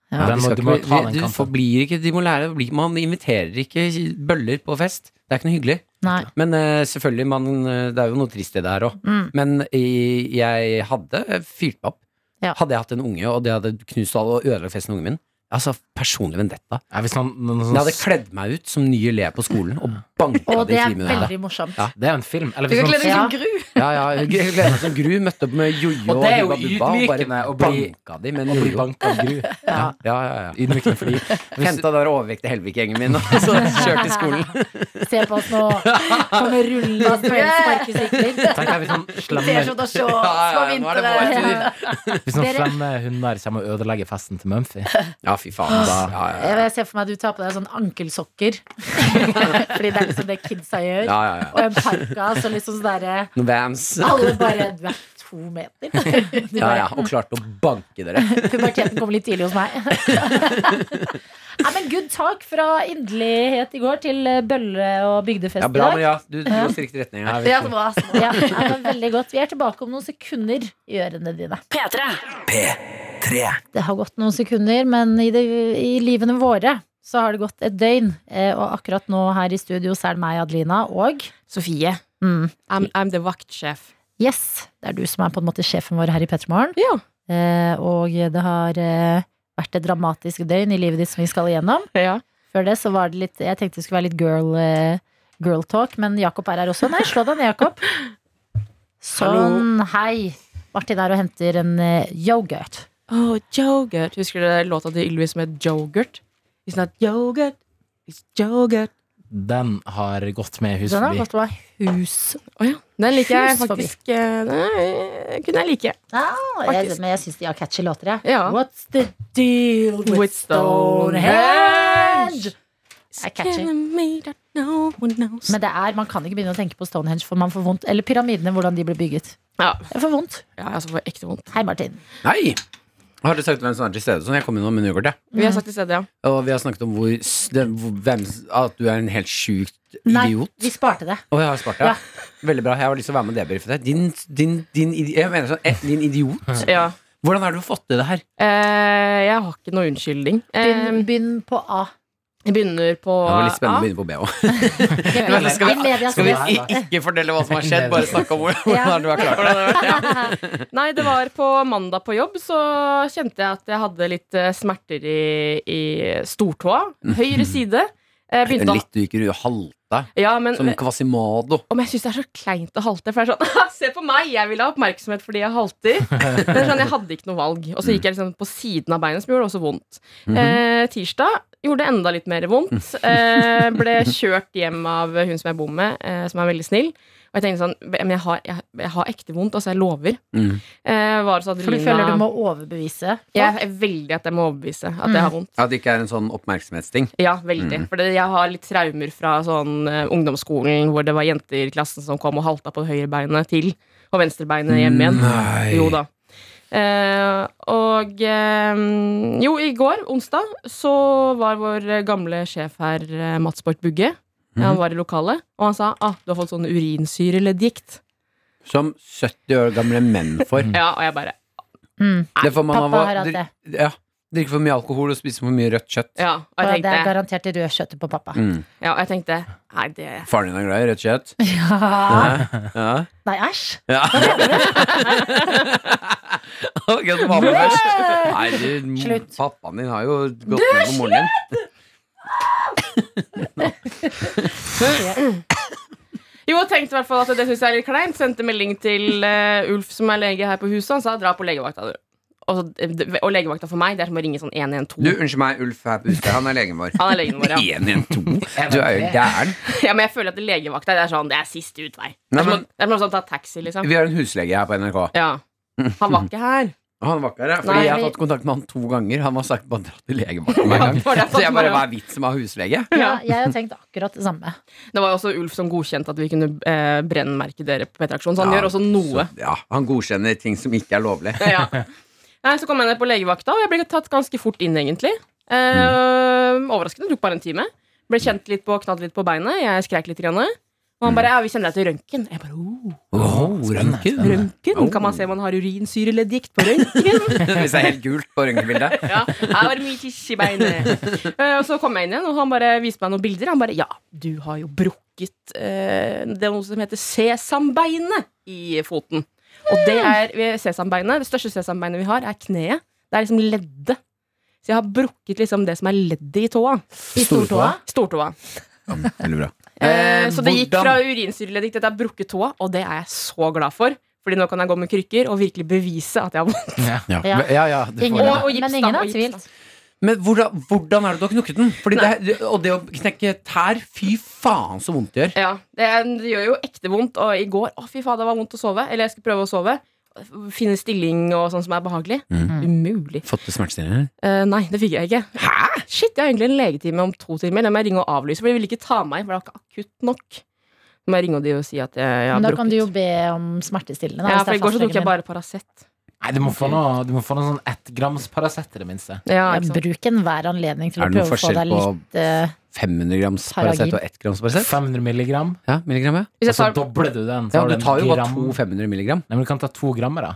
[SPEAKER 2] Ja.
[SPEAKER 4] Den
[SPEAKER 3] Vi
[SPEAKER 4] må,
[SPEAKER 3] skal
[SPEAKER 4] du
[SPEAKER 3] ikke
[SPEAKER 4] må
[SPEAKER 3] bli-
[SPEAKER 4] ta
[SPEAKER 3] vi-
[SPEAKER 4] den
[SPEAKER 3] du får-
[SPEAKER 4] kampen.
[SPEAKER 3] blir ikke, de må lære å bli Man inviterer ikke bøller på fest. Det er ikke noe hyggelig.
[SPEAKER 2] Nei.
[SPEAKER 3] Men eh, selvfølgelig, man, eh, det er jo noe trist i det her òg.
[SPEAKER 2] Mm.
[SPEAKER 3] Men i- jeg hadde fyrt meg opp.
[SPEAKER 2] Ja.
[SPEAKER 3] Hadde jeg hatt en unge, og det hadde knust alle og ødelagt festen til ungen min Altså, personlig vendetta.
[SPEAKER 4] Ja, hvis noen, noen,
[SPEAKER 3] Jeg
[SPEAKER 4] sånn-
[SPEAKER 3] hadde kledd meg ut som ny elev på skolen og banka
[SPEAKER 2] Og
[SPEAKER 3] det
[SPEAKER 2] det
[SPEAKER 3] i
[SPEAKER 2] er
[SPEAKER 3] friminuttene.
[SPEAKER 2] veldig morsomt.
[SPEAKER 4] ja, det er jo en film. Eller sånn
[SPEAKER 8] Du
[SPEAKER 4] hvis noen,
[SPEAKER 8] kan kle deg
[SPEAKER 2] Ja.
[SPEAKER 8] som gru.
[SPEAKER 3] sånn Ja, ja, jeg gleder meg som Gru. Møtte opp med jojo
[SPEAKER 4] Og det er jo
[SPEAKER 3] Hubba Bubba, og
[SPEAKER 4] ydmykende å
[SPEAKER 3] Bare
[SPEAKER 4] bli-
[SPEAKER 3] banka de med en
[SPEAKER 4] og blir
[SPEAKER 3] jojo.
[SPEAKER 4] banka av gru.
[SPEAKER 3] Ja, ja, ja, ja.
[SPEAKER 4] Ydmykende fordi hvis,
[SPEAKER 3] Henta den overvektige Helvik-gjengen min og så kjørte til skolen.
[SPEAKER 2] Se på oss nå. Kommer rullende av sparkesykler.
[SPEAKER 4] Tenk deg hvis
[SPEAKER 3] sånn
[SPEAKER 4] noen slemme,
[SPEAKER 8] T-skjorte og shorts
[SPEAKER 3] Ja,
[SPEAKER 8] på
[SPEAKER 3] ja, nå er det vår
[SPEAKER 8] vinteren.
[SPEAKER 3] tur.
[SPEAKER 4] hvis noen
[SPEAKER 2] Dere-
[SPEAKER 4] slemme hunder kommer og ødelegger festen til Mumphy
[SPEAKER 3] Ja, fy faen. Da, ja, ja, ja.
[SPEAKER 2] Jeg ser for meg at du tar på deg sånn ankelsokker. Fordi det er liksom det kidsa gjør.
[SPEAKER 3] ja, ja,
[SPEAKER 2] Og en parkas og liksom sånn derre
[SPEAKER 3] ja. Vans.
[SPEAKER 2] Alle bare Du er to meter. Du
[SPEAKER 3] Ja,
[SPEAKER 2] bare,
[SPEAKER 3] ja, og klarte å banke dere.
[SPEAKER 2] Puberteten kom litt tidlig hos meg. Nei, men good talk fra inderlighet i går til eh, bølle- og bygdefest
[SPEAKER 3] Ja, bra,
[SPEAKER 2] i dag.
[SPEAKER 3] Maria. Du dro oss i riktig retning. her.
[SPEAKER 8] Det er altså- så bra. så bra.
[SPEAKER 2] Ja, nei, men veldig godt. Vi er tilbake om noen sekunder i ørene dine.
[SPEAKER 7] P3.
[SPEAKER 1] P3.
[SPEAKER 2] Det har gått noen sekunder, men i, det, i livene våre så har det gått et døgn. Eh, og akkurat nå her i studio så er det meg, Adelina, og
[SPEAKER 9] Sofie.
[SPEAKER 2] mm,
[SPEAKER 9] I'm, I'm the vaktsjef.
[SPEAKER 2] Yes, det er du som er på en måte sjefen vår her i Petremorgen.
[SPEAKER 9] Ja.
[SPEAKER 2] Eh, og det har eh, vært et dramatisk døgn i livet ditt som vi skal igjennom.
[SPEAKER 9] Ja.
[SPEAKER 2] Før det så var det litt Jeg tenkte det skulle være litt girl, eh, girl talk, men Jakob er her også. Nei, slå deg ned, Jakob. Sånn, hei. Martin er og henter en eh, yoghurt.
[SPEAKER 9] Oh, yoghurt. Husker dere låta til Ylvis som het Yoghurt? It's not yoghurt, it's yoghurt.
[SPEAKER 4] Den har gått med hus
[SPEAKER 2] Den har
[SPEAKER 4] forbi.
[SPEAKER 2] gått over hus.
[SPEAKER 9] Å ja. Den liker jeg
[SPEAKER 2] Hus forbi.
[SPEAKER 9] faktisk. eh, Den eh, kunne jeg like.
[SPEAKER 2] Ah, jeg,
[SPEAKER 9] Faktisk.
[SPEAKER 2] men jeg syns de har catchy låter, jeg.
[SPEAKER 9] Ja.
[SPEAKER 2] What's the deal with,
[SPEAKER 9] With
[SPEAKER 2] Stonehenge?
[SPEAKER 9] Stonehenge?
[SPEAKER 2] er catchy.
[SPEAKER 9] Killing me that no one knows.
[SPEAKER 2] Men det er, man kan ikke begynne å tenke på Stonehenge, for man får vondt. Eller pyramidene, hvordan de ble bygget.
[SPEAKER 9] Ja.
[SPEAKER 2] Jeg får vondt.
[SPEAKER 9] ja, altså for ekte vondt.
[SPEAKER 2] Hei, Martin.
[SPEAKER 3] Nei! Har du sagt hvem som er til stede? Sånn, jeg kom innom med nyårkort, jeg.
[SPEAKER 9] Vi har sagt i stedet, ja.
[SPEAKER 3] Og vi har snakket om hvor, s- den- hvor hvem, s- at du er en helt sjukt
[SPEAKER 2] Nei,
[SPEAKER 3] idiot.
[SPEAKER 2] vi sparte det.
[SPEAKER 3] Og jeg har spart deg.
[SPEAKER 2] Ja.
[SPEAKER 3] Veldig bra. Jeg har lyst til å være med og debrife deg. Din, din, din, idi- jeg mener sånn, eh, din idiot.
[SPEAKER 9] ja.
[SPEAKER 3] Hvordan har du fått til det her?
[SPEAKER 9] Eh, jeg har ikke noe unnskyldning.
[SPEAKER 2] Begynn,
[SPEAKER 9] Eh,
[SPEAKER 2] begynn på A.
[SPEAKER 9] jeg begynner på
[SPEAKER 3] Det var litt spennende å
[SPEAKER 9] A.
[SPEAKER 3] begynne på B òg.
[SPEAKER 2] Begynn-
[SPEAKER 3] skal vi-
[SPEAKER 2] i media,
[SPEAKER 3] Skal vi
[SPEAKER 2] skal vi-
[SPEAKER 3] i- ikke fortelle hva som har skjedd, bare snakke om hvor- hvordan du har klart det?
[SPEAKER 9] Nei, det var på mandag på jobb, så kjente jeg at jeg hadde litt eh, smerter i, i stortåa. Høyre side. Jeg begynte
[SPEAKER 3] Mhm.
[SPEAKER 9] å
[SPEAKER 3] Litt du gikk halta,
[SPEAKER 9] Ja, men eh,
[SPEAKER 3] som Quasimodo.
[SPEAKER 9] om jeg syns det er så kleint å halte. For det er sånn Se på meg, jeg vil ha oppmerksomhet fordi jeg halter. Men det er sånn, jeg hadde ikke noe valg. Og så gikk jeg liksom på siden av beinet, som gjorde det også vondt. eh, tirsdag gjorde det enda litt mer vondt. Eh, ble kjørt hjem av hun som jeg bor med, eh, som er veldig snill. Og jeg tenkte sånn Men jeg har, jeg, jeg har ekte vondt, altså. Jeg lover.
[SPEAKER 3] Mhm.
[SPEAKER 9] Eh, var så
[SPEAKER 2] For du føler du må overbevise.
[SPEAKER 9] Jeg er veldig at jeg må overbevise at jeg har vondt.
[SPEAKER 3] At det ikke er en sånn oppmerksomhetsting.
[SPEAKER 9] Ja, veldig. For det- jeg har litt traumer fra sånn eh, ungdomsskolen hvor det var jenter i klassen som kom og halta på høyrebeinet til og venstrebeinet hjem igjen.
[SPEAKER 3] Nei.
[SPEAKER 9] Jo da. Eh, og eh, jo, i går, onsdag, så var vår gamle sjef her, eh, Mats Borch Bugge, han var i lokalet, og han sa ah, du har fått sånn urinsyreleddgikt.
[SPEAKER 3] Som 70 år gamle menn får.
[SPEAKER 9] Ja, og jeg bare
[SPEAKER 2] Mm.
[SPEAKER 3] Det får man av
[SPEAKER 2] Pappa
[SPEAKER 3] å
[SPEAKER 2] har hatt
[SPEAKER 3] dri-
[SPEAKER 2] det.
[SPEAKER 3] Ja, drikke for mye alkohol og spise for mye rødt kjøtt.
[SPEAKER 9] Ja, og jeg
[SPEAKER 2] Og det er
[SPEAKER 9] tenkte,
[SPEAKER 2] garantert det røde kjøttet på pappa.
[SPEAKER 3] Mm.
[SPEAKER 9] ja, og jeg tenkte Nei, det
[SPEAKER 3] Faren din er glad i rødt kjøtt?
[SPEAKER 2] Ja.
[SPEAKER 3] Ja. ja.
[SPEAKER 2] Nei, æsj.
[SPEAKER 3] ja. Ok, så mamma først. Nei, du, m-
[SPEAKER 2] Slutt.
[SPEAKER 3] pappaen din har jo gått ned på moren din.
[SPEAKER 9] Jo, jeg tenkte i hvert fall at det syns jeg er litt kleint. Sendte melding til eh, Ulf, som er lege her på huset. Han sa dra på legevakta, du. Og, så, og legevakta for meg, det er som å ringe sånn
[SPEAKER 3] Du,
[SPEAKER 9] 112.
[SPEAKER 3] unnskyld meg, Ulf her på huset. Han er legen vår.
[SPEAKER 9] Han er legen vår, ja.
[SPEAKER 3] 112? Du er jo gæren.
[SPEAKER 9] ja. Men jeg føler at legevakta det er sånn, det er siste utvei.
[SPEAKER 3] Nei,
[SPEAKER 9] Det er som
[SPEAKER 3] men-
[SPEAKER 9] å- det er som å sånn, ta taxi, liksom.
[SPEAKER 3] Vi har en huslege her på NRK.
[SPEAKER 9] Ja. Han var ikke her.
[SPEAKER 3] Han var ikke her, ja, fordi
[SPEAKER 9] Nei,
[SPEAKER 3] jeg har
[SPEAKER 2] vi-
[SPEAKER 3] tatt kontakt med han to ganger. Han har sagt bare dra til legevakten hver gang.
[SPEAKER 9] Ja, for det er
[SPEAKER 3] Så jeg bare
[SPEAKER 9] sånn,
[SPEAKER 3] hva er vitsen med å ha huslege?
[SPEAKER 2] Ja, jeg har tenkt akkurat det samme.
[SPEAKER 9] Det var jo også Ulf som godkjente at vi kunne eh, brennmerke dere på P3 Aksjon, så han
[SPEAKER 3] Ja,
[SPEAKER 9] gjør også noe.
[SPEAKER 3] Så, ja, han godkjenner ting som ikke er lovlig.
[SPEAKER 9] ja. Nei, så kom jeg ned på legevakta, og jeg ble tatt ganske fort inn, egentlig. Eh, Overraskende. Tok bare en time. Ble kjent litt på, knadd litt på beinet. Jeg skreik litt. Grann. Og han bare 'ja, vi sender deg til røntgen'. Jeg bare oh,
[SPEAKER 3] Oh, røntgen.
[SPEAKER 9] Røntgen? Kan man se om man har urinsyreleddgikt på røntgen?
[SPEAKER 3] Hvis det er helt gult på røntgenbildet.
[SPEAKER 9] ja, her var det mye tiss i beinet. Eh, og så kom jeg inn igjen, og han bare viste meg noen bilder. Han bare 'ja, du har jo brukket eh, Det er noe som heter sesambeinet i foten'. Og det er sesambeinet. Det største sesambeinet vi har, er kneet. Det er liksom leddet. Så jeg har brukket liksom det som er leddet i tåa.
[SPEAKER 2] I stortåa.
[SPEAKER 9] Stortåa.
[SPEAKER 3] Veldig bra.
[SPEAKER 9] Eh, så det gikk
[SPEAKER 3] hvordan-
[SPEAKER 9] fra urinsyreleddgikt til at jeg brukket tåa, og det er jeg så glad for. Fordi nå kan jeg gå med krykker og virkelig bevise at jeg har vondt.
[SPEAKER 4] Ja.
[SPEAKER 2] Ja.
[SPEAKER 3] Ja, ja, det får
[SPEAKER 2] Ingen,
[SPEAKER 9] Og-
[SPEAKER 3] jeg.
[SPEAKER 9] og gips,
[SPEAKER 2] men ingen
[SPEAKER 9] da,
[SPEAKER 2] har
[SPEAKER 9] og gips, da.
[SPEAKER 2] tvilt.
[SPEAKER 3] Men hvordan, hvordan er det du har knukket den? Fordi det, er- og det å knekke tær, fy faen så vondt det gjør.
[SPEAKER 9] Ja, det, er- det gjør jo ekte vondt. Og i går å fy faen, det var vondt å sove. Eller jeg skulle prøve å sove. Finne stilling og sånn som er behagelig.
[SPEAKER 3] Mm.
[SPEAKER 9] Umulig.
[SPEAKER 3] Fått det smertestillende?
[SPEAKER 9] Eh, nei, det fikk jeg ikke. Hæ? Shit, jeg har egentlig en legetime om to timer. Den må jeg ringe og avlyse, for de ville ikke ta meg inn, for det var ikke akutt nok. Nå må jeg ringe og de og si at jeg, jeg har
[SPEAKER 2] Men da kan
[SPEAKER 9] brukket.
[SPEAKER 2] du jo be om smertestillende. Da,
[SPEAKER 9] ja,
[SPEAKER 2] hvis
[SPEAKER 9] for
[SPEAKER 2] det
[SPEAKER 9] i
[SPEAKER 2] er
[SPEAKER 9] går så tok
[SPEAKER 2] fastlegen
[SPEAKER 9] jeg bare Paracet.
[SPEAKER 4] Nei, du må få noe, du må få noe sånn ett grams Paracet, i det minste.
[SPEAKER 9] Ja,
[SPEAKER 2] din. Ja,
[SPEAKER 9] ikke sant?
[SPEAKER 2] Bruk enhver anledning til å
[SPEAKER 3] Er det
[SPEAKER 2] prøve
[SPEAKER 3] noen
[SPEAKER 2] å få
[SPEAKER 3] forskjell
[SPEAKER 2] deg
[SPEAKER 3] på
[SPEAKER 2] litt eh,
[SPEAKER 3] 500 grams
[SPEAKER 2] Paragin.
[SPEAKER 3] Paracet og 1 grams Paracet?
[SPEAKER 4] 500 milligram,
[SPEAKER 3] Ja, milligram, ja.
[SPEAKER 9] Hvis
[SPEAKER 4] og
[SPEAKER 9] jeg
[SPEAKER 4] så
[SPEAKER 9] tar,
[SPEAKER 4] dobler du den. så
[SPEAKER 3] ja
[SPEAKER 4] har
[SPEAKER 3] du
[SPEAKER 4] en
[SPEAKER 3] tar jo bare
[SPEAKER 4] gram.
[SPEAKER 3] to 500 milligram.
[SPEAKER 4] Nei, men du kan ta to grammer, da.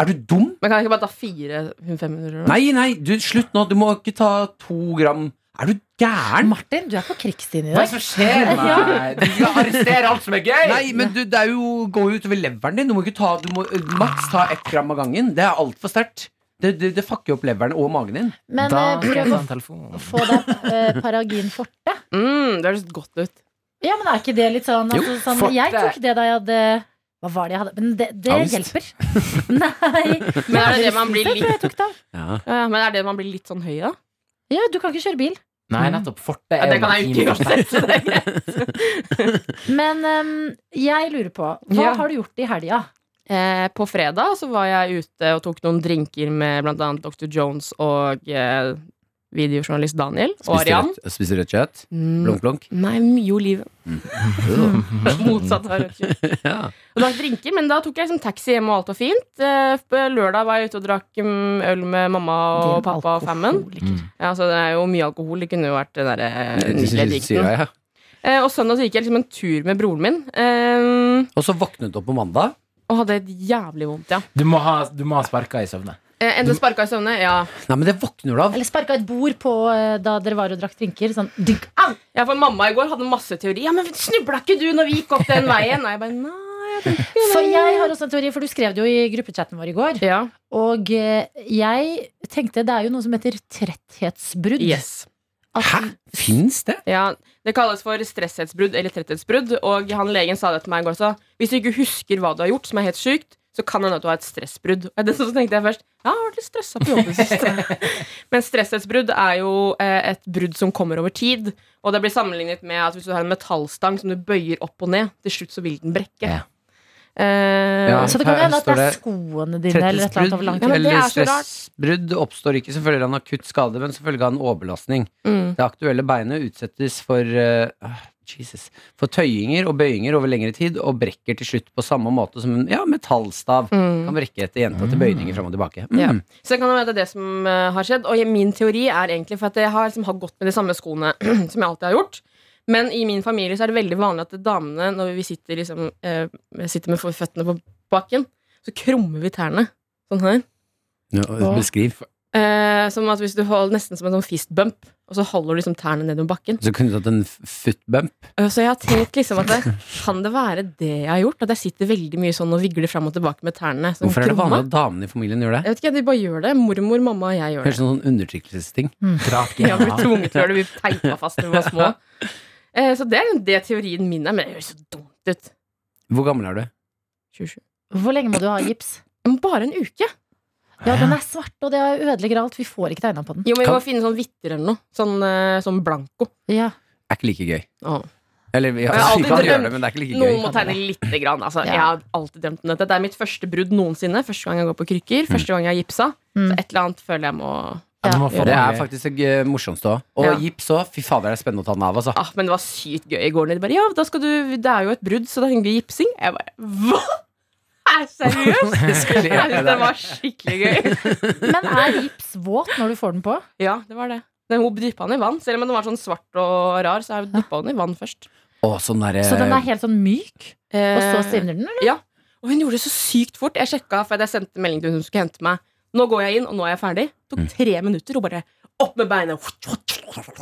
[SPEAKER 3] Er du dum?
[SPEAKER 9] men kan jeg ikke bare ta fire 500? eller noe?
[SPEAKER 3] Nei, nei, du, slutt nå. Du må ikke ta to gram. Er du gæren?
[SPEAKER 2] Martin, du er på krigsstien i
[SPEAKER 4] Hva er
[SPEAKER 2] dag.
[SPEAKER 4] det som skjer med deg? Du skal arrestere alt som er gøy!
[SPEAKER 3] Nei, men du, det er jo, går jo utover leveren din. Du må ikke ta, du må ø, maks ta ett gram av gangen. Det er altfor sterkt. Det, det, det fucker jo opp leveren og magen din.
[SPEAKER 2] Men
[SPEAKER 4] da
[SPEAKER 2] eh,
[SPEAKER 4] skal jeg
[SPEAKER 2] prøv
[SPEAKER 4] ta
[SPEAKER 2] å
[SPEAKER 4] en telefon.
[SPEAKER 2] få deg eh, paragin forte.
[SPEAKER 9] Mm, det høres godt ut.
[SPEAKER 2] Ja, men er ikke det litt sånn,
[SPEAKER 3] Jo,
[SPEAKER 2] altså, sånn Jeg tok det da jeg hadde Hva var det jeg hadde? Men det, det
[SPEAKER 3] Angst.
[SPEAKER 2] hjelper. Nei.
[SPEAKER 9] Men er det det man blir
[SPEAKER 2] Jeg tror jeg tok det av.
[SPEAKER 3] Ja.
[SPEAKER 9] Ja, men er det man blir litt sånn høy av?
[SPEAKER 2] Ja, du kan ikke kjøre bil.
[SPEAKER 4] Nei,
[SPEAKER 2] Mm.
[SPEAKER 4] nettopp. Forte
[SPEAKER 9] Ja,
[SPEAKER 4] er
[SPEAKER 9] det kan jeg jo
[SPEAKER 4] latin.
[SPEAKER 9] ikke uansett. så det er greit.
[SPEAKER 2] Men ehm, jeg lurer på, hva
[SPEAKER 9] Ja.
[SPEAKER 2] har du gjort i helga?
[SPEAKER 9] Eh, på fredag så var jeg ute og tok noen drinker med blant annet Dr. Jones og eh, videojournalist Daniel. Og Arian.
[SPEAKER 3] spiser rødt kjøtt.
[SPEAKER 9] Mm,
[SPEAKER 3] Blunk, blunk.
[SPEAKER 9] nei, mye oliven. Motsatt av rødt kjøtt.
[SPEAKER 3] Ja.
[SPEAKER 9] Og drakk drinker, men da tok jeg liksom taxi hjem, og alt var fint. Eh, på lørdag var jeg ute og drakk mm, øl med mamma og
[SPEAKER 2] Din
[SPEAKER 9] pappa og fammen.
[SPEAKER 2] alkoholiker.
[SPEAKER 9] Ja, så det er jo mye alkohol. Det kunne jo vært den derre eh, nydelige dikten.
[SPEAKER 3] Syra, ja.
[SPEAKER 9] Eh, og søndag så gikk jeg liksom en tur med broren min, eh,
[SPEAKER 3] Og så våknet du opp på mandag.
[SPEAKER 9] og hadde et jævlig vondt, ja.
[SPEAKER 4] Du må ha, du må ha sparka i søvne.
[SPEAKER 9] Eh, Endte sparka i søvne, ja.
[SPEAKER 3] Nei, men det våkner du av.
[SPEAKER 2] Eller sparka et bord på eh, da dere var og drakk drinker. Sånn dunk, au!
[SPEAKER 9] Ja, for mamma i går hadde masse teori. Ja, men snubla ikke du når vi gikk opp den veien? Nei, jeg bare, nei, jeg tenkte ikke det.
[SPEAKER 2] For jeg har også en teori, for du skrev det jo i gruppechatten vår i går.
[SPEAKER 9] Ja,
[SPEAKER 2] Og eh, jeg tenkte det er jo noe som heter tretthetsbrudd.
[SPEAKER 9] yes.
[SPEAKER 3] Hæ? Fins det?
[SPEAKER 9] Ja, det kalles for stresshetsbrudd eller tretthetsbrudd. Og han legen sa det til meg i går også. Hvis du ikke husker hva du har gjort, som er helt sykt, så kan det hende at du har et stressbrudd. Og det så tenkte jeg først ja, jeg har vært litt stressa på jobb i det siste. Men stresshetsbrudd er jo eh, et brudd som kommer over tid. Og det blir sammenlignet med at hvis du har en metallstang som du bøyer opp og ned, til slutt så vil den brekke.
[SPEAKER 4] Ja.
[SPEAKER 9] Eh,
[SPEAKER 3] Ja.
[SPEAKER 2] Så det kan
[SPEAKER 3] Her
[SPEAKER 2] hende at
[SPEAKER 3] står
[SPEAKER 2] det er
[SPEAKER 3] det
[SPEAKER 2] skoene dine eller et eller annet over lang tid.
[SPEAKER 9] Ja, men det
[SPEAKER 3] eller
[SPEAKER 9] er så rart.
[SPEAKER 3] stressbrudd oppstår ikke som følge av en akutt skade, men som følge av en overbelastning.
[SPEAKER 9] mm.
[SPEAKER 3] Det aktuelle beinet utsettes for eh, ah, Jesus For tøyinger og bøyinger over lengre tid, og brekker til slutt på samme måte som en ja, metallstav.
[SPEAKER 9] Mm.
[SPEAKER 3] Kan brekke etter gjentatte bøyninger fram og tilbake. Mm.
[SPEAKER 9] Ja. Så det kan jo være det er det som eh, har skjedd. Og jeg- min teori er egentlig for at jeg har, liksom, har gått med de samme skoene som jeg alltid har gjort. Men i min familie så er det veldig vanlig at damene, når vi sitter, liksom, eh, sitter med føttene på bakken, så krummer vi tærne. Sånn her.
[SPEAKER 3] beskriv.
[SPEAKER 9] Eh, som at hvis du holder nesten som en sånn fist bump, og så holder du liksom tærne nedover bakken.
[SPEAKER 3] Så kunne du tatt en f- footbump.
[SPEAKER 9] Eh, Så jeg har tenkt liksom at det, kan det være det jeg har gjort? At jeg sitter veldig mye sånn og vigler fram og tilbake med tærne. Sånn
[SPEAKER 3] Hvorfor er det
[SPEAKER 9] krumma?
[SPEAKER 3] vanlig at damene i familien gjør det?
[SPEAKER 9] Jeg vet ikke, de bare gjør det. Mormor, mamma og jeg gjør det.
[SPEAKER 3] Høres ut som en sånn undertrykkelsesting.
[SPEAKER 9] Vi har blitt tvunget til å gjøre det. Vi teipa fast når vi var små. Eh, Så det er liksom det teorien min er, men det høres så dumt ut.
[SPEAKER 3] Hvor gammel er du?
[SPEAKER 9] 27.
[SPEAKER 2] Hvor lenge må du ha gips?
[SPEAKER 9] Men bare en uke.
[SPEAKER 2] Ja, den er svart, og det ødelegger alt. Vi får ikke tegna på den.
[SPEAKER 9] Jo, men vi
[SPEAKER 3] Kan-
[SPEAKER 9] må finne sånn hvitter eller noe. Sånn, eh, sånn blanko.
[SPEAKER 2] Ja.
[SPEAKER 3] Er ikke like gøy.
[SPEAKER 9] Åh.
[SPEAKER 3] Eller ja,
[SPEAKER 9] Jeg har
[SPEAKER 3] vi
[SPEAKER 9] alltid
[SPEAKER 3] kan gjøre
[SPEAKER 9] drømt-
[SPEAKER 3] det, men det er ikke like
[SPEAKER 9] Noen
[SPEAKER 3] gøy.
[SPEAKER 9] må tegne lite grann. Altså,
[SPEAKER 2] Ja.
[SPEAKER 9] Jeg har alltid drømt om dette. Det er mitt første brudd noensinne. Første gang jeg går på krykker. Første gang jeg har gipsa.
[SPEAKER 2] Mm.
[SPEAKER 9] Så et eller annet føler jeg må
[SPEAKER 4] Ja, det må få
[SPEAKER 3] Det er
[SPEAKER 4] mange-
[SPEAKER 3] faktisk det gøy- morsomste òg. Og
[SPEAKER 9] Ja.
[SPEAKER 3] gips òg. Fy fader, det er spennende å ta den av, altså.
[SPEAKER 9] ah, Men det var sykt gøy i går. når De bare, ja, da skal du, det er jo et brudd, så da trenger du gipsing. Jeg bare hva?! Er seriøst?
[SPEAKER 3] Det skulle jeg
[SPEAKER 9] Jeg
[SPEAKER 3] gjøre
[SPEAKER 9] synes det
[SPEAKER 3] der.
[SPEAKER 9] var skikkelig gøy.
[SPEAKER 2] Men er gips våt når du får den på?
[SPEAKER 9] Ja, det var det. Den hun dyppa den i vann. Selv om den var sånn svart og rar, så jeg dyppa den i vann først.
[SPEAKER 3] Å, sånn derre
[SPEAKER 2] Så den er helt sånn myk, og så
[SPEAKER 9] Eh,
[SPEAKER 2] stivner den? eller?
[SPEAKER 9] Og hun gjorde det så sykt fort. Jeg sjekka, for jeg sendte melding til hun som skulle hente meg. Nå går jeg inn, og nå er jeg ferdig. Det
[SPEAKER 3] Mm.
[SPEAKER 9] tok tre minutter. Hun bare opp med beina.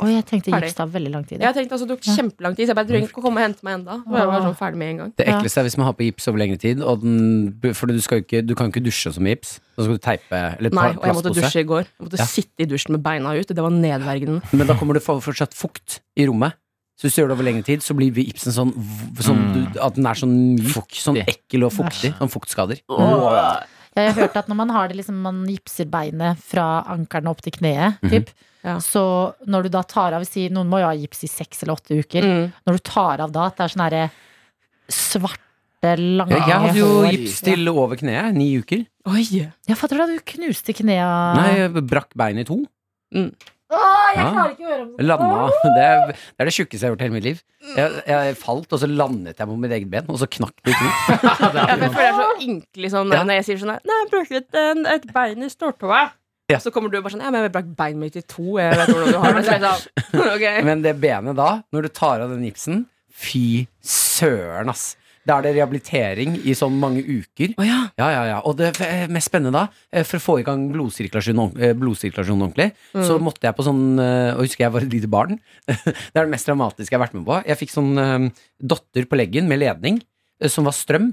[SPEAKER 2] Oi, jeg tenkte
[SPEAKER 9] Ferdig.
[SPEAKER 2] gips tar veldig lang tid.
[SPEAKER 9] Jeg tenkte altså, Det tok kjempelang tid, så jeg bare du trenger ikke å komme og hente meg enda. Og Jeg
[SPEAKER 2] Ah.
[SPEAKER 9] var sånn ferdig med en gang.
[SPEAKER 3] Det ekleste er hvis man har på gips over lengre tid, og den, for du, skal jo ikke, du kan jo ikke dusje som gips. Da skal du teipe eller
[SPEAKER 9] Nei,
[SPEAKER 3] pla-
[SPEAKER 9] og jeg måtte
[SPEAKER 3] plastpose.
[SPEAKER 9] dusje i går. Jeg måtte
[SPEAKER 3] Ja.
[SPEAKER 9] sitte i dusjen med beina ut. Det var nedverdigende.
[SPEAKER 3] Men da kommer det for, fortsatt fukt i rommet. Så hvis du gjør det over lengre tid, så blir gipsen sånn, v- sånn
[SPEAKER 4] Mm.
[SPEAKER 3] du, At den er sånn myk, sånn ekkel og fuktig. Sånn fuktskader.
[SPEAKER 2] Ja, jeg har hørt at når man har det liksom, man gipser beinet fra ankelen opp til kneet,
[SPEAKER 3] Mhm.
[SPEAKER 2] typ,
[SPEAKER 9] Ja.
[SPEAKER 2] så når du da tar av si, Noen må jo ha gips i seks eller åtte uker.
[SPEAKER 9] Mm.
[SPEAKER 2] Når du tar av da, at det er sånn herre svarte, lange
[SPEAKER 3] Ja, jeg hadde jo
[SPEAKER 2] hår.
[SPEAKER 3] gips til over kneet. Ni uker.
[SPEAKER 9] Oi!
[SPEAKER 2] Ja, fatter du da, du knuste knea
[SPEAKER 3] Nei, jeg brakk beinet i to.
[SPEAKER 9] Mm.
[SPEAKER 2] Åh, jeg
[SPEAKER 3] Ja.
[SPEAKER 2] klarer ikke å høre om det.
[SPEAKER 3] Landa. Det er det, er det tjukkeste jeg har gjort i hele mitt liv. Jeg, jeg falt, og så landet jeg på mitt eget ben, og så knakk det i to.
[SPEAKER 9] Ja, for jeg føler jeg er så ynkelig sånn
[SPEAKER 3] Ja.
[SPEAKER 9] når jeg sier sånn her, Nei, jeg bruker et, en- et bein i stortåa.
[SPEAKER 3] Ja.
[SPEAKER 9] Så kommer du bare sånn Ja, men jeg brakk beinet mitt i to. Jeg vet hvordan du har det. Så jeg sa, ok.
[SPEAKER 3] Men det benet da, når du tar av den gipsen Fy søren, ass Da er det rehabilitering i sånn mange uker
[SPEAKER 9] Å ja.
[SPEAKER 3] Ja, ja, ja Og det eh, mest spennende da eh, For å få i gang blodsirkulasjon, ordent- eh, blodsirkulasjon ordentlig Så måtte jeg på sånn eh, Og husker jeg var et lite barn Det er det mest dramatiske jeg har vært med på Jeg fikk sånn eh, dotter på leggen med ledning eh, Som var strøm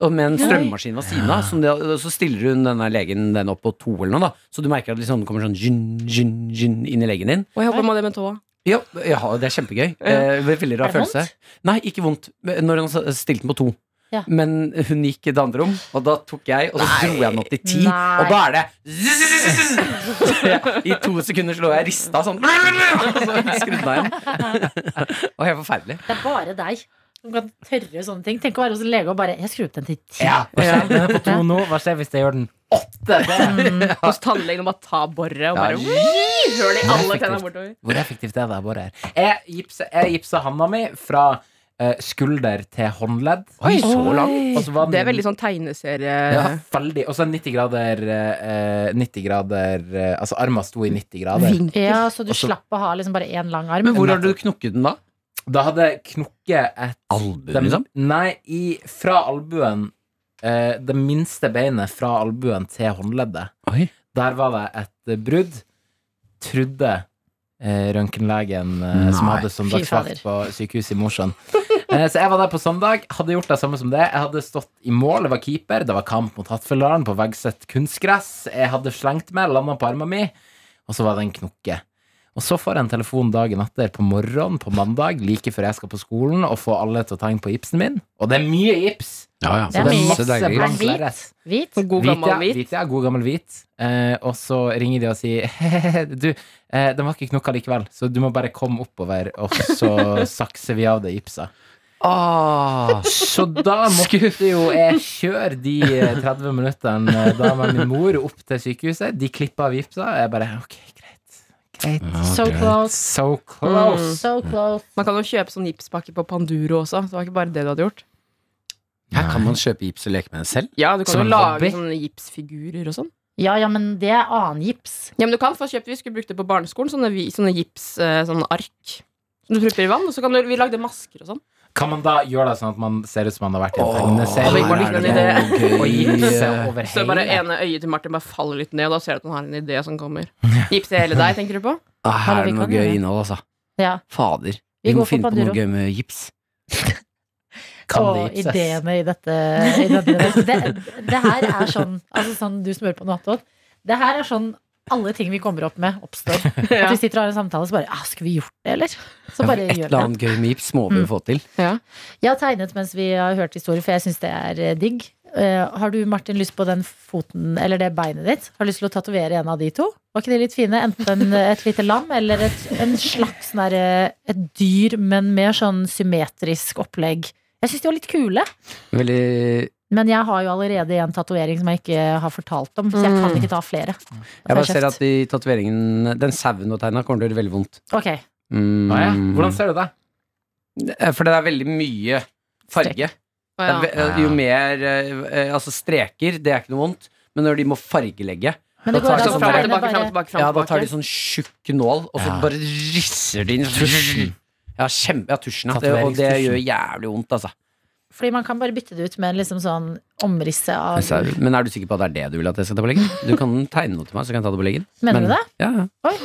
[SPEAKER 3] og med en strømmaskin av siden av som det, Så stiller hun denne legen den opp på to eller noe da Så du merker at det liksom kommer sånn Gyn, gyn, gyn inn i leggen din
[SPEAKER 9] Og jeg håper man har det med tåa.
[SPEAKER 3] ja, ja, det er kjempegøy. Eh, veldig rar
[SPEAKER 2] Er det
[SPEAKER 3] følelse.
[SPEAKER 2] vondt?
[SPEAKER 3] Nei, ikke vondt. Når han s- stilte den på to.
[SPEAKER 2] Ja.
[SPEAKER 3] Men hun gikk i det andre rom, og da tok jeg, og så dro jeg den opp til ti.
[SPEAKER 2] Nei.
[SPEAKER 3] Og da er det Så jeg- I to sekunder så lå jeg rista sånn, og så skrudde den av igjen. Det var helt forferdelig.
[SPEAKER 2] Det er bare deg som kan tørre sånne ting. Tenk å være hos en lege og bare Jeg skrur opp den til ti.
[SPEAKER 4] Ja, hva skjer? Den er på to nå. Hva skjer hvis jeg gjør den
[SPEAKER 9] Hos tannlegen og bare ta boret og bare
[SPEAKER 3] Ja.
[SPEAKER 9] «Wii!» Hører de alle tenna bortover.
[SPEAKER 4] Hvor effektivt er det å bore her? Jeg gipsa, jeg gipsa handa mi fra eh, skulder til håndledd.
[SPEAKER 3] Oi, så langt.
[SPEAKER 4] Og så var den-
[SPEAKER 9] Det er veldig sånn eh. tegneserie
[SPEAKER 4] ja, veldig. Og så 90 grader, eh, 90 grader eh, Altså armen sto i 90 grader.
[SPEAKER 9] vinkel.
[SPEAKER 2] Ja, så du
[SPEAKER 4] Og så-
[SPEAKER 2] slapp å ha liksom bare én lang arm.
[SPEAKER 3] Altså- Men hvor har du knukket den da?
[SPEAKER 4] Da hadde jeg knukket et
[SPEAKER 3] Albuen, liksom?
[SPEAKER 4] Nei, i, fra albuen eh, Det minste beinet fra albuen til håndleddet.
[SPEAKER 3] Oi.
[SPEAKER 4] Der var det et eh, brudd. Trodde eh, røntgenlegen eh, som
[SPEAKER 3] Nei.
[SPEAKER 4] hadde
[SPEAKER 2] Fy
[SPEAKER 4] søndagsvakt på sykehuset i Mosjøen. Eh, så jeg var der på søndag, hadde gjort det samme som det. Jeg hadde stått i mål, jeg var keeper, det var kamp mot Hattfjelldalen på Vegseth kunstgress. Jeg hadde slengt meg, landa på armen min, og så var det en knokke. Og så får jeg en telefon dagen etter på morgenen på mandag, like før jeg skal på skolen, og får alle til å tegne på gipsen min. Og det er mye gips!
[SPEAKER 3] Ja, ja.
[SPEAKER 2] Det er
[SPEAKER 4] det er
[SPEAKER 2] mye.
[SPEAKER 4] masse
[SPEAKER 3] deilig.
[SPEAKER 2] Er den
[SPEAKER 4] blankt
[SPEAKER 2] hvit?
[SPEAKER 4] lerret.
[SPEAKER 2] Hvit?
[SPEAKER 9] Sånn God
[SPEAKER 4] Hvit,
[SPEAKER 9] gammel
[SPEAKER 4] ja.
[SPEAKER 9] hvit.
[SPEAKER 4] hvit, ja. God gammel hvit. Eh, og så ringer de og sier Du, eh, den var ikke knokka likevel, så du må bare komme oppover, og så sakser vi av det gipsa.
[SPEAKER 3] Ah,
[SPEAKER 4] Så da måtte jo jeg kjøre de eh, 30 minuttene eh, da med min mor opp til sykehuset. De klippa og vipsa, og jeg bare OK, greit. Greit.
[SPEAKER 2] So close.
[SPEAKER 4] So close.
[SPEAKER 2] So close.
[SPEAKER 9] Man kan jo kjøpe sånn gipspakke på Panduro også. Det var ikke bare det du hadde gjort.
[SPEAKER 3] Her kan man kjøpe gips og leke med den selv.
[SPEAKER 9] Ja, du kan
[SPEAKER 4] Som
[SPEAKER 9] jo
[SPEAKER 4] en
[SPEAKER 9] lage
[SPEAKER 4] hobby?
[SPEAKER 9] sånne gipsfigurer og sånn.
[SPEAKER 2] Ja, ja, men det er annen gips.
[SPEAKER 9] Ja, men du kan få kjøpt, Vi skulle brukt det på barneskolen, sånne, vi- sånne gips, eh, sånne ark. Som du prupper i vann, og så kan du, vi lagde masker og sånn.
[SPEAKER 4] Kan man da gjøre det sånn at man ser ut som man har vært i en tegneserie?
[SPEAKER 9] Åh, Martin,
[SPEAKER 4] Her er
[SPEAKER 9] en
[SPEAKER 4] det
[SPEAKER 3] idé.
[SPEAKER 4] noe gøy. Og gipse over
[SPEAKER 9] Så bare
[SPEAKER 4] hele.
[SPEAKER 9] ene øyet til Martin bare faller litt ned, og da ser du at han har en idé som kommer. Gipse hele deg, tenker du på?
[SPEAKER 3] Ah, her
[SPEAKER 2] Ja,
[SPEAKER 3] er
[SPEAKER 2] vi
[SPEAKER 3] det noe
[SPEAKER 2] kan gjøre
[SPEAKER 3] gøy
[SPEAKER 2] det.
[SPEAKER 3] innhold, altså.
[SPEAKER 2] Ja.
[SPEAKER 3] Fader.
[SPEAKER 2] Vi
[SPEAKER 3] Vi må
[SPEAKER 2] går for
[SPEAKER 3] finne på noe
[SPEAKER 2] Panduro.
[SPEAKER 3] gøy med gips.
[SPEAKER 4] Kan det
[SPEAKER 2] og
[SPEAKER 4] gipses?
[SPEAKER 2] ideene i dette. I denne- det, det her er sånn, altså sånn du som hører på nå, Anton. Det her er sånn alle ting vi kommer opp med, oppstår. At
[SPEAKER 9] Ja.
[SPEAKER 2] vi sitter og har en samtale, så bare ah, Skulle vi gjort det, eller? Så bare
[SPEAKER 3] Et
[SPEAKER 2] gjør vi
[SPEAKER 3] eller
[SPEAKER 2] det.
[SPEAKER 3] annet gøy med gips må
[SPEAKER 2] Mm.
[SPEAKER 3] vi jo få til.
[SPEAKER 2] Jeg har tegnet mens vi har hørt historier, for jeg syns det er eh, digg. Eh, har du, Martin, lyst på den foten eller det beinet ditt? Har du lyst til å tatovere en av de to? Var ikke de litt fine? Enten eh, et lite lam eller et, en slags sånn der, eh, et dyr, men mer sånn symmetrisk opplegg. Jeg syns de var litt kule.
[SPEAKER 3] Veldig
[SPEAKER 2] Men jeg har jo allerede en tatovering som jeg ikke har fortalt om, så jeg kan ikke ta flere. Da
[SPEAKER 3] Mm. Jeg
[SPEAKER 2] får
[SPEAKER 3] bare ser
[SPEAKER 2] kjeft.
[SPEAKER 3] at de tatoveringene Den sauen du har tegna, kommer til å gjøre veldig vondt.
[SPEAKER 2] Ok,
[SPEAKER 3] Mm.
[SPEAKER 4] Å ja. Hvordan ser du det?
[SPEAKER 3] Eh, For det er veldig mye farge.
[SPEAKER 9] Å,
[SPEAKER 3] Det er,
[SPEAKER 9] ja.
[SPEAKER 3] ve- eh, jo mer eh, eh, Altså, streker, det er ikke noe vondt. Men når de må fargelegge,
[SPEAKER 2] Men det
[SPEAKER 3] Da
[SPEAKER 2] går
[SPEAKER 3] tar
[SPEAKER 2] an
[SPEAKER 3] jeg
[SPEAKER 2] å
[SPEAKER 3] sånn fra
[SPEAKER 2] tegne
[SPEAKER 3] og
[SPEAKER 9] tilbake, fram og
[SPEAKER 2] bare
[SPEAKER 9] tilbake, fram
[SPEAKER 3] ja,
[SPEAKER 9] og
[SPEAKER 3] da tar de
[SPEAKER 9] tilbake.
[SPEAKER 3] sånn tjukk nål, og så
[SPEAKER 4] Ja.
[SPEAKER 3] bare risser de inn.
[SPEAKER 4] Tusjen.
[SPEAKER 3] Ja, kjempe, ja, tusjen. ja. Det, og det
[SPEAKER 4] Tatoveringstusjen.
[SPEAKER 3] gjør jævlig vondt, altså.
[SPEAKER 2] Fordi man kan bare bytte det ut med en liksom sånn omrisse av
[SPEAKER 3] Men er du sikker på at det er det du vil at jeg skal ta på leggen? Du kan tegne noe til meg, så kan jeg ta det på leggen.
[SPEAKER 2] Mener du
[SPEAKER 3] Men-
[SPEAKER 2] det?
[SPEAKER 3] Ja, ja.
[SPEAKER 2] Oi.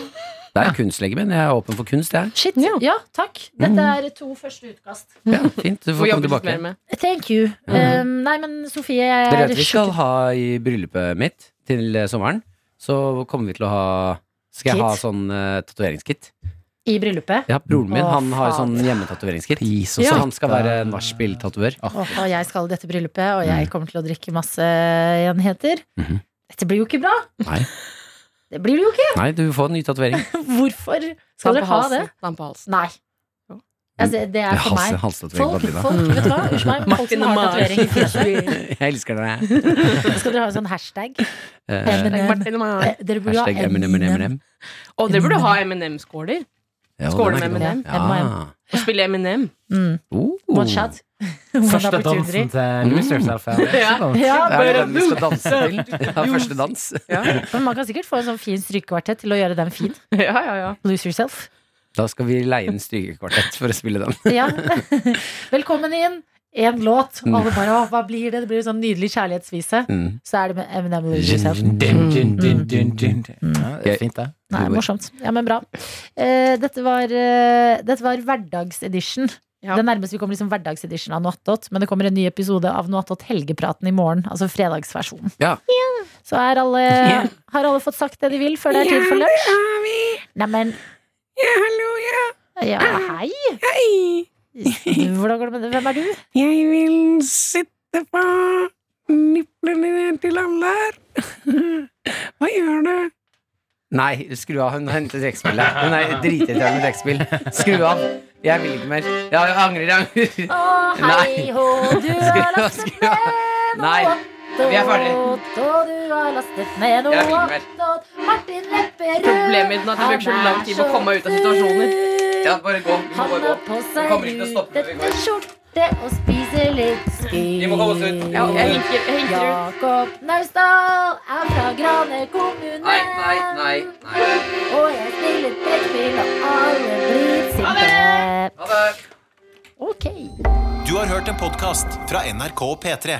[SPEAKER 3] Det er kunstlege, men jeg er åpen for kunst, jeg.
[SPEAKER 2] Shit. Ja. takk. Dette
[SPEAKER 3] Mm.
[SPEAKER 2] er to første utkast.
[SPEAKER 3] Ja, fint, du
[SPEAKER 9] Får
[SPEAKER 3] får komme
[SPEAKER 9] jobbe litt
[SPEAKER 3] tilbake.
[SPEAKER 9] mer med.
[SPEAKER 2] Thank you. Um, nei, men Sofie, jeg
[SPEAKER 3] Dere
[SPEAKER 2] er
[SPEAKER 3] vet vi skal ha i bryllupet mitt til eh, sommeren, så kommer vi til å ha Skal jeg
[SPEAKER 2] Kit?
[SPEAKER 3] ha sånn uh, tatoveringskit?
[SPEAKER 2] sjuk i bryllupet.
[SPEAKER 3] Ja, broren min
[SPEAKER 2] Å,
[SPEAKER 3] han har jo sånn
[SPEAKER 2] fader.
[SPEAKER 3] hjemmetatoveringskit.
[SPEAKER 4] Pris
[SPEAKER 3] Så han skal være nachspiel-tatover.
[SPEAKER 2] Og, og jeg skal i dette bryllupet, og jeg kommer til å drikke masse enheter.
[SPEAKER 3] Mhm.
[SPEAKER 2] Dette blir jo ikke bra.
[SPEAKER 3] Nei.
[SPEAKER 2] Det blir det jo ikke.
[SPEAKER 3] Nei, du får en ny tatovering.
[SPEAKER 2] Hvorfor
[SPEAKER 9] Ta
[SPEAKER 2] skal dere
[SPEAKER 9] den på
[SPEAKER 2] ha det?
[SPEAKER 9] halsen. Ta den på halsen.
[SPEAKER 2] Nei.
[SPEAKER 9] Jo.
[SPEAKER 2] Altså, det er for meg. Folk,
[SPEAKER 3] Halstatovering på Adelina.
[SPEAKER 2] folk, vet du hva? Unnskyld meg. Folk som har tatovering i fjeset.
[SPEAKER 3] Jeg elsker deg.
[SPEAKER 2] Skal dere ha en sånn hashtag?
[SPEAKER 3] Eh,
[SPEAKER 2] Eminem.
[SPEAKER 9] Martin og meg.
[SPEAKER 2] Eh, Dere burde ha
[SPEAKER 3] Hashtag
[SPEAKER 2] Eminem.
[SPEAKER 3] Eminem.
[SPEAKER 9] Å, dere
[SPEAKER 2] Eh,
[SPEAKER 9] burde ha M&M-skåler.
[SPEAKER 3] Ja,
[SPEAKER 9] Skål
[SPEAKER 3] den er
[SPEAKER 9] med
[SPEAKER 3] god.
[SPEAKER 2] Eminem.
[SPEAKER 3] Ja.
[SPEAKER 9] Og spille M&M.
[SPEAKER 2] Mm.
[SPEAKER 3] Oh.
[SPEAKER 2] One shot. One
[SPEAKER 4] Første
[SPEAKER 2] opportunity.
[SPEAKER 4] dansen til Lose Yourself. ja.
[SPEAKER 9] Mm.
[SPEAKER 4] Det er ikke sånn.
[SPEAKER 2] Ja,
[SPEAKER 3] Er det den vi skal danse til? Ja, første dans.
[SPEAKER 2] Men man kan sikkert få en sånn fin strykekvartett til å gjøre den fin.
[SPEAKER 9] Ja, ja, ja.
[SPEAKER 2] Lose yourself.
[SPEAKER 3] Da skal vi leie inn strykekvartett for å spille den.
[SPEAKER 2] Ja. Velkommen inn. Én låt. Og alle bare å, hva blir det? Det blir en sånn nydelig kjærlighetsvise.
[SPEAKER 3] Mm.
[SPEAKER 2] Så er det med Eminem Lose Yourself.
[SPEAKER 4] Dun, dun, dun, dun, dun, dun. Ja, det er fint, det.
[SPEAKER 2] Nei, morsomt. Ja, men bra. Eh, dette var, eh, dette var hverdagsedition.
[SPEAKER 9] Ja.
[SPEAKER 2] Det nærmeste vi kommer liksom hverdagsedition av Noattot. Men det kommer en ny episode av Noattot Helgepraten i morgen. Altså fredagsversjonen.
[SPEAKER 3] Ja.
[SPEAKER 2] Så er alle, har alle fått sagt det de vil før det er tid for lunsj? Ja, Neimen Ja, hallo, ja. hei. Hvordan går det med det? Hvem er du?
[SPEAKER 3] Jeg vil sitte på nipplene til han der. Hva gjør du? Nei, skru av. Hun henter trekkspillet. Hun er dritirriterende med trekkspill. Skru av. Jeg vil ikke mer. Ja, jeg angrer, jeg angrer.
[SPEAKER 2] Å, hei
[SPEAKER 3] Nei.
[SPEAKER 2] hå, du har
[SPEAKER 3] Skru av,
[SPEAKER 2] lastet
[SPEAKER 3] skru av.
[SPEAKER 2] ned
[SPEAKER 3] Nei,
[SPEAKER 2] Noattot.
[SPEAKER 3] vi er ferdig.
[SPEAKER 2] Og du har lastet ned
[SPEAKER 3] Jeg vil mer.
[SPEAKER 2] Noattot. Martin Lepperød.
[SPEAKER 9] Problemet mitt er at det bruker så lang tid på å komme meg ut av situasjoner.
[SPEAKER 3] Ja, bare gå. Vi må
[SPEAKER 2] Han
[SPEAKER 3] bare
[SPEAKER 2] har
[SPEAKER 3] gå.
[SPEAKER 2] på
[SPEAKER 3] Vi
[SPEAKER 2] seg
[SPEAKER 3] kommer ikke til å stoppe når vi
[SPEAKER 2] lutete
[SPEAKER 3] går.
[SPEAKER 2] skjorte og spiser litt skyr.
[SPEAKER 3] Vi må komme oss ut.
[SPEAKER 9] Ja, jeg hinker, jeg hinker ut.
[SPEAKER 2] Jakob Naustdal er fra Grane kommune.
[SPEAKER 3] Nei, nei, nei. nei.
[SPEAKER 2] Og jeg spiller brettspill, og alle blir sinte.
[SPEAKER 3] Ha det.
[SPEAKER 2] Ok.
[SPEAKER 10] Du har hørt en podkast fra NRK P3.